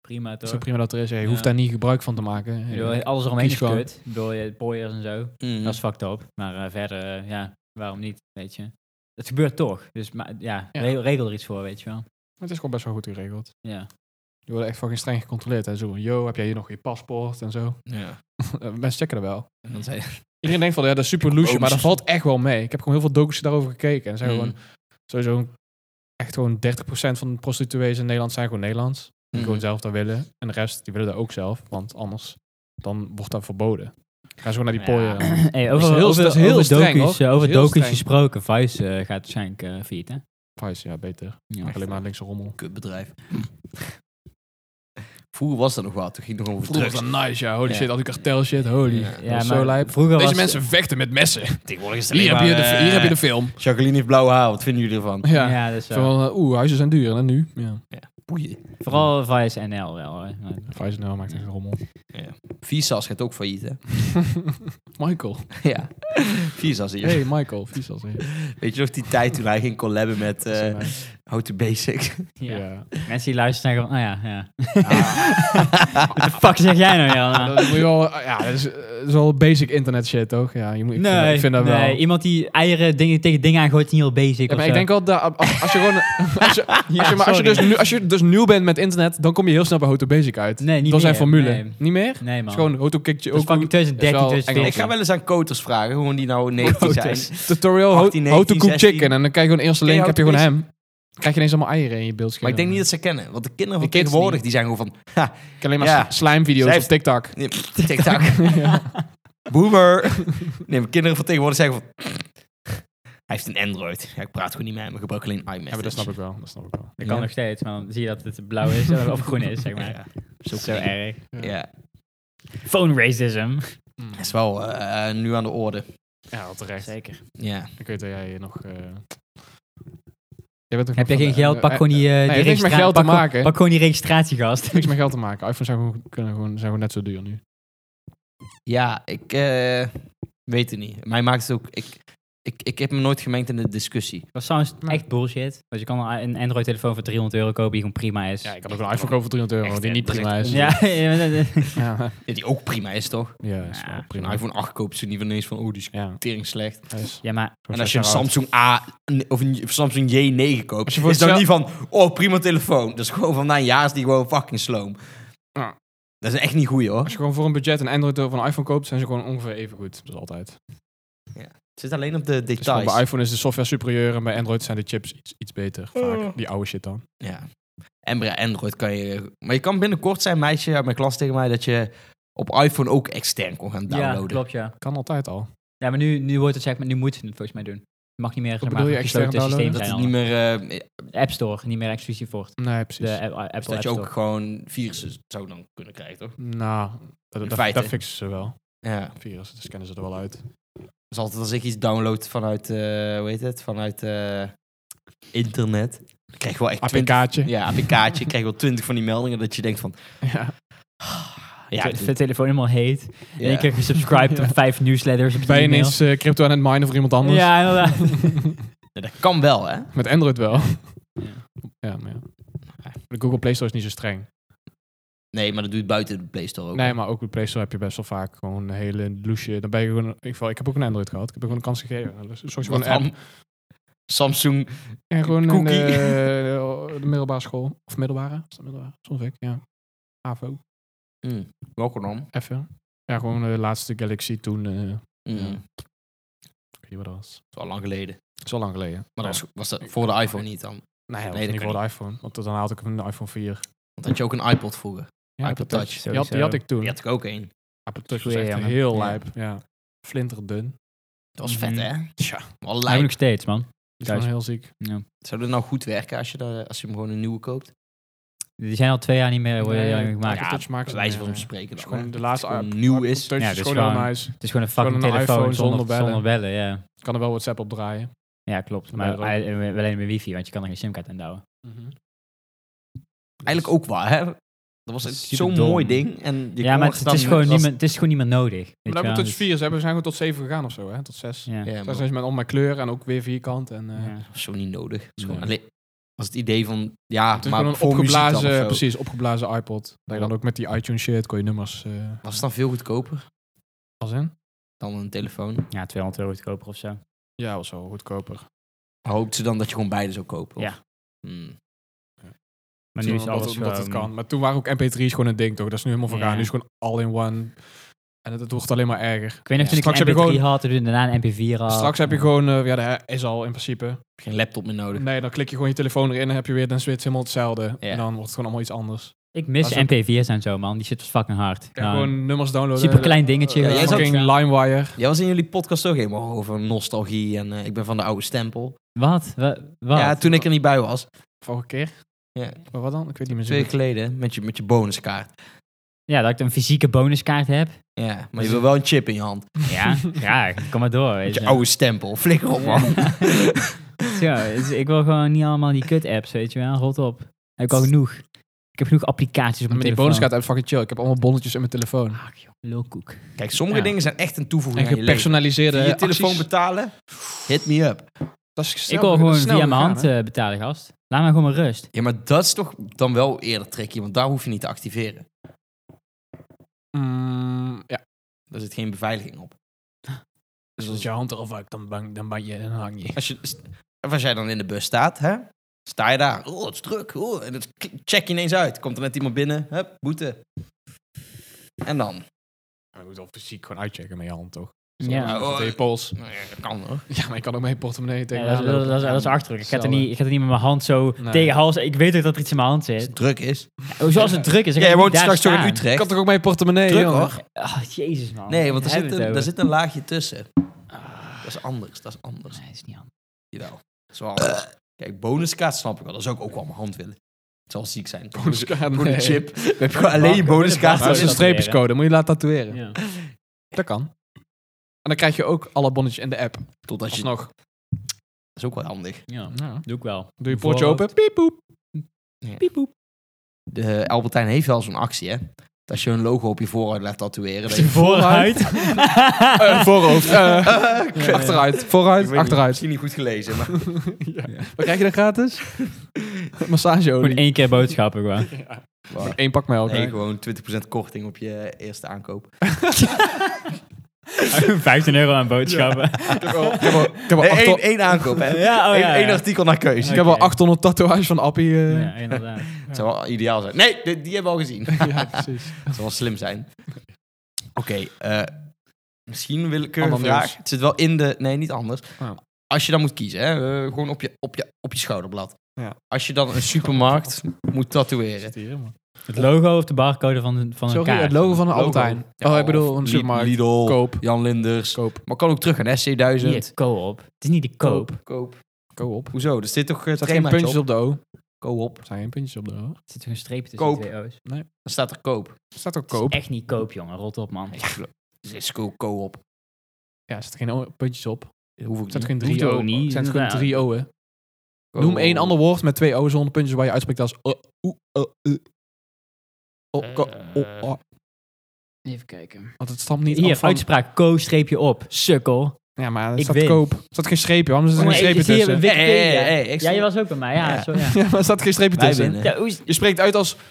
[SPEAKER 3] prima
[SPEAKER 1] Het
[SPEAKER 3] toch?
[SPEAKER 1] is prima dat er is. hè. Je
[SPEAKER 3] Ja.
[SPEAKER 1] hoeft daar niet gebruik van te maken.
[SPEAKER 3] Ik
[SPEAKER 1] hè.
[SPEAKER 3] bedoel, alles eromheen
[SPEAKER 1] Kies
[SPEAKER 3] is
[SPEAKER 1] gewoon. Hm.
[SPEAKER 3] kut. Ik bedoel, je pooiers en zo. Dat is
[SPEAKER 2] Dat
[SPEAKER 3] fucked up. Maar eh, verder, eh, ja, waarom niet, weet je? Het gebeurt toch. Dus maar, ja,
[SPEAKER 1] Ja.
[SPEAKER 3] re- regel er iets voor, weet je wel.
[SPEAKER 1] Maar het is gewoon best wel goed geregeld.
[SPEAKER 3] Ja.
[SPEAKER 1] Je wordt echt fucking streng gecontroleerd. Hè. Zo van, yo, heb jij hier nog je paspoort en zo. Eh,
[SPEAKER 2] ja. Mm.
[SPEAKER 1] Mensen checken er wel.
[SPEAKER 2] En dan zei
[SPEAKER 1] Iedereen denkt van, ja, dat is super loesje, maar dat valt echt wel mee. Ik heb gewoon heel veel docu's daarover gekeken. En zijn
[SPEAKER 2] Mm.
[SPEAKER 1] gewoon, sowieso, echt gewoon 30% van de prostituees in Nederland zijn gewoon Nederlands. Die
[SPEAKER 2] Mhm.
[SPEAKER 1] gewoon zelf dat willen. En de rest, die willen dat ook zelf, want anders, dan wordt dat verboden. Gaan ze gewoon naar die
[SPEAKER 3] Nou ja.
[SPEAKER 1] pooien.
[SPEAKER 3] Hey,
[SPEAKER 1] Dat is
[SPEAKER 3] over,
[SPEAKER 1] heel-
[SPEAKER 3] over,
[SPEAKER 1] dat is heel
[SPEAKER 3] over
[SPEAKER 1] streng,
[SPEAKER 3] docu's,
[SPEAKER 1] hoor. Dat
[SPEAKER 3] eh, over
[SPEAKER 1] is heel
[SPEAKER 3] docu's
[SPEAKER 1] streng.
[SPEAKER 3] gesproken. Vice eh, gaat waarschijnlijk eh failliet, hè?
[SPEAKER 1] Vice, ja, beter.
[SPEAKER 3] Ja.
[SPEAKER 1] Alleen maar linkse rommel.
[SPEAKER 2] kutbedrijf. Vroeger was dat nog wat. Toen ging het nog over
[SPEAKER 1] Vroeger was
[SPEAKER 2] drugs.
[SPEAKER 1] dat nice, ja. Holy
[SPEAKER 2] Ja.
[SPEAKER 1] shit, al die kartelshit, holy.
[SPEAKER 2] Ja.
[SPEAKER 1] dat is zo lijp.
[SPEAKER 3] Vroeger
[SPEAKER 1] Deze
[SPEAKER 3] was,
[SPEAKER 1] mensen vechten met messen.
[SPEAKER 2] Tegenwoordig is het
[SPEAKER 1] Hier,
[SPEAKER 2] alleen
[SPEAKER 1] heb, je de,
[SPEAKER 2] maar,
[SPEAKER 1] hier heb je
[SPEAKER 2] eh,
[SPEAKER 1] de film.
[SPEAKER 2] Jacqueline heeft blauwe haar. Wat vinden jullie ervan?
[SPEAKER 1] Ja.
[SPEAKER 3] Ja, dus
[SPEAKER 1] Zo van, eh, oeh, huizen zijn duur, en nu? Ja.
[SPEAKER 2] Boeien.
[SPEAKER 3] vooral Vice NL wel. Hoor. Maar-
[SPEAKER 1] Vice nou maakt echt rommel.
[SPEAKER 2] Visas gaat ook failliet, hè?
[SPEAKER 1] Michael.
[SPEAKER 2] ja. Visas hier.
[SPEAKER 1] Hey, Michael. Vies als
[SPEAKER 3] Eh,
[SPEAKER 1] een.
[SPEAKER 2] Weet je nog die tijd toen hij ging collaben met
[SPEAKER 1] Zo
[SPEAKER 2] eh
[SPEAKER 1] nice.
[SPEAKER 2] How to Basic?
[SPEAKER 3] Ja.
[SPEAKER 1] Ja.
[SPEAKER 3] Mensen die luisteren zeggen van, oh ja, ja. What the fuck zeg jij nou, Jan?
[SPEAKER 1] Dat moet je wel, Ah. ja, dat is, eh, dat is wel basic internet shit, toch? Ja, je moet, ik, vind dat- ik vind dat wel.
[SPEAKER 3] nee, iemand die eieren dingen, tegen dingen aangooit is niet heel basic
[SPEAKER 1] Ja,
[SPEAKER 3] of
[SPEAKER 1] maar ik
[SPEAKER 3] zo.
[SPEAKER 1] denk wel dat als als je gewoon. Als je, als je, maar als je,
[SPEAKER 3] sorry.
[SPEAKER 1] dus, nu, als je dus nieuw bent met internet, dan kom je heel snel bij Hoto Basic uit.
[SPEAKER 3] Nee, niet
[SPEAKER 1] dat is zijn
[SPEAKER 3] meer,
[SPEAKER 1] formule.
[SPEAKER 3] nee.
[SPEAKER 1] Niet meer? Het
[SPEAKER 3] Nee,
[SPEAKER 1] is
[SPEAKER 3] man.
[SPEAKER 1] gewoon Hoto Kickje
[SPEAKER 3] dat is
[SPEAKER 1] ook.
[SPEAKER 3] fucking 2013,
[SPEAKER 1] dat is wel
[SPEAKER 3] 2014.
[SPEAKER 2] ik ga wel eens aan koters vragen, hoe die nou 19 zijn.
[SPEAKER 1] Tutorial
[SPEAKER 2] 18,
[SPEAKER 1] Hoto
[SPEAKER 2] 19,
[SPEAKER 1] Cook
[SPEAKER 2] 16.
[SPEAKER 1] Chicken. En dan krijg je gewoon eerst de
[SPEAKER 2] Ken je
[SPEAKER 1] link, heb je
[SPEAKER 2] How
[SPEAKER 1] gewoon
[SPEAKER 2] to
[SPEAKER 1] hem. krijg je ineens allemaal eieren in je beeldscherm.
[SPEAKER 2] Maar ik denk niet dat ze kennen. Want de kinderen van
[SPEAKER 1] Ik ken ze
[SPEAKER 2] tegenwoordig, die
[SPEAKER 1] niet.
[SPEAKER 2] zijn gewoon van... Ha,
[SPEAKER 1] Ik alleen maar
[SPEAKER 2] Ja.
[SPEAKER 1] sli- slijmvideo's
[SPEAKER 2] Zij
[SPEAKER 1] op TikTok.
[SPEAKER 2] nee, pff, TikTok. Boomer. Nee, mijn kinderen van tegenwoordig zeggen van... Hij heeft een Android. Ja, ik praat gewoon niet met hem. Ik gebruik alleen iMessage.
[SPEAKER 1] Ja, maar dat snap ik wel. Dat snap ik wel.
[SPEAKER 3] Dat kan
[SPEAKER 2] Ja.
[SPEAKER 3] nog steeds, maar dan zie je dat het blauw is eh, of groen is, zeg maar.
[SPEAKER 2] Ja,
[SPEAKER 3] Zo, zo erg.
[SPEAKER 1] Ja.
[SPEAKER 2] ja.
[SPEAKER 3] Phone racism.
[SPEAKER 1] Mm.
[SPEAKER 2] Dat is wel eh, eh, nu aan de orde.
[SPEAKER 1] Ja, wel terecht.
[SPEAKER 3] Zeker.
[SPEAKER 2] Ja.
[SPEAKER 1] Ik weet dat jij nog... eh, Jij bent toch
[SPEAKER 3] Heb
[SPEAKER 1] nog
[SPEAKER 3] je geen
[SPEAKER 1] van de-
[SPEAKER 3] geld, pak
[SPEAKER 1] eh,
[SPEAKER 3] gewoon die, eh,
[SPEAKER 1] nee,
[SPEAKER 3] die
[SPEAKER 1] heeft niks met
[SPEAKER 3] registra-
[SPEAKER 1] geld te
[SPEAKER 3] pak gewoon-
[SPEAKER 1] maken.
[SPEAKER 3] Pak gewoon die registratiegast.
[SPEAKER 1] niks met geld te maken. iPhones zijn gewoon, kunnen gewoon, zijn gewoon net zo duur nu.
[SPEAKER 2] Ja, ik eh, weet het niet. Mij maakt het ook... Ik, ik, ik heb me nooit gemengd in de discussie.
[SPEAKER 3] Dat is trouwens
[SPEAKER 1] Nee.
[SPEAKER 3] echt bullshit. Want je kan een Android-telefoon voor 300 euro kopen die gewoon prima is.
[SPEAKER 1] Ja, ik kan ook een iPhone kopen voor 300 euro,
[SPEAKER 2] Echt,
[SPEAKER 1] die
[SPEAKER 2] eh,
[SPEAKER 1] niet prima is.
[SPEAKER 3] Ja, ja, dat- dat-
[SPEAKER 1] ja.
[SPEAKER 2] Ja, die ook prima is, toch?
[SPEAKER 1] Ja, is wel
[SPEAKER 3] Ja,
[SPEAKER 2] Als je
[SPEAKER 1] prima.
[SPEAKER 2] een iPhone 8 koopt, ze niet ineens van... Oh, die is
[SPEAKER 1] Ja,
[SPEAKER 2] tering slecht.
[SPEAKER 1] hij is
[SPEAKER 3] ja, maar
[SPEAKER 1] zo'n
[SPEAKER 2] en als je een
[SPEAKER 1] zes jaar oud.
[SPEAKER 2] Samsung A of een Samsung J9 koopt,
[SPEAKER 1] Als
[SPEAKER 2] is
[SPEAKER 1] je voor
[SPEAKER 2] dat
[SPEAKER 1] hetzelfde-
[SPEAKER 2] niet van, oh prima telefoon. Dat is gewoon van, na een jaar is die gewoon fucking sloom.
[SPEAKER 1] Ja.
[SPEAKER 2] Dat is echt niet goed hoor.
[SPEAKER 1] Als je gewoon voor een budget een Android of een iPhone koopt, zijn ze gewoon ongeveer even goed. Dat is altijd.
[SPEAKER 2] Het zit alleen op de
[SPEAKER 1] Dus gewoon
[SPEAKER 2] details.
[SPEAKER 1] bij iPhone is de software superieur en bij Android zijn de chips iets, iets beter. Vaak.
[SPEAKER 2] Oh.
[SPEAKER 1] Die oude shit dan.
[SPEAKER 2] ja. En bij Android kan je... Maar je kan binnenkort zijn, meisje uit mijn klas tegen mij, dat je op iPhone ook extern kon gaan
[SPEAKER 3] ja,
[SPEAKER 2] downloaden.
[SPEAKER 3] klopt ja.
[SPEAKER 1] Kan altijd al.
[SPEAKER 3] Ja, maar nu, nu wordt het zeg maar, nu moet je het volgens mij doen. Je mag niet meer zeg
[SPEAKER 1] bedoel
[SPEAKER 3] maar,
[SPEAKER 1] je,
[SPEAKER 3] een
[SPEAKER 1] extern
[SPEAKER 3] gesloten systeem
[SPEAKER 2] dat
[SPEAKER 1] downloaden?
[SPEAKER 3] zijn.
[SPEAKER 2] het
[SPEAKER 3] al.
[SPEAKER 2] niet meer... eh,
[SPEAKER 3] De App Store, niet meer exclusief wordt.
[SPEAKER 1] Nee, precies. Dus
[SPEAKER 3] De App, App Store.
[SPEAKER 2] dat je
[SPEAKER 3] App
[SPEAKER 2] ook
[SPEAKER 3] Store.
[SPEAKER 2] gewoon virussen zou dan kunnen krijgen, toch?
[SPEAKER 1] nou, dat,
[SPEAKER 2] In
[SPEAKER 1] dat,
[SPEAKER 2] feite.
[SPEAKER 1] dat fixen ze wel.
[SPEAKER 2] Ja.
[SPEAKER 1] Virus, dat scannen ze er wel uit.
[SPEAKER 2] Dus altijd als ik iets download vanuit, eh, hoe heet het, vanuit eh, internet, dan krijg je wel echt 20
[SPEAKER 1] APK'tje.
[SPEAKER 2] Ja, APK'tje. krijg je wel twintig van die meldingen dat je denkt van... ah,
[SPEAKER 1] Ja.
[SPEAKER 2] Ja,
[SPEAKER 3] Zo-
[SPEAKER 2] dit-
[SPEAKER 3] de telefoon helemaal heet. En
[SPEAKER 2] ja.
[SPEAKER 3] ik heb gesubscribed
[SPEAKER 1] Ja.
[SPEAKER 3] op vijf newsletters op je
[SPEAKER 1] Ben je
[SPEAKER 3] e-mail.
[SPEAKER 1] ineens eh, crypto aan het minen voor iemand anders?
[SPEAKER 3] Ja, inderdaad.
[SPEAKER 2] Ja, dat kan wel, hè?
[SPEAKER 1] Met Android wel.
[SPEAKER 3] Ja.
[SPEAKER 1] Ja, maar ja. De Google Play Store is niet zo streng.
[SPEAKER 2] Nee, maar dat doet buiten de Play Store ook.
[SPEAKER 1] Nee, maar ook de Play Store heb je best wel vaak gewoon een hele loesje. Dan ben je gewoon... In ieder geval, ik heb ook een Android gehad. Ik heb ook gewoon een kans gegeven. Dus soms gewoon
[SPEAKER 2] Wat
[SPEAKER 1] een app.
[SPEAKER 2] dan? Samsung.
[SPEAKER 1] En gewoon in
[SPEAKER 2] Cookie.
[SPEAKER 1] de, de middelbare school. Of middelbare. Is dat middelbare? Soms ik, ja. AVO.
[SPEAKER 2] Hm, welkom dan.
[SPEAKER 1] Even. Ja, gewoon de laatste Galaxy toen. eh,
[SPEAKER 2] Hm,
[SPEAKER 1] Ja.
[SPEAKER 2] Dat
[SPEAKER 1] ik weet niet wat dat was.
[SPEAKER 2] is al lang geleden.
[SPEAKER 1] Dat is al lang geleden.
[SPEAKER 2] Maar dat was, was dat voor de iPhone niet dan?
[SPEAKER 1] Nee, dat
[SPEAKER 2] Nee,
[SPEAKER 1] was
[SPEAKER 2] dat
[SPEAKER 1] niet
[SPEAKER 2] kan
[SPEAKER 1] voor de iPhone. Want dan haalde ik een iPhone 4.
[SPEAKER 2] Want had je ook een iPod vroeger?
[SPEAKER 1] Ja,
[SPEAKER 2] iPod Touch.
[SPEAKER 1] Die had, die
[SPEAKER 3] Sowieso.
[SPEAKER 1] had ik toen.
[SPEAKER 2] Die had ik ook één.
[SPEAKER 1] iPod Touch was echt
[SPEAKER 3] Goeie, ja, man.
[SPEAKER 1] heel
[SPEAKER 2] Ja.
[SPEAKER 1] lijp. Ja. Flinterdun.
[SPEAKER 2] Dat was
[SPEAKER 3] Mhm.
[SPEAKER 2] vet, hè?
[SPEAKER 1] Tja.
[SPEAKER 2] Wel
[SPEAKER 3] Hij
[SPEAKER 2] lijp.
[SPEAKER 3] nog steeds, man.
[SPEAKER 1] Die is gewoon
[SPEAKER 3] Thuis.
[SPEAKER 1] heel ziek.
[SPEAKER 2] Zou dat nou goed werken als je, daar- als je hem gewoon een nieuwe koopt?
[SPEAKER 3] Die zijn al twee jaar niet meer, worden
[SPEAKER 1] Nee,
[SPEAKER 3] die al
[SPEAKER 1] ja,
[SPEAKER 3] niet meer gemaakt.
[SPEAKER 1] iPod Touch
[SPEAKER 2] Bij
[SPEAKER 1] maken ze
[SPEAKER 2] wijze
[SPEAKER 1] niet
[SPEAKER 2] van
[SPEAKER 1] meer.
[SPEAKER 2] spreken
[SPEAKER 1] Het is
[SPEAKER 2] dan.
[SPEAKER 1] gewoon
[SPEAKER 2] hè?
[SPEAKER 1] de laatste
[SPEAKER 2] gewoon
[SPEAKER 1] iPod-
[SPEAKER 2] nieuw
[SPEAKER 1] iPod
[SPEAKER 2] is.
[SPEAKER 1] Touch
[SPEAKER 3] Ja,
[SPEAKER 1] is
[SPEAKER 3] dit is
[SPEAKER 1] gewoon heel
[SPEAKER 3] gewoon-
[SPEAKER 1] nice.
[SPEAKER 3] Het is gewoon een
[SPEAKER 1] Gewoon
[SPEAKER 3] fucking
[SPEAKER 1] een
[SPEAKER 3] telefoon
[SPEAKER 1] iPhone
[SPEAKER 3] zonder,
[SPEAKER 1] zonder
[SPEAKER 3] zonder
[SPEAKER 1] bellen.
[SPEAKER 3] bellen. ja.
[SPEAKER 1] Kan er wel WhatsApp op draaien.
[SPEAKER 3] Ja, klopt.
[SPEAKER 1] Dat
[SPEAKER 3] Maar
[SPEAKER 1] ben je
[SPEAKER 3] ei- wel alleen met wifi, want je kan er geen simkaart aan douwen.
[SPEAKER 2] Mhm. Eigenlijk ook waar, hè? Dat was
[SPEAKER 3] Dat
[SPEAKER 2] echt
[SPEAKER 3] is
[SPEAKER 2] zo'n
[SPEAKER 3] superdom.
[SPEAKER 2] mooi ding. En je
[SPEAKER 3] Ja,
[SPEAKER 2] kon
[SPEAKER 3] maar het, het
[SPEAKER 2] dan-
[SPEAKER 3] is gewoon
[SPEAKER 2] dat
[SPEAKER 3] niet
[SPEAKER 2] was-
[SPEAKER 3] meer, het is gewoon niet meer nodig. weet
[SPEAKER 1] Maar
[SPEAKER 3] je
[SPEAKER 1] dan
[SPEAKER 3] wel.
[SPEAKER 1] hebben we tot
[SPEAKER 3] Dus-
[SPEAKER 1] 4 hebben. We zijn gewoon tot 7 gegaan of zo, hè? Tot 6.
[SPEAKER 3] Ja.
[SPEAKER 2] Ja,
[SPEAKER 1] Dat
[SPEAKER 2] maar
[SPEAKER 1] zijn ze met allemaal kleur en ook weer vierkant. En, eh,
[SPEAKER 3] Ja.
[SPEAKER 1] Het
[SPEAKER 2] dat was zo niet nodig. Dat is gewoon
[SPEAKER 1] Nee.
[SPEAKER 2] alleen- was het idee van, ja,
[SPEAKER 1] is
[SPEAKER 2] maar
[SPEAKER 1] gewoon een
[SPEAKER 2] voor muziek dan of
[SPEAKER 1] opgeblazen,
[SPEAKER 2] zo.
[SPEAKER 1] precies, opgeblazen iPod. Dat je dan ook met die iTunes shit kon je nummers eh,
[SPEAKER 2] Was het dan veel goedkoper
[SPEAKER 1] Als in?
[SPEAKER 2] dan een telefoon?
[SPEAKER 3] Ja, 200 euro goedkoper of zo.
[SPEAKER 1] Ja, was wel goedkoper.
[SPEAKER 2] Hoopte ze dan dat je gewoon beide zou kopen? of?
[SPEAKER 3] Ja.
[SPEAKER 2] Hmm.
[SPEAKER 3] Maar nu is
[SPEAKER 1] dat,
[SPEAKER 3] alles
[SPEAKER 1] dat het
[SPEAKER 3] gewoon-
[SPEAKER 1] kan. Maar toen waren ook MP3's gewoon een ding, toch? Dat is nu helemaal vergaan.
[SPEAKER 3] Ja.
[SPEAKER 1] Nu is het gewoon all-in-one. En het, het wordt alleen maar erger.
[SPEAKER 3] Ik weet nog
[SPEAKER 1] Ja.
[SPEAKER 3] toen
[SPEAKER 1] Straks
[SPEAKER 3] ik
[SPEAKER 1] heb
[SPEAKER 3] een
[SPEAKER 1] je
[SPEAKER 3] MP3 had, en daarna een MP4 had.
[SPEAKER 1] Straks heb je gewoon... eh, ja, dat is al in principe.
[SPEAKER 2] Geen laptop meer nodig.
[SPEAKER 1] Nee, dan klik je gewoon je telefoon erin en heb je weer dan switch helemaal hetzelfde. En dan wordt het gewoon allemaal iets anders.
[SPEAKER 3] Ik mis
[SPEAKER 1] Dat is ook-
[SPEAKER 3] MP4's en zo, man. Die shit was fucking hard.
[SPEAKER 1] Ja,
[SPEAKER 3] Nou,
[SPEAKER 1] gewoon nummers downloaden.
[SPEAKER 3] superklein dingetje.
[SPEAKER 1] Eh,
[SPEAKER 2] Ja, jij zou-
[SPEAKER 1] fucking LimeWire.
[SPEAKER 2] Jij was in jullie podcast ook helemaal over nostalgie en eh, ik ben van de oude stempel.
[SPEAKER 3] Wat? Wa- Wat?
[SPEAKER 2] Ja, toen ik er niet bij was.
[SPEAKER 1] Vorige keer.
[SPEAKER 2] Ja,
[SPEAKER 1] Maar wat dan? Ik weet niet meer zo
[SPEAKER 2] twee
[SPEAKER 1] goed.
[SPEAKER 2] jaar geleden, met je, met je bonuskaart.
[SPEAKER 3] Ja, dat ik een fysieke bonuskaart heb.
[SPEAKER 2] Ja, maar je wil wel een chip in je hand.
[SPEAKER 3] Ja, graag. Kom maar door. weet
[SPEAKER 2] Met je
[SPEAKER 3] je.
[SPEAKER 2] oude stempel. Flikker op, man.
[SPEAKER 3] Zo, dus ik wil gewoon niet allemaal die kut-apps, weet je wel. Rot op. Heb ik al genoeg. Ik heb genoeg applicaties
[SPEAKER 1] Maar
[SPEAKER 3] op mijn
[SPEAKER 1] die
[SPEAKER 3] telefoon.
[SPEAKER 1] bonuskaart uit fucking chill. Ik heb allemaal bonnetjes in mijn telefoon.
[SPEAKER 3] Ach, joh. Lulkoek.
[SPEAKER 2] Kijk, sommige
[SPEAKER 3] Ja.
[SPEAKER 2] dingen zijn echt een toevoeging
[SPEAKER 1] En
[SPEAKER 2] aan je leven.
[SPEAKER 1] gepersonaliseerde
[SPEAKER 2] Wil je telefoon
[SPEAKER 1] acties.
[SPEAKER 2] betalen? Hit me up.
[SPEAKER 1] Dat is
[SPEAKER 3] Ik
[SPEAKER 1] snel-
[SPEAKER 3] wil
[SPEAKER 1] dat is
[SPEAKER 3] gewoon
[SPEAKER 1] snel
[SPEAKER 3] via mijn
[SPEAKER 1] gegaan,
[SPEAKER 3] hand
[SPEAKER 1] hè?
[SPEAKER 3] eh, betalen, gast. Laat mij gewoon mijn rust.
[SPEAKER 2] Ja, maar dat is toch dan wel eerder tricky, want daar hoef je niet te activeren.
[SPEAKER 1] Mm, ja,
[SPEAKER 2] Daar zit geen beveiliging op.
[SPEAKER 1] Dus als je hand eraf hakt, dan, bang, dan, bang je, dan hang je.
[SPEAKER 2] Als je, of als jij dan in de bus staat, hè? Sta je daar, oh, het is druk, oh, en het k- check je ineens uit. Komt er net iemand binnen, hup, boete. En dan?
[SPEAKER 1] Je moet al fysiek gewoon uitchecken met je hand, toch?
[SPEAKER 3] Ja.
[SPEAKER 1] Ja.
[SPEAKER 2] Oh,
[SPEAKER 1] je pols.
[SPEAKER 2] Nou ja, dat kan hoor.
[SPEAKER 1] Ja, maar ik kan ook mijn portemonnee
[SPEAKER 3] Ja,
[SPEAKER 1] tegen.
[SPEAKER 3] dat, is, dat, is, dat, is, dat is achterlijk. Ik ga, er
[SPEAKER 1] Hetzelfde.
[SPEAKER 3] niet, ik ga er niet met mijn hand zo
[SPEAKER 1] Nee.
[SPEAKER 3] tegen hals. Ik weet ook dat er iets in mijn hand
[SPEAKER 2] Als
[SPEAKER 3] zit.
[SPEAKER 2] het druk is.
[SPEAKER 3] Hoezo als het druk is?
[SPEAKER 2] Ja,
[SPEAKER 3] dan ga
[SPEAKER 2] je
[SPEAKER 3] ik
[SPEAKER 2] woont
[SPEAKER 3] niet daar
[SPEAKER 2] straks toch in
[SPEAKER 3] staan.
[SPEAKER 1] Ik
[SPEAKER 2] Utrecht?
[SPEAKER 1] had toch ook mijn portemonnee,
[SPEAKER 2] Druk
[SPEAKER 1] joh.
[SPEAKER 2] hoor.
[SPEAKER 3] Ah, jezus man.
[SPEAKER 2] Nee, want er
[SPEAKER 3] Hebben
[SPEAKER 2] zit,
[SPEAKER 3] we
[SPEAKER 2] een, er
[SPEAKER 3] het over?
[SPEAKER 2] zit een laagje tussen.
[SPEAKER 3] Ah,
[SPEAKER 2] Dat is anders, dat is anders.
[SPEAKER 3] nee, dat is niet anders.
[SPEAKER 2] Jawel. Dat is wel anders. Kijk, bonuskaart snap ik wel. Dat zou ik ook wel mijn hand willen. Het zal ziek zijn.
[SPEAKER 1] Bonuskaart,
[SPEAKER 2] Voor
[SPEAKER 1] nee.
[SPEAKER 2] de chip. We hebben gewoon alleen je
[SPEAKER 3] Bakken,
[SPEAKER 2] bonuskaart.
[SPEAKER 1] Maar dat is een
[SPEAKER 3] dat
[SPEAKER 1] streepjescode, moet je laten tatoeëren.
[SPEAKER 3] Ja.
[SPEAKER 1] Dat kan. En dan krijg je ook alle bonnetjes in de app.
[SPEAKER 2] Totdat je... Dat
[SPEAKER 1] Alsnog.
[SPEAKER 2] is ook wel handig.
[SPEAKER 3] ja,
[SPEAKER 1] Ja.
[SPEAKER 3] doe ik wel.
[SPEAKER 1] Doe je poortje
[SPEAKER 3] Voorhoofd.
[SPEAKER 1] open, piep, poep.
[SPEAKER 2] De eh, Albertijn heeft wel zo'n actie, hè. Dat als je een logo op je vooruit laat tatoeëren. dat je-
[SPEAKER 3] Vooruit.
[SPEAKER 1] Eh, voorhoofd. eh,
[SPEAKER 2] ja.
[SPEAKER 1] achteruit,
[SPEAKER 2] Ik weet
[SPEAKER 1] vooruit,
[SPEAKER 2] niet,
[SPEAKER 1] achteruit.
[SPEAKER 2] Misschien niet goed gelezen, maar...
[SPEAKER 1] Ja. Wat krijg je dan gratis?
[SPEAKER 3] Gewoon
[SPEAKER 1] Massageolie.
[SPEAKER 3] één keer boodschappen gewoon.
[SPEAKER 1] Eén pak melk.
[SPEAKER 2] Nee,
[SPEAKER 1] hè?
[SPEAKER 2] gewoon 20% korting op je eerste aankoop.
[SPEAKER 3] 15 euro aan boodschappen.
[SPEAKER 1] Ik heb wel- ik heb wel- ik heb wel
[SPEAKER 2] Eén
[SPEAKER 1] achthon-
[SPEAKER 2] één aankoop, hè.
[SPEAKER 3] Ja, oh
[SPEAKER 2] Eén-
[SPEAKER 3] ja,
[SPEAKER 2] één
[SPEAKER 3] ja.
[SPEAKER 2] artikel naar keuze.
[SPEAKER 1] ik heb wel
[SPEAKER 3] Oké.
[SPEAKER 1] 800 tatoeages van Appie. eh.
[SPEAKER 3] Ja, inderdaad.
[SPEAKER 2] Het zou wel ideaal zijn. Nee, die, die hebben we al gezien.
[SPEAKER 1] Ja. precies.
[SPEAKER 2] Het zou wel slim zijn. Oké, eh, misschien willekeurige
[SPEAKER 1] Ander
[SPEAKER 2] vraag.
[SPEAKER 1] nieuws. Ah.
[SPEAKER 2] Het zit wel in de... Nee, niet anders.
[SPEAKER 1] Ja.
[SPEAKER 2] Als je dan moet kiezen, hè, eh, gewoon op je, op, je, op je schouderblad.
[SPEAKER 1] Ja.
[SPEAKER 2] Als je dan een supermarkt moet tatoeëren.
[SPEAKER 3] Het logo of de barcode van, een- van een
[SPEAKER 1] Sorry,
[SPEAKER 3] kaart.
[SPEAKER 1] het logo van de Albertijn.
[SPEAKER 2] Ja,
[SPEAKER 1] Oh, ik bedoel,
[SPEAKER 2] of
[SPEAKER 1] een
[SPEAKER 2] Li-
[SPEAKER 1] supermarkt.
[SPEAKER 2] Lidl,
[SPEAKER 1] Koop.
[SPEAKER 2] Jan Linders.
[SPEAKER 1] Koop.
[SPEAKER 2] Maar kan ook terug aan SC1000.
[SPEAKER 3] Hier, koop. Het is niet de koop.
[SPEAKER 2] Koop.
[SPEAKER 1] Koop. Er
[SPEAKER 2] Hoezo? Er zit toch eh, het
[SPEAKER 1] staat geen
[SPEAKER 2] themaatje
[SPEAKER 1] puntjes
[SPEAKER 2] op?
[SPEAKER 1] op de O.
[SPEAKER 2] Koop.
[SPEAKER 1] Er zijn geen puntjes op de O.
[SPEAKER 3] Er zit toch een streep tussen de
[SPEAKER 2] Koop.
[SPEAKER 3] twee O's.
[SPEAKER 2] Dan staat er koop.
[SPEAKER 1] Er staat ook
[SPEAKER 3] Het is
[SPEAKER 1] koop.
[SPEAKER 3] echt niet koop, jongen. Rot op, man.
[SPEAKER 2] Er is ko- koop.
[SPEAKER 1] Ja, er staat geen o- puntjes op. Er
[SPEAKER 2] Hoef ik
[SPEAKER 1] staat
[SPEAKER 2] niet.
[SPEAKER 1] geen
[SPEAKER 3] Hoeft
[SPEAKER 1] drie
[SPEAKER 3] ook
[SPEAKER 1] O.
[SPEAKER 3] niet,
[SPEAKER 1] Er zijn gewoon
[SPEAKER 3] inderdaad.
[SPEAKER 1] drie O'en. Noem één ander woord met twee O's zonder puntjes waar je uitspreekt als... o, oe, o, u. O, ko, o, o.
[SPEAKER 3] Even kijken.
[SPEAKER 1] Want het stamt niet
[SPEAKER 3] Hier,
[SPEAKER 1] af van...
[SPEAKER 3] uitspraak ko streepje op. Sukkel.
[SPEAKER 1] Ja, maar er
[SPEAKER 3] Ik
[SPEAKER 1] staat
[SPEAKER 3] weet.
[SPEAKER 1] koop. Er staat geen streepje. Waarom is er
[SPEAKER 3] Oh,
[SPEAKER 1] geen
[SPEAKER 3] nee,
[SPEAKER 1] streepje
[SPEAKER 3] ik zie hier
[SPEAKER 1] tussen?
[SPEAKER 3] een Wikipedia.
[SPEAKER 2] Hey, hey, hey, hey, ik
[SPEAKER 3] Ja,
[SPEAKER 2] sta-
[SPEAKER 3] je was ook bij mij. Ja,
[SPEAKER 2] Ja.
[SPEAKER 3] zo, ja.
[SPEAKER 1] Ja, maar er staat geen streepje
[SPEAKER 2] Wij
[SPEAKER 1] tussen.
[SPEAKER 2] winnen.
[SPEAKER 3] Ja, hoe is-
[SPEAKER 1] Je spreekt uit als
[SPEAKER 2] Koop.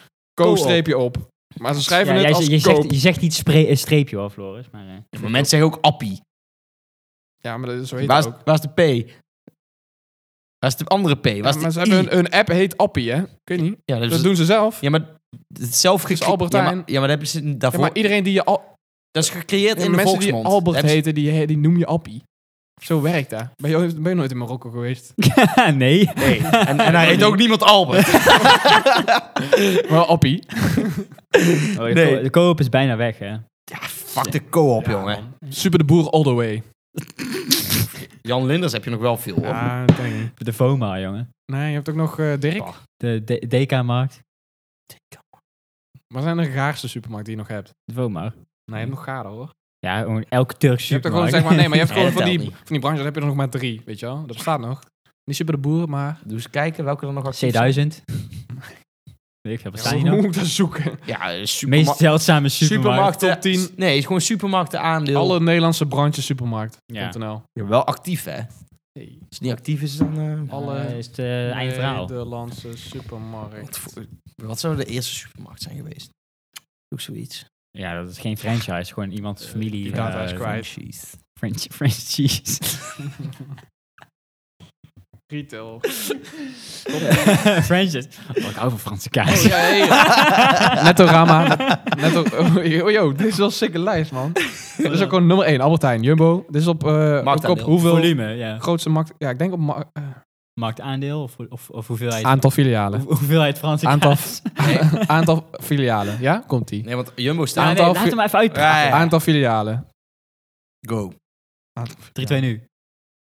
[SPEAKER 1] ko-streepje op. Maar ze schrijven
[SPEAKER 3] Ja,
[SPEAKER 1] het
[SPEAKER 3] jij-
[SPEAKER 1] als
[SPEAKER 3] je,
[SPEAKER 1] koop.
[SPEAKER 3] zegt, je zegt niet spre- eh, streepje hoor, Floris. Maar, eh.
[SPEAKER 2] Ja, maar mensen zeggen ook appie.
[SPEAKER 1] Ja, maar dat is zo heet
[SPEAKER 2] Waar is,
[SPEAKER 1] het ook.
[SPEAKER 2] waar is de P? Waar is de andere P? Waar is
[SPEAKER 1] Ja,
[SPEAKER 2] de
[SPEAKER 1] maar ze
[SPEAKER 2] I?
[SPEAKER 1] hebben een, een app heet Appie, hè? Ik weet niet.
[SPEAKER 2] Ja,
[SPEAKER 1] Dat
[SPEAKER 2] dus-
[SPEAKER 1] doen ze zelf.
[SPEAKER 2] ja,
[SPEAKER 1] Ja,
[SPEAKER 2] maar het is zelf
[SPEAKER 1] is
[SPEAKER 2] gecreëerd.
[SPEAKER 1] Albertijn.
[SPEAKER 2] Ja, maar, ja, maar dat hebben ze daarvoor.
[SPEAKER 1] maar iedereen die je... Al,
[SPEAKER 2] dat is gecreëerd in de
[SPEAKER 1] mensen die
[SPEAKER 2] volksmond.
[SPEAKER 1] Albert
[SPEAKER 2] Dat hebben ze-
[SPEAKER 1] heten, die, he- die noem je Appie. Zo werkt dat. Ben je, ben je nooit in Marokko geweest?
[SPEAKER 3] nee. Oh,
[SPEAKER 2] En, en hij heet ook niemand Albert.
[SPEAKER 1] Wel Appie.
[SPEAKER 3] Oh, de,
[SPEAKER 2] Nee.
[SPEAKER 3] ko- de koop is bijna weg, hè?
[SPEAKER 2] ja, fuck de co-op, jongen.
[SPEAKER 1] Super de boer all the way.
[SPEAKER 2] Jan Linders heb je nog wel veel, hoor.
[SPEAKER 1] Ja, dat denk ik niet.
[SPEAKER 3] De FOMA, jongen.
[SPEAKER 1] Nee, je hebt ook nog eh, Dirk.
[SPEAKER 2] Bah.
[SPEAKER 3] De, de DK-markt.
[SPEAKER 1] Wat zijn de gaarste supermarkt die je nog hebt?
[SPEAKER 3] De FOMA.
[SPEAKER 1] Nee, je hebt nog garen, hoor.
[SPEAKER 3] Ja, gewoon elke Turkse
[SPEAKER 1] Je hebt er
[SPEAKER 3] supermarkt.
[SPEAKER 1] gewoon, zeg maar, nee, maar je hebt
[SPEAKER 2] Nee,
[SPEAKER 1] gewoon
[SPEAKER 2] dat
[SPEAKER 1] van die,
[SPEAKER 2] telt
[SPEAKER 1] van die branches heb je er nog maar drie, weet je wel? Dat bestaat nog. Niet super de boer, maar...
[SPEAKER 2] Dus kijken welke er nog
[SPEAKER 3] Eh,
[SPEAKER 2] actief zijn.
[SPEAKER 3] C1000. Weet ik veel, wat staan
[SPEAKER 1] Hoe
[SPEAKER 3] hier nog?
[SPEAKER 1] moet ik dat zoeken?
[SPEAKER 2] Ja, eh,
[SPEAKER 3] Meest
[SPEAKER 2] supermarkt.
[SPEAKER 3] zeldzame supermarkt.
[SPEAKER 2] Supermarkten.
[SPEAKER 1] Top 10.
[SPEAKER 2] Nee, het is gewoon supermarkten aandeel.
[SPEAKER 1] Alle Nederlandse brandjes supermarkt.nl.
[SPEAKER 2] Ja, wel actief, hè? Als
[SPEAKER 1] Nee.
[SPEAKER 2] het niet actief is, dan... eh,
[SPEAKER 1] Alle
[SPEAKER 3] Eh, is het eh, eindverhaal.
[SPEAKER 1] Nederlandse supermarkt.
[SPEAKER 2] Wat, voor- wat zou de eerste supermarkt zijn geweest? Ook zoiets.
[SPEAKER 3] Ja, dat is geen franchise. Gewoon iemands familie.
[SPEAKER 1] die data is
[SPEAKER 3] eh,
[SPEAKER 1] kwijt.
[SPEAKER 2] Cheese.
[SPEAKER 3] French, French cheese.
[SPEAKER 1] Retail.
[SPEAKER 3] Franchise. Oh, ik hou van Franse kaas.
[SPEAKER 1] Oh, ja, hey. Nettorama. Netto, oh, yo, yo, dit is wel een sikke lijst, man. Dit is ook gewoon nummer 1, Albertijn, Jumbo. Dit is op, eh ook op
[SPEAKER 2] Marktaandeel.
[SPEAKER 1] hoeveel
[SPEAKER 3] Volume, ja.
[SPEAKER 1] grootste markt... Ja, ik denk op ma- eh,
[SPEAKER 3] Marktaandeel of, of, of hoeveelheid,
[SPEAKER 1] aantal filialen.
[SPEAKER 3] hoe- hoeveelheid Franse
[SPEAKER 1] Aantal-
[SPEAKER 3] kaas.
[SPEAKER 1] aantal filialen. Ja, komt-ie.
[SPEAKER 2] Nee, want Jumbo
[SPEAKER 3] Ja,
[SPEAKER 2] staat...
[SPEAKER 3] nee,
[SPEAKER 1] aantal
[SPEAKER 3] laat
[SPEAKER 1] fi-
[SPEAKER 3] hem even uit.
[SPEAKER 2] Ja, ja.
[SPEAKER 1] Aantal filialen.
[SPEAKER 2] Go.
[SPEAKER 1] Aantal
[SPEAKER 3] 3-2 nu.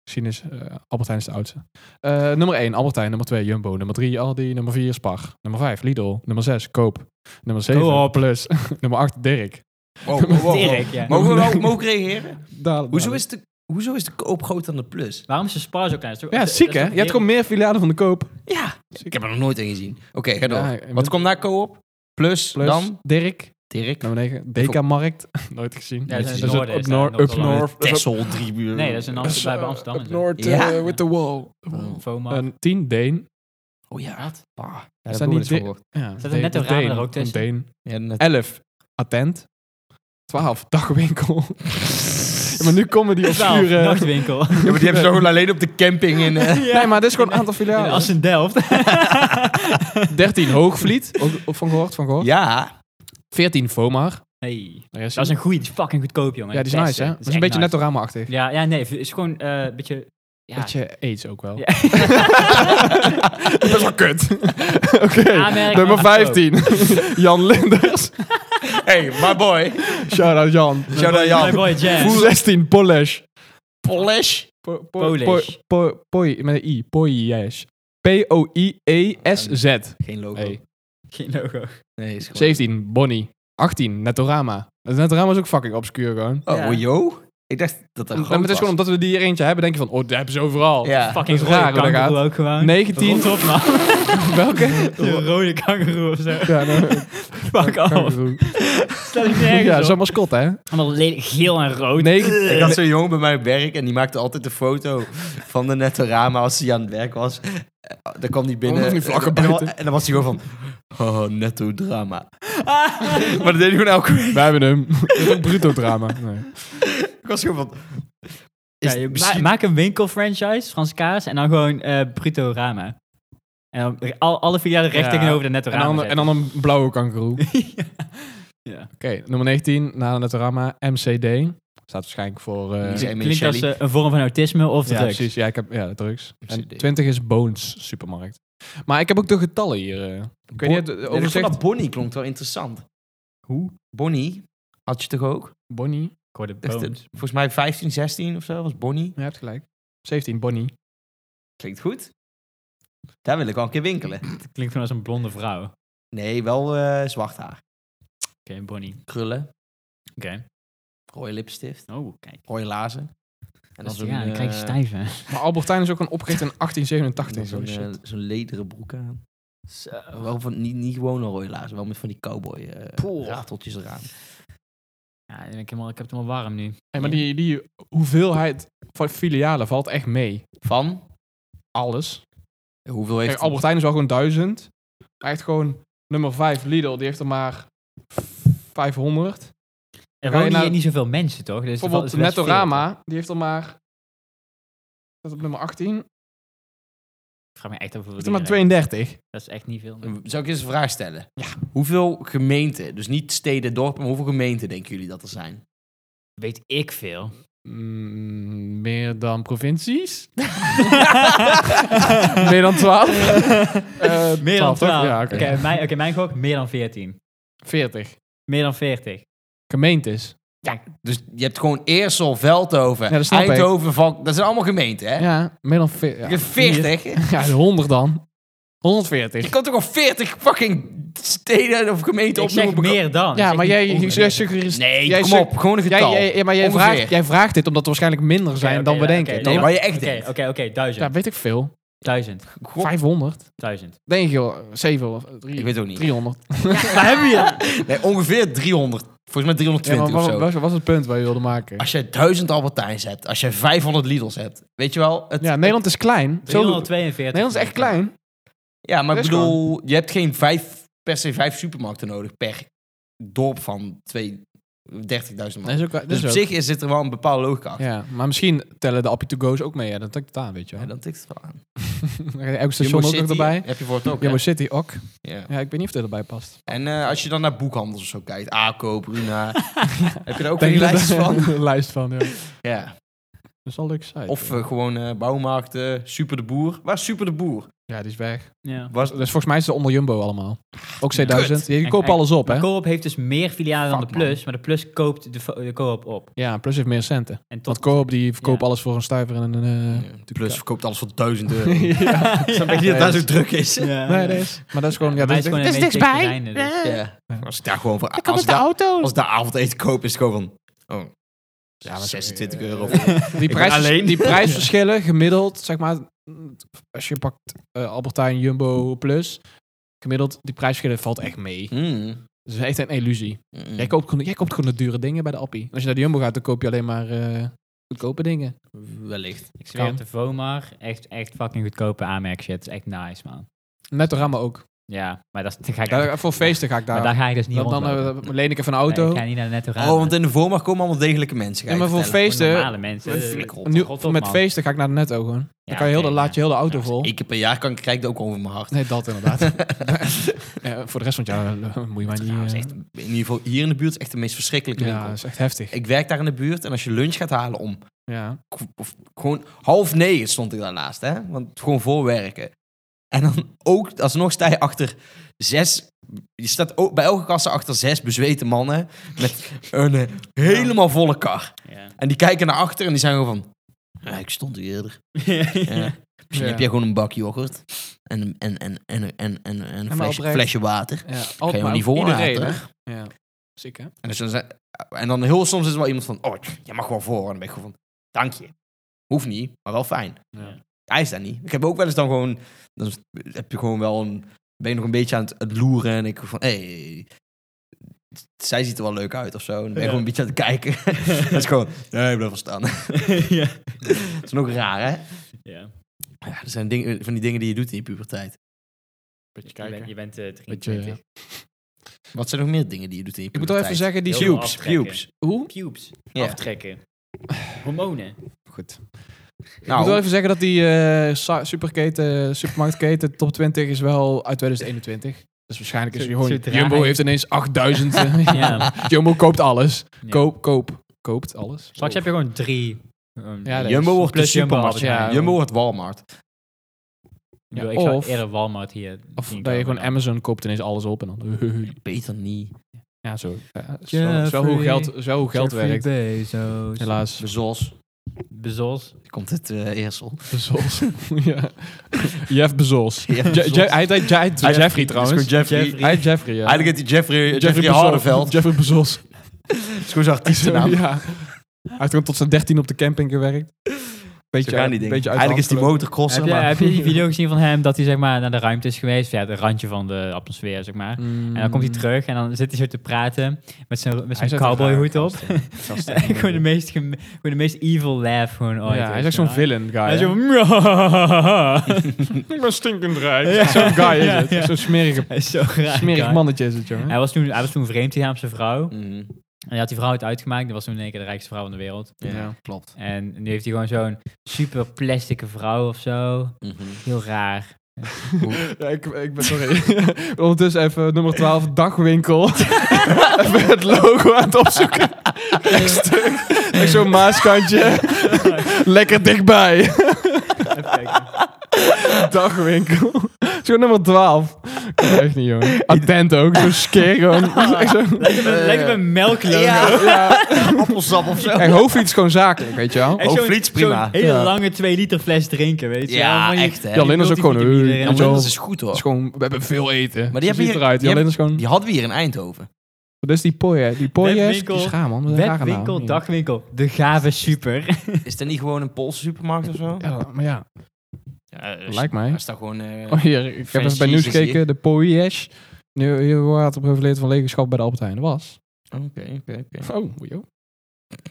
[SPEAKER 1] Misschien is eh, Albertijn is de oudste. Eh, nummer 1, Albertijn. Nummer 2, Jumbo. Nummer 3, Aldi. Nummer 4, Spar. Nummer 5, Lidl. Nummer 6, Koop. Nummer 7,
[SPEAKER 3] Coop.
[SPEAKER 1] Plus. nummer 8, Dirk.
[SPEAKER 2] Wow, wow, wow, wow.
[SPEAKER 3] Dirk, ja.
[SPEAKER 2] Mogen we wel mogen we reageren?
[SPEAKER 1] Daar-
[SPEAKER 2] Hoezo
[SPEAKER 1] daar-
[SPEAKER 2] is, de, hoezo is de koop groter dan de plus?
[SPEAKER 3] Waarom is de spar zo klein?
[SPEAKER 1] Ja, ziek hè? Je hebt gewoon meer filialen van de Koop.
[SPEAKER 2] Ja. Ik heb er nog nooit in gezien. Oké, ga door.
[SPEAKER 1] Ja, ik
[SPEAKER 2] wat
[SPEAKER 1] ben-
[SPEAKER 2] komt na koop? Plus,
[SPEAKER 1] Plus,
[SPEAKER 2] dan?
[SPEAKER 1] Dirk.
[SPEAKER 2] Dirk.
[SPEAKER 1] Nummer 9, DK-markt. Nooit gezien.
[SPEAKER 3] Ja, dat
[SPEAKER 1] Dus
[SPEAKER 3] is in het noorden,
[SPEAKER 1] up
[SPEAKER 3] is dat,
[SPEAKER 1] north. Up
[SPEAKER 3] Noord-Holland.
[SPEAKER 1] north.
[SPEAKER 2] Tessel, drie uur.
[SPEAKER 3] Nee, dat is een
[SPEAKER 1] Dat is,
[SPEAKER 3] Amsterdam, bij
[SPEAKER 1] eh,
[SPEAKER 3] Amsterdam.
[SPEAKER 1] Up
[SPEAKER 3] is het.
[SPEAKER 1] north
[SPEAKER 2] Ja.
[SPEAKER 1] eh, with the wall.
[SPEAKER 2] Oh.
[SPEAKER 3] FOMA.
[SPEAKER 1] Een 10, Deen.
[SPEAKER 2] Oh ja.
[SPEAKER 3] Wat?
[SPEAKER 2] Ah,
[SPEAKER 1] Is
[SPEAKER 2] ja,
[SPEAKER 1] dat
[SPEAKER 2] dat
[SPEAKER 1] niet
[SPEAKER 2] niet
[SPEAKER 1] Dirk?
[SPEAKER 2] gehoord.
[SPEAKER 1] Ja,
[SPEAKER 3] Zet een
[SPEAKER 1] Deen-
[SPEAKER 3] netto
[SPEAKER 1] of
[SPEAKER 3] ramen
[SPEAKER 1] Deen,
[SPEAKER 3] er ook
[SPEAKER 1] of
[SPEAKER 3] tussen?
[SPEAKER 1] Deen.
[SPEAKER 2] Ja, net.
[SPEAKER 1] 11, Attent. 12, Dagwinkel. Ja, maar nu komen die op
[SPEAKER 3] Twaalf,
[SPEAKER 1] vuur.
[SPEAKER 3] Nachtwinkel.
[SPEAKER 2] Ja, maar die hebben ze gewoon alleen op de camping in... eh,
[SPEAKER 1] Nee, maar dit is gewoon een aantal
[SPEAKER 3] Ja,
[SPEAKER 1] filialen.
[SPEAKER 3] als in Delft.
[SPEAKER 1] 13 Hoogvliet, ook, ook van gehoord, van gehoord.
[SPEAKER 2] ja.
[SPEAKER 1] 14 Vomar.
[SPEAKER 3] Hey.
[SPEAKER 1] Nou ja, zie
[SPEAKER 3] Dat is
[SPEAKER 1] je?
[SPEAKER 3] een goeie, die is fucking goedkoop, jongen.
[SPEAKER 1] ja, die is nice,
[SPEAKER 3] beste.
[SPEAKER 1] hè?
[SPEAKER 3] Dat
[SPEAKER 1] Dat is een beetje
[SPEAKER 3] echt nice.
[SPEAKER 1] Netorama-achtig.
[SPEAKER 3] Ja, ja, nee, het is gewoon eh, een beetje... Ja.
[SPEAKER 1] Beetje aids ook wel.
[SPEAKER 3] Ja.
[SPEAKER 1] Dat is wel kut. Oké,
[SPEAKER 3] Aanmerking
[SPEAKER 1] nummer
[SPEAKER 3] van de
[SPEAKER 1] 15. Jan Linders.
[SPEAKER 2] Hey, my boy.
[SPEAKER 1] Shout-out Jan.
[SPEAKER 2] Shout out
[SPEAKER 3] My
[SPEAKER 2] Jan.
[SPEAKER 3] boy Jazz.
[SPEAKER 1] 16, Polish.
[SPEAKER 2] Polish.
[SPEAKER 1] Po- po-
[SPEAKER 3] Polish.
[SPEAKER 1] po- po- Poi, met een i. Poiesh. E P-O-I-E-S-Z.
[SPEAKER 2] Geen logo.
[SPEAKER 1] Hey.
[SPEAKER 3] Geen logo.
[SPEAKER 2] Nee, is gewoon...
[SPEAKER 1] 17, Bonnie. 18, Netorama. Het Netorama is ook fucking obscuur gewoon.
[SPEAKER 2] Oh,
[SPEAKER 3] Ja.
[SPEAKER 2] yo. Ik dacht dat dat
[SPEAKER 1] Maar
[SPEAKER 2] groot
[SPEAKER 1] het is
[SPEAKER 2] was.
[SPEAKER 1] gewoon omdat we die hier eentje hebben, denk je van, oh, dat hebben ze overal.
[SPEAKER 2] Ja.
[SPEAKER 3] Fucking
[SPEAKER 1] dat is
[SPEAKER 3] rode
[SPEAKER 1] raar hoe dat
[SPEAKER 3] kangoeroe
[SPEAKER 1] gaat.
[SPEAKER 3] ook gewoon.
[SPEAKER 1] 19,
[SPEAKER 3] Rot op, man.
[SPEAKER 1] welke?
[SPEAKER 3] De rode kangoeroe of zo.
[SPEAKER 1] Ja, nou,
[SPEAKER 3] Fuck off.
[SPEAKER 1] kangaroo.
[SPEAKER 3] Stel je nergens
[SPEAKER 1] ja,
[SPEAKER 3] op.
[SPEAKER 1] zo'n mascot, hè?
[SPEAKER 3] Allemaal lelijk geel en rood.
[SPEAKER 1] Negen-
[SPEAKER 2] Ik had zo'n jongen bij mij op werk en die maakte altijd een foto van de Netorama als hij aan het werk was. Eh, Dan kwam hij binnen.
[SPEAKER 1] Oh, die
[SPEAKER 2] en,
[SPEAKER 1] vlakken
[SPEAKER 2] dan- en dan-
[SPEAKER 1] buiten.
[SPEAKER 2] en dan was hij gewoon van. Oh, netto drama. maar dat deed hij gewoon elke week.
[SPEAKER 1] Wij hebben hem. Dat is ook bruto drama. Nee.
[SPEAKER 2] Ik was gewoon van.
[SPEAKER 3] Ja,
[SPEAKER 2] Is
[SPEAKER 3] je ma-
[SPEAKER 2] misschien-
[SPEAKER 3] Maak een winkelfranchise, Frans Kaas, en dan gewoon eh Bruto Rama. En dan re- al, alle filialen recht
[SPEAKER 1] Ja.
[SPEAKER 3] tegenover de netto
[SPEAKER 1] En,
[SPEAKER 3] Rama.
[SPEAKER 1] dan, en dan een blauwe kangeroe. Oké,
[SPEAKER 3] ja.
[SPEAKER 1] nummer 19, na Netorama, MCD. Staat waarschijnlijk voor... eh,
[SPEAKER 2] Die zijn met
[SPEAKER 3] Klinkt als
[SPEAKER 2] Shelley.
[SPEAKER 3] eh, een vorm van autisme of de
[SPEAKER 1] ja,
[SPEAKER 3] drugs.
[SPEAKER 1] precies. Ja, ik heb, ja, de drugs. En
[SPEAKER 2] MCD.
[SPEAKER 1] 20 is Bones Supermarkt. Maar ik heb ook de getallen hier. eh. Ik weet niet, het
[SPEAKER 2] Nee, ik vond
[SPEAKER 1] overzicht.
[SPEAKER 2] dat Bonnie klonk wel interessant.
[SPEAKER 1] Hoe?
[SPEAKER 2] Bonnie had je toch ook?
[SPEAKER 1] Bonnie.
[SPEAKER 3] Ik hoorde
[SPEAKER 2] Echt, eh,
[SPEAKER 3] bones.
[SPEAKER 2] volgens mij 15, 16 of zo was Bonnie.
[SPEAKER 1] Je hebt gelijk. 17, Bonnie.
[SPEAKER 2] Klinkt goed. Daar wil ik wel een keer winkelen.
[SPEAKER 3] Het klinkt gewoon als een blonde vrouw. Oké,
[SPEAKER 2] Nee, wel eh, zwart haar.
[SPEAKER 3] Bonnie.
[SPEAKER 2] Krullen,
[SPEAKER 3] Oké.
[SPEAKER 2] rode lipstift,
[SPEAKER 3] Oh, kijk.
[SPEAKER 2] rode lazen. En dan zo'n,
[SPEAKER 3] Dus ja, dan
[SPEAKER 2] eh,
[SPEAKER 3] krijg je stijf, hè.
[SPEAKER 1] Maar Albertijn is ook een opgericht in
[SPEAKER 2] En
[SPEAKER 1] 1887.
[SPEAKER 2] dan zo'n
[SPEAKER 1] Zo shit.
[SPEAKER 2] eh, zo'n lederen broek aan.
[SPEAKER 1] eh,
[SPEAKER 2] Wel van, niet, niet gewoon een rode laarzen, wel met van die cowboy eh,
[SPEAKER 3] Poeh.
[SPEAKER 2] rateltjes eraan.
[SPEAKER 3] Ja, ik, heb helemaal, ik heb het helemaal warm nu.
[SPEAKER 1] Hey, maar die, die hoeveelheid van filialen valt echt mee.
[SPEAKER 2] Van?
[SPEAKER 1] Alles.
[SPEAKER 2] Hoeveel heeft
[SPEAKER 1] Kijk, Albertijn is wel gewoon 1000. Maar echt gewoon nummer 5 Lidl, die heeft er maar 500.
[SPEAKER 3] Er
[SPEAKER 1] Ga je
[SPEAKER 3] wonen
[SPEAKER 1] nou-
[SPEAKER 3] hier niet zoveel mensen, toch? Dus er valt-
[SPEAKER 1] Bijvoorbeeld
[SPEAKER 3] is best veel,
[SPEAKER 1] Netorama, die heeft er maar. Dat op nummer 18. Die
[SPEAKER 3] toch? Ik vraag me echt af hoeveel
[SPEAKER 1] heeft er maar
[SPEAKER 3] die er-
[SPEAKER 1] 32.
[SPEAKER 3] Dat is echt niet veel.
[SPEAKER 2] Zou ik eens een vraag stellen? Hoeveel gemeenten, dus niet steden, dorpen, maar hoeveel gemeenten denken jullie dat er zijn?
[SPEAKER 3] Weet ik veel.
[SPEAKER 1] Mm, meer dan provincies? meer dan 12? Eh,
[SPEAKER 3] Meer dan
[SPEAKER 1] 12, toch?
[SPEAKER 3] 12.
[SPEAKER 1] Ja, oké.
[SPEAKER 3] Oké, mijn, oké, mijn gok, meer dan 14.
[SPEAKER 1] 40.
[SPEAKER 3] Meer dan 40.
[SPEAKER 1] Gemeentes.
[SPEAKER 2] Dus je hebt gewoon Eersel, Veldhoven,
[SPEAKER 1] Ja, dat snap ik.
[SPEAKER 2] Eindhoven, Valk... Dat zijn allemaal gemeenten, hè?
[SPEAKER 1] Ja, meer dan 40.
[SPEAKER 2] Je hebt 40.
[SPEAKER 1] Ja, de 100 dan.
[SPEAKER 2] Je
[SPEAKER 1] 140.
[SPEAKER 2] kan toch al 40 fucking steden of gemeenten
[SPEAKER 3] Ik zeg
[SPEAKER 2] opnoemen?
[SPEAKER 3] meer dan.
[SPEAKER 1] Ja,
[SPEAKER 3] Ik
[SPEAKER 1] maar
[SPEAKER 3] zeg
[SPEAKER 1] jij,
[SPEAKER 3] niet
[SPEAKER 1] jij,
[SPEAKER 3] ongeveer.
[SPEAKER 1] jij suggereert...
[SPEAKER 2] Nee,
[SPEAKER 1] jij
[SPEAKER 2] kom
[SPEAKER 1] sug-
[SPEAKER 2] op. Gewoon een
[SPEAKER 1] Jij,
[SPEAKER 2] getal.
[SPEAKER 1] jij- ja, maar jij
[SPEAKER 2] Ongeveer.
[SPEAKER 1] vraagt, jij vraagt dit omdat er waarschijnlijk minder zijn
[SPEAKER 3] Oké,
[SPEAKER 1] dan
[SPEAKER 3] oké,
[SPEAKER 1] we
[SPEAKER 3] ja,
[SPEAKER 1] denken.
[SPEAKER 3] oké,
[SPEAKER 1] Dan-
[SPEAKER 2] Nee, waar je echt
[SPEAKER 3] Oké,
[SPEAKER 2] denkt.
[SPEAKER 3] Oké, oké,
[SPEAKER 1] ja,
[SPEAKER 3] duizend.
[SPEAKER 1] weet ik veel.
[SPEAKER 3] Duizend.
[SPEAKER 2] God,
[SPEAKER 1] 500.
[SPEAKER 3] Duizend.
[SPEAKER 1] Denk je, joh, 7 of
[SPEAKER 2] Ik
[SPEAKER 1] 3,
[SPEAKER 2] weet het ook niet.
[SPEAKER 1] 300.
[SPEAKER 3] Waar hebben je
[SPEAKER 2] Nee, ongeveer 300. Volgens mij
[SPEAKER 1] Ja, maar
[SPEAKER 2] 320
[SPEAKER 1] wat,
[SPEAKER 2] of zo.
[SPEAKER 1] wat- wat was het punt waar je wilde maken?
[SPEAKER 2] Als je 1000 Albertijns hebt, als je 500 Lidl's hebt. Weet je wel? Het,
[SPEAKER 1] Ja, Nederland is klein. Zo,
[SPEAKER 3] 342.
[SPEAKER 1] Nederland is echt klein.
[SPEAKER 2] ja, maar ik
[SPEAKER 1] dat is
[SPEAKER 2] bedoel, je hebt geen vijf, per se vijf supermarkten nodig per dorp van twee- 30.000 man.
[SPEAKER 1] ook, dat
[SPEAKER 2] Dus op zich is, zit er wel een bepaalde logica achter.
[SPEAKER 1] Ja, maar misschien tellen de appie to go's ook mee. Ja, dat tikt het aan, weet je
[SPEAKER 2] Ja,
[SPEAKER 1] wel.
[SPEAKER 2] dan tikt het wel aan.
[SPEAKER 1] Dan ga je elk
[SPEAKER 2] Jumbo
[SPEAKER 1] station ook nog
[SPEAKER 2] City
[SPEAKER 1] erbij.
[SPEAKER 2] Heb je voor het ook, hè?
[SPEAKER 1] Jumbo City ook.
[SPEAKER 2] Ja.
[SPEAKER 1] Ja, ik weet niet of dit erbij past.
[SPEAKER 2] En eh, als je dan naar boekhandels of zo kijkt, Ako, Bruna, heb je daar ook
[SPEAKER 1] Denk
[SPEAKER 2] een
[SPEAKER 1] dat-
[SPEAKER 2] lijst van?
[SPEAKER 1] Een lijst van, ja.
[SPEAKER 2] Ja.
[SPEAKER 1] Dat zal leuk zijn.
[SPEAKER 2] Of eh, gewoon eh, bouwmarkten, Super de Boer. Waar is Super de Boer?
[SPEAKER 1] Ja, die is weg.
[SPEAKER 3] Ja.
[SPEAKER 2] Was,
[SPEAKER 1] Dus volgens mij is het onder Jumbo allemaal. Ook 2000. Je
[SPEAKER 3] Kijk,
[SPEAKER 1] koopt
[SPEAKER 3] kijk,
[SPEAKER 1] alles op, hè?
[SPEAKER 3] Co-op heeft dus meer filialen dan de
[SPEAKER 2] Fuck,
[SPEAKER 3] Plus, maar de Plus koopt de, fo- de co-op op.
[SPEAKER 1] Ja, plus heeft meer centen.
[SPEAKER 3] En tot...
[SPEAKER 1] Want Coop die verkoopt
[SPEAKER 3] Ja.
[SPEAKER 1] alles voor een stuiver en een... eh,
[SPEAKER 2] Ja, plus verkoopt alles voor duizend euro. dus- Snap je
[SPEAKER 3] ja.
[SPEAKER 2] niet dat
[SPEAKER 1] Nee,
[SPEAKER 2] daar zo
[SPEAKER 1] dat
[SPEAKER 2] druk is?
[SPEAKER 1] Nee, dat is... Maar dat is gewoon... Ja, dat is
[SPEAKER 3] gewoon
[SPEAKER 1] dat
[SPEAKER 3] een
[SPEAKER 1] is
[SPEAKER 3] beetje
[SPEAKER 1] dichtbij.
[SPEAKER 3] kleine, dus.
[SPEAKER 1] Ja.
[SPEAKER 2] Ja. Als ik daar gewoon voor
[SPEAKER 1] Ik kan
[SPEAKER 2] als
[SPEAKER 1] met
[SPEAKER 2] ik
[SPEAKER 1] de
[SPEAKER 2] daar,
[SPEAKER 1] auto.
[SPEAKER 2] als ik daar avondeten koop, is het gewoon van oh,
[SPEAKER 1] Ja, maar
[SPEAKER 2] 26
[SPEAKER 1] sorry,
[SPEAKER 2] euro.
[SPEAKER 1] Die, prijs,
[SPEAKER 2] alleen.
[SPEAKER 1] die prijsverschillen gemiddeld, zeg maar, mm, als je pakt eh Albertijn, Jumbo Plus, gemiddeld, die prijsverschillen valt echt mee.
[SPEAKER 2] Mm.
[SPEAKER 1] Dat is echt een illusie.
[SPEAKER 3] Hmm.
[SPEAKER 2] Mm.
[SPEAKER 1] Jij, koopt gewoon, jij koopt gewoon de dure dingen bij de appie. En als je naar de Jumbo gaat, dan koop je alleen maar eh, goedkope dingen.
[SPEAKER 2] Wellicht.
[SPEAKER 3] Ik zweer
[SPEAKER 1] Kan.
[SPEAKER 3] op de Vomar, echt, echt fucking goedkope aanmerk shit. Is echt nice, man.
[SPEAKER 1] Netorama ook.
[SPEAKER 3] Ja, maar dat is- dan ga ik...
[SPEAKER 1] Daar- voor feesten ga ik daar.
[SPEAKER 3] maar daar ga ik dus niet
[SPEAKER 1] dan dan,
[SPEAKER 3] rondlopen.
[SPEAKER 1] eh, dan leen ik even een
[SPEAKER 3] Nee,
[SPEAKER 1] auto.
[SPEAKER 3] ik ga niet naar de netto gaan.
[SPEAKER 2] Oh, want in de voormacht komen allemaal degelijke mensen. ga
[SPEAKER 1] Ja,
[SPEAKER 2] je
[SPEAKER 1] maar voor
[SPEAKER 2] vertellen.
[SPEAKER 1] feesten.
[SPEAKER 3] normale mensen.
[SPEAKER 2] Een flikker op.
[SPEAKER 1] Nu,
[SPEAKER 3] God op,
[SPEAKER 1] met
[SPEAKER 3] man.
[SPEAKER 1] feesten ga ik naar de netto gewoon. Dan
[SPEAKER 3] Ja,
[SPEAKER 1] kan je heel
[SPEAKER 3] oké,
[SPEAKER 1] de, laat je
[SPEAKER 3] ja. dus
[SPEAKER 1] heel de auto
[SPEAKER 3] Ja,
[SPEAKER 1] vol.
[SPEAKER 2] Eén keer per jaar kan, krijg ik het ook over mijn hart.
[SPEAKER 1] Nee, dat inderdaad. Ja, voor de rest van het jaar eh, moet je mij
[SPEAKER 2] Nou,
[SPEAKER 1] niet...
[SPEAKER 2] is
[SPEAKER 1] eh,
[SPEAKER 2] echt, in ieder geval hier in de buurt is echt de meest verschrikkelijke
[SPEAKER 1] ja,
[SPEAKER 2] winkel.
[SPEAKER 1] dat is echt heftig.
[SPEAKER 2] Ik werk daar in de buurt en als je lunch gaat halen om
[SPEAKER 1] Ja.
[SPEAKER 2] of, of gewoon half negen stond ik daarnaast, hè? Want gewoon voor werken. En dan ook, alsnog sta je achter zes. Je staat ook bij elke kassa achter zes bezweten mannen. Met een eh, helemaal volle kar.
[SPEAKER 3] Ja.
[SPEAKER 2] En die kijken naar achter en die zijn gewoon van. "Ja, ik stond hier eerder. Ja. Misschien
[SPEAKER 1] Ja.
[SPEAKER 2] heb jij gewoon een bak yoghurt. En, en, en, en, en, en een
[SPEAKER 1] maar
[SPEAKER 2] flesje,
[SPEAKER 1] oprecht.
[SPEAKER 2] flesje water.
[SPEAKER 1] Ja,
[SPEAKER 2] Ga je
[SPEAKER 1] altijd
[SPEAKER 2] me
[SPEAKER 1] maar
[SPEAKER 2] niet
[SPEAKER 1] op
[SPEAKER 2] voorlaten.
[SPEAKER 1] iedereen,
[SPEAKER 2] hè?
[SPEAKER 1] hè? Ja. Ziek, hè?
[SPEAKER 2] En, dus dan zijn- en dan heel soms is er wel iemand van. Oh, je mag wel voor. En dan ben ik gewoon van. Dank je. Hoeft niet, maar wel fijn.
[SPEAKER 1] Ja.
[SPEAKER 2] hij is daar niet. Ik heb ook wel eens dan gewoon, dan heb je gewoon wel een, ben je nog een beetje aan het, het loeren en ik van, hé, hey, zij ziet er wel leuk uit of zo. En dan ben je
[SPEAKER 3] Ja.
[SPEAKER 2] gewoon een beetje aan het kijken. dat is gewoon, nee, blijf wel staan.
[SPEAKER 3] ja.
[SPEAKER 2] dat is nog raar, hè?
[SPEAKER 3] ja.
[SPEAKER 2] Ja, dat zijn dingen, van die dingen die je doet in je puberteit.
[SPEAKER 1] Beetje
[SPEAKER 3] Je bent, je bent eh, 23.
[SPEAKER 1] Beetje,
[SPEAKER 2] Wat zijn nog meer dingen die je doet in je
[SPEAKER 1] Ik moet
[SPEAKER 2] puberteit?
[SPEAKER 1] wel even zeggen, die
[SPEAKER 3] Heel
[SPEAKER 1] Sjoep.
[SPEAKER 3] veel
[SPEAKER 2] Pubes, pubes.
[SPEAKER 3] aftrekken.
[SPEAKER 1] Hoe?
[SPEAKER 3] Pubes.
[SPEAKER 2] Ja.
[SPEAKER 3] Aftrekken. Hormonen.
[SPEAKER 1] Goed. Ik moet wel
[SPEAKER 2] Nou,
[SPEAKER 1] even zeggen dat die eh, sa- superketen, supermarktketen top 20 is wel uit 2021. Dus waarschijnlijk is
[SPEAKER 3] Zo-
[SPEAKER 1] je gewoon...
[SPEAKER 3] zodra
[SPEAKER 1] Jumbo
[SPEAKER 3] hij-
[SPEAKER 1] heeft ineens 8000. eh,
[SPEAKER 3] Ja.
[SPEAKER 1] Jumbo koopt alles.
[SPEAKER 3] Ja.
[SPEAKER 1] Koop, koop. Koopt alles.
[SPEAKER 3] Straks heb je gewoon drie. Um,
[SPEAKER 1] Ja, dat
[SPEAKER 2] Jumbo wordt de
[SPEAKER 3] Plus Jumbo
[SPEAKER 2] supermarkt.
[SPEAKER 1] Albert Heijn.
[SPEAKER 2] Jumbo wordt Walmart.
[SPEAKER 3] Ik bedoel,
[SPEAKER 1] Ja,
[SPEAKER 3] ik zou
[SPEAKER 1] of-
[SPEAKER 3] eerder Walmart hier
[SPEAKER 1] Of
[SPEAKER 3] zien
[SPEAKER 1] dat je
[SPEAKER 3] komen
[SPEAKER 1] gewoon Amazon koopt ineens alles op en dan...
[SPEAKER 2] Beter niet.
[SPEAKER 1] Ja, zo. Ja, is wel- is wel hoe
[SPEAKER 3] Jeffrey-
[SPEAKER 1] geld, is wel hoe geld
[SPEAKER 3] Jeffrey
[SPEAKER 1] werkt.
[SPEAKER 3] Bezos.
[SPEAKER 1] Helaas.
[SPEAKER 2] Bezos.
[SPEAKER 3] Bezos.
[SPEAKER 2] Komt het eh eerst op.
[SPEAKER 1] Bezos. ja. Jeff Bezos.
[SPEAKER 2] Jeff
[SPEAKER 1] Je-
[SPEAKER 2] Bezos.
[SPEAKER 1] Je- hij heet hij heet
[SPEAKER 2] Hij-
[SPEAKER 1] Jeffrey
[SPEAKER 2] het is gewoon
[SPEAKER 1] trouwens.
[SPEAKER 2] Jeffrey.
[SPEAKER 1] Hij heet Jeffrey, ja.
[SPEAKER 2] Eigenlijk heet hij Jeffrey, Jeffrey,
[SPEAKER 1] Bezos.
[SPEAKER 2] Hardeveld.
[SPEAKER 1] Jeffrey Bezos.
[SPEAKER 2] Dat is gewoon zijn artiestennaam.
[SPEAKER 1] ja. Hij heeft gewoon tot zijn 13 op de camping gewerkt. Beetje,
[SPEAKER 2] Zo gaan die
[SPEAKER 1] uit-
[SPEAKER 2] dingen.
[SPEAKER 1] beetje uit de
[SPEAKER 2] Eigenlijk is
[SPEAKER 1] hand
[SPEAKER 2] die
[SPEAKER 1] gelopen.
[SPEAKER 2] motocrosser,
[SPEAKER 3] Heb je,
[SPEAKER 2] maar...
[SPEAKER 3] heb je die video gezien van hem dat hij zeg maar naar de ruimte is geweest? Ja, het randje van de atmosfeer, zeg maar.
[SPEAKER 1] Mm.
[SPEAKER 3] En dan komt hij terug en dan zit hij zo te praten met zijn, met
[SPEAKER 1] Hij
[SPEAKER 3] zijn
[SPEAKER 1] is echt een
[SPEAKER 3] cowboyhoed
[SPEAKER 1] rare
[SPEAKER 3] op.
[SPEAKER 1] gast, hè. Gast, hè.
[SPEAKER 3] gewoon, de meest geme- gewoon de meest evil laugh gewoon ooit.
[SPEAKER 1] ja, hij is echt
[SPEAKER 3] weet je
[SPEAKER 1] zo'n
[SPEAKER 3] wel.
[SPEAKER 1] villain guy.
[SPEAKER 3] Hij is
[SPEAKER 1] hè.
[SPEAKER 3] zo...
[SPEAKER 1] Ik ben stinkend rijk.
[SPEAKER 3] Ja.
[SPEAKER 1] Zo'n guy is
[SPEAKER 3] Ja,
[SPEAKER 1] het.
[SPEAKER 3] ja.
[SPEAKER 1] Zo'n smerige,
[SPEAKER 3] Hij is zo raar.
[SPEAKER 1] smerig
[SPEAKER 3] guy.
[SPEAKER 1] mannetje is het, jongen.
[SPEAKER 3] Hij was, toen, hij was toen vreemd gegaan op zijn vrouw.
[SPEAKER 2] Mhm.
[SPEAKER 3] En hij had die vrouw het uitgemaakt. Dat was toen in één keer de rijkste vrouw van de wereld.
[SPEAKER 2] Ja,
[SPEAKER 1] Ja.
[SPEAKER 2] klopt.
[SPEAKER 3] En nu heeft hij gewoon zo'n super plastic vrouw of zo.
[SPEAKER 2] Mhm.
[SPEAKER 3] Heel raar.
[SPEAKER 1] Ja, ik, ik ben sorry. Ik ben Ondertussen even nummer 12, dagwinkel. even het logo aan het opzoeken. Rechtstuk. Echt Zo'n maaskantje. Lekker dichtbij.
[SPEAKER 3] Even kijken.
[SPEAKER 1] Dagwinkel. Zo nummer 12. Kan echt niet, jongen. Attent ook. Zo'n skeer gewoon. Echt zo.
[SPEAKER 3] Lijkt op een, lijkt op een melklogo.
[SPEAKER 1] Ja.
[SPEAKER 2] appelsap of zo.
[SPEAKER 1] Kijk, hoofdfiets is gewoon zakelijk, weet je wel.
[SPEAKER 3] Echt zo'n-
[SPEAKER 2] Hoofdvliet is prima.
[SPEAKER 3] zo'n hele
[SPEAKER 1] Ja.
[SPEAKER 3] lange 2 liter fles drinken, weet je.
[SPEAKER 2] Ja,
[SPEAKER 3] wel. Van die-
[SPEAKER 2] echt, hè.
[SPEAKER 3] die
[SPEAKER 1] Ja, Linders ook gewoon,
[SPEAKER 3] multivitamineeren
[SPEAKER 1] eh,
[SPEAKER 3] en
[SPEAKER 1] Ja,
[SPEAKER 3] zo.
[SPEAKER 1] maar
[SPEAKER 2] dat
[SPEAKER 1] dat
[SPEAKER 2] is
[SPEAKER 1] is
[SPEAKER 2] goed
[SPEAKER 1] Het is
[SPEAKER 2] hoor.
[SPEAKER 1] gewoon, we hebben veel eten.
[SPEAKER 2] Maar die hebben
[SPEAKER 1] Zo ziet het
[SPEAKER 2] hier-
[SPEAKER 1] eruit.
[SPEAKER 2] die hebben-
[SPEAKER 1] Jan Linders gewoon...
[SPEAKER 2] Die hadden we hier in Eindhoven.
[SPEAKER 1] Dat is die pooier. Die pooier is... Die
[SPEAKER 3] Webwinkel.
[SPEAKER 1] is gaar, man. Wat een rare naam.
[SPEAKER 3] Webwinkel, dagwinkel, de gave super.
[SPEAKER 2] Is dat niet gewoon een Poolse supermarkt of zo?
[SPEAKER 1] Ja, maar ja.
[SPEAKER 2] Ja, eh,
[SPEAKER 1] Lijkt mij.
[SPEAKER 2] Daar staat gewoon... eh,
[SPEAKER 1] Oh, hier, ik heb even bij
[SPEAKER 2] Franchises
[SPEAKER 1] nieuws
[SPEAKER 2] hier.
[SPEAKER 1] gekeken. De Poiesh. Nu hier wordt op overleden van legerschap bij de Albert Heijn. Dat was.
[SPEAKER 2] Oké, oké, oké.
[SPEAKER 1] Oh, joh.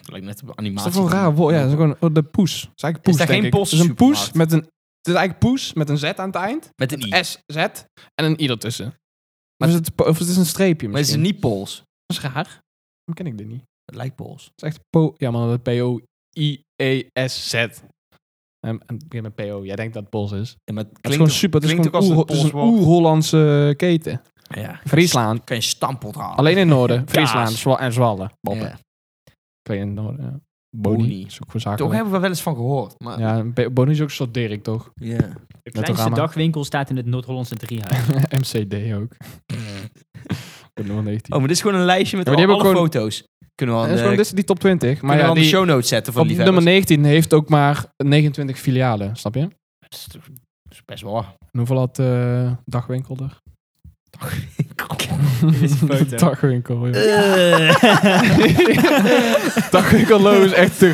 [SPEAKER 2] Lijkt net een
[SPEAKER 1] Is
[SPEAKER 2] animatie.
[SPEAKER 1] dat voor een raar woord? Ja, dat is gewoon oh, de poes. Het is eigenlijk poes,
[SPEAKER 2] Is daar
[SPEAKER 1] denk
[SPEAKER 2] geen
[SPEAKER 1] ik.
[SPEAKER 2] Poolse
[SPEAKER 1] Het is een poes
[SPEAKER 2] supermarkt?
[SPEAKER 1] met een... Het is eigenlijk poes met een Z aan het eind.
[SPEAKER 2] Met een i.
[SPEAKER 1] S, Z en een I ertussen. Maar of, is het, po- of het is een streepje
[SPEAKER 2] Maar het is
[SPEAKER 1] misschien.
[SPEAKER 2] niet Pools.
[SPEAKER 1] Dat is raar. Waarom ken ik dit niet?
[SPEAKER 2] Het lijkt Pools.
[SPEAKER 1] Het is echt po... Ja, man. dat P-O-I-E-S-Z. En en het begint met P-O. Jij denkt dat het Pools is.
[SPEAKER 2] Ja, maar het
[SPEAKER 1] Het
[SPEAKER 2] klinkt
[SPEAKER 1] is gewoon
[SPEAKER 2] ook-
[SPEAKER 1] super. Het is
[SPEAKER 2] klinkt
[SPEAKER 1] gewoon
[SPEAKER 2] ook
[SPEAKER 1] oer-
[SPEAKER 2] als
[SPEAKER 1] het
[SPEAKER 2] een
[SPEAKER 1] is een oer-Hollandse keten.
[SPEAKER 2] Ja.
[SPEAKER 1] Friesland.
[SPEAKER 2] Kan je stampot halen.
[SPEAKER 1] Alleen in het noorden.
[SPEAKER 2] Kaas.
[SPEAKER 1] Friesland Zwa- en Zwolle. Boppen.
[SPEAKER 2] Ja.
[SPEAKER 1] Twee in het noorden, ja.
[SPEAKER 2] Boni.
[SPEAKER 1] Boni. Is ook voor zaken.
[SPEAKER 2] Toch hebben we wel eens van gehoord. Maar...
[SPEAKER 1] Ja, Be- Boni is ook sortering, toch?
[SPEAKER 2] Ja.
[SPEAKER 3] De
[SPEAKER 1] Net
[SPEAKER 3] kleinste
[SPEAKER 1] een raam.
[SPEAKER 3] dagwinkel staat in het Noord-Hollandse Driehuis.
[SPEAKER 1] MCD ook. Voor nummer 19.
[SPEAKER 2] Oh, maar dit is gewoon een lijstje met
[SPEAKER 1] Ja, maar
[SPEAKER 2] alle
[SPEAKER 1] die hebben ook
[SPEAKER 2] foto's. Kunnen we
[SPEAKER 1] Dat
[SPEAKER 2] aan
[SPEAKER 1] is
[SPEAKER 2] de,
[SPEAKER 1] gewoon, dit is die top 20. Maar
[SPEAKER 2] kunnen we
[SPEAKER 1] ja,
[SPEAKER 2] aan de
[SPEAKER 1] die,
[SPEAKER 2] show notes zetten van
[SPEAKER 1] op
[SPEAKER 2] die
[SPEAKER 1] nummer 19 heeft ook maar 29 filialen, snap je? En
[SPEAKER 2] Dat is best wel waar.
[SPEAKER 1] hoeveel had eh, Dagwinkel er?
[SPEAKER 3] is een foto.
[SPEAKER 1] Dagwinkel, ja. Dagwinkel logo is echt te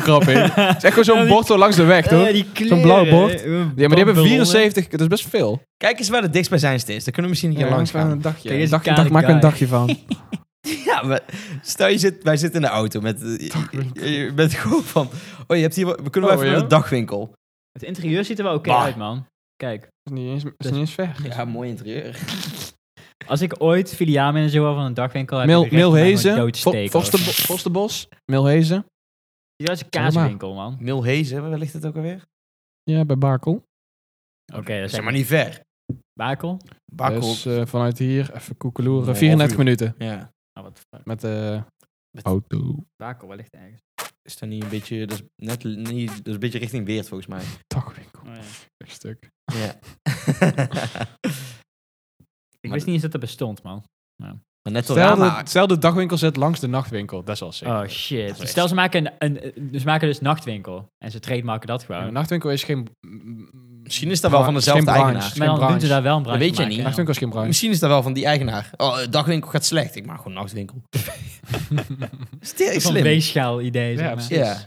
[SPEAKER 1] grappig. Het is echt gewoon
[SPEAKER 3] Ja,
[SPEAKER 1] zo'n
[SPEAKER 3] die-
[SPEAKER 1] bord zo langs de weg, toch?
[SPEAKER 3] Eh, die kleren,
[SPEAKER 1] blauw bord.
[SPEAKER 3] eh, eh,
[SPEAKER 1] Ja, maar die hebben
[SPEAKER 3] ballonnet.
[SPEAKER 1] 74, dat is best veel.
[SPEAKER 2] Kijk eens waar de dichtstbijzijnste is. Daar kunnen we misschien een keer langs
[SPEAKER 1] even
[SPEAKER 2] gaan.
[SPEAKER 1] Een dagje.
[SPEAKER 3] Kijk, dit is
[SPEAKER 1] Dag-
[SPEAKER 3] een
[SPEAKER 1] dag- maak er een
[SPEAKER 3] guy.
[SPEAKER 1] dagje van.
[SPEAKER 2] Ja, maar stel je zit, wij zitten in de auto met... eh, je- Je, je bent gewoon van... Oh, je hebt hier, wat- we kunnen wel
[SPEAKER 1] Oh,
[SPEAKER 2] even naar
[SPEAKER 1] ja?
[SPEAKER 2] de dagwinkel.
[SPEAKER 3] Het interieur ziet er wel oké
[SPEAKER 2] Bah.
[SPEAKER 3] uit, man. Kijk.
[SPEAKER 1] Niet eens, is niet eens ver.
[SPEAKER 2] Ja, mooi interieur.
[SPEAKER 3] Als ik ooit filiaalmanager word van een dagwinkel, heb
[SPEAKER 1] Mil,
[SPEAKER 3] ik Milhezen,
[SPEAKER 1] Milhezen, Vo- Vosterbo- Vosterbos, Milhezen.
[SPEAKER 3] Die was een
[SPEAKER 1] Zeg maar.
[SPEAKER 3] kaaswinkel, man.
[SPEAKER 2] Milhezen, waar ligt het ook alweer?
[SPEAKER 1] Ja, bij Bakel.
[SPEAKER 3] Oké, dat is
[SPEAKER 2] Zeg
[SPEAKER 3] maar
[SPEAKER 2] maar
[SPEAKER 3] niet.
[SPEAKER 2] niet ver.
[SPEAKER 3] Bakel.
[SPEAKER 2] Bakkel.
[SPEAKER 1] Dus eh, vanuit hier, even koekeloeren.
[SPEAKER 2] Een
[SPEAKER 1] 34
[SPEAKER 2] half
[SPEAKER 1] minuten
[SPEAKER 2] ja.
[SPEAKER 3] Oh, wat fuck.
[SPEAKER 1] met de
[SPEAKER 2] Met-
[SPEAKER 1] auto.
[SPEAKER 3] Bakel, wellicht ergens.
[SPEAKER 2] Is dat niet een beetje... Dat is net niet... Dat is een beetje richting Weert, volgens mij.
[SPEAKER 1] Dagwinkel.
[SPEAKER 3] Oh, ja.
[SPEAKER 1] Echt stuk.
[SPEAKER 2] Ja.
[SPEAKER 3] Ik wist niet eens dat dat bestond,
[SPEAKER 1] Oh,
[SPEAKER 3] man.
[SPEAKER 2] maar net als
[SPEAKER 1] Stel de,
[SPEAKER 2] Rama.
[SPEAKER 1] stel de dagwinkel zit langs de nachtwinkel. Dat is wel sick.
[SPEAKER 3] Oh
[SPEAKER 2] Dat
[SPEAKER 3] shit.
[SPEAKER 2] is echt-
[SPEAKER 3] Stel, ze maken, een, een, ze maken dus nachtwinkel. En ze trademarken dat
[SPEAKER 1] Ja,
[SPEAKER 3] gewoon.
[SPEAKER 1] maar nachtwinkel is geen...
[SPEAKER 2] Misschien is dat wel van
[SPEAKER 1] Geen
[SPEAKER 2] dezelfde
[SPEAKER 1] branche.
[SPEAKER 2] eigenaar.
[SPEAKER 1] Geen
[SPEAKER 3] maar dan doen
[SPEAKER 1] branche.
[SPEAKER 3] ze daar wel een branche
[SPEAKER 2] weet
[SPEAKER 3] van
[SPEAKER 2] jij
[SPEAKER 3] maken.
[SPEAKER 2] niet.
[SPEAKER 1] Nachtwinkel is geen branche.
[SPEAKER 2] Misschien is dat wel van die eigenaar. Oh, eh, dagwinkel gaat slecht. Ik maak gewoon nachtwinkel. Sterk
[SPEAKER 3] Zo'n
[SPEAKER 2] slim.
[SPEAKER 3] weegschaal idee, zeg
[SPEAKER 1] Ja,
[SPEAKER 3] maar.
[SPEAKER 2] precies.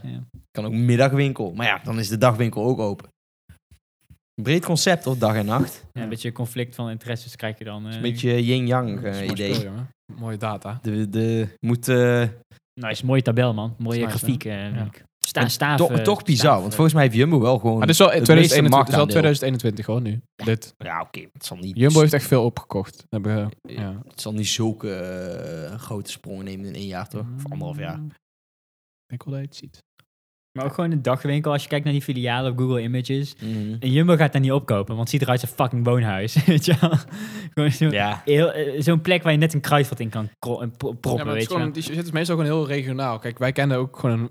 [SPEAKER 2] Kan ook middagwinkel. Maar ja, dan is de dagwinkel ook open. Breed concept of dag en nacht.
[SPEAKER 3] Ja, een beetje conflict van interesses krijg je dan. eh.
[SPEAKER 2] Een beetje yin-yang
[SPEAKER 1] Dat
[SPEAKER 2] eh,
[SPEAKER 1] is een mooi
[SPEAKER 2] idee.
[SPEAKER 1] spel, jongen. Mooie data.
[SPEAKER 2] De, de, moet eh,
[SPEAKER 3] Nice, mooie tabel, man. Mooie
[SPEAKER 1] Nice,
[SPEAKER 3] grafiek. eh
[SPEAKER 1] Ja.
[SPEAKER 3] Sta, staaf,
[SPEAKER 2] toch,
[SPEAKER 3] eh,
[SPEAKER 2] toch bizar.
[SPEAKER 3] staaf,
[SPEAKER 2] Want
[SPEAKER 3] eh.
[SPEAKER 2] volgens mij heeft Jumbo wel gewoon...
[SPEAKER 1] Maar dus- dit is wel,
[SPEAKER 2] meeste
[SPEAKER 1] 2021, dit is wel
[SPEAKER 2] marktaandeel.
[SPEAKER 1] 2021 hoor, nu. Dit.
[SPEAKER 2] Ja, oké. het zal niet...
[SPEAKER 1] Jumbo heeft echt veel opgekocht. Hebben we- ja.
[SPEAKER 2] Het zal niet zulke eh, grote sprongen nemen in één jaar, toch? Of anderhalf jaar.
[SPEAKER 1] Ik denk wel dat je het ziet.
[SPEAKER 3] Maar ook gewoon een dagwinkel. Als je kijkt naar die filialen op Google Images.
[SPEAKER 2] Mhm.
[SPEAKER 1] Mm-hmm.
[SPEAKER 3] Een Jumbo gaat daar niet opkopen, want het ziet eruit als een fucking woonhuis. Weet je wel? Gewoon zo'n
[SPEAKER 2] Ja.
[SPEAKER 3] heel- eh, zo'n plek waar je net een kruidvat in kan kro- en pro- proppen,
[SPEAKER 1] ja, maar het,
[SPEAKER 3] weet
[SPEAKER 1] is
[SPEAKER 3] je wel.
[SPEAKER 1] gewoon, die shit is meestal gewoon heel regionaal. Kijk, wij kennen ook gewoon een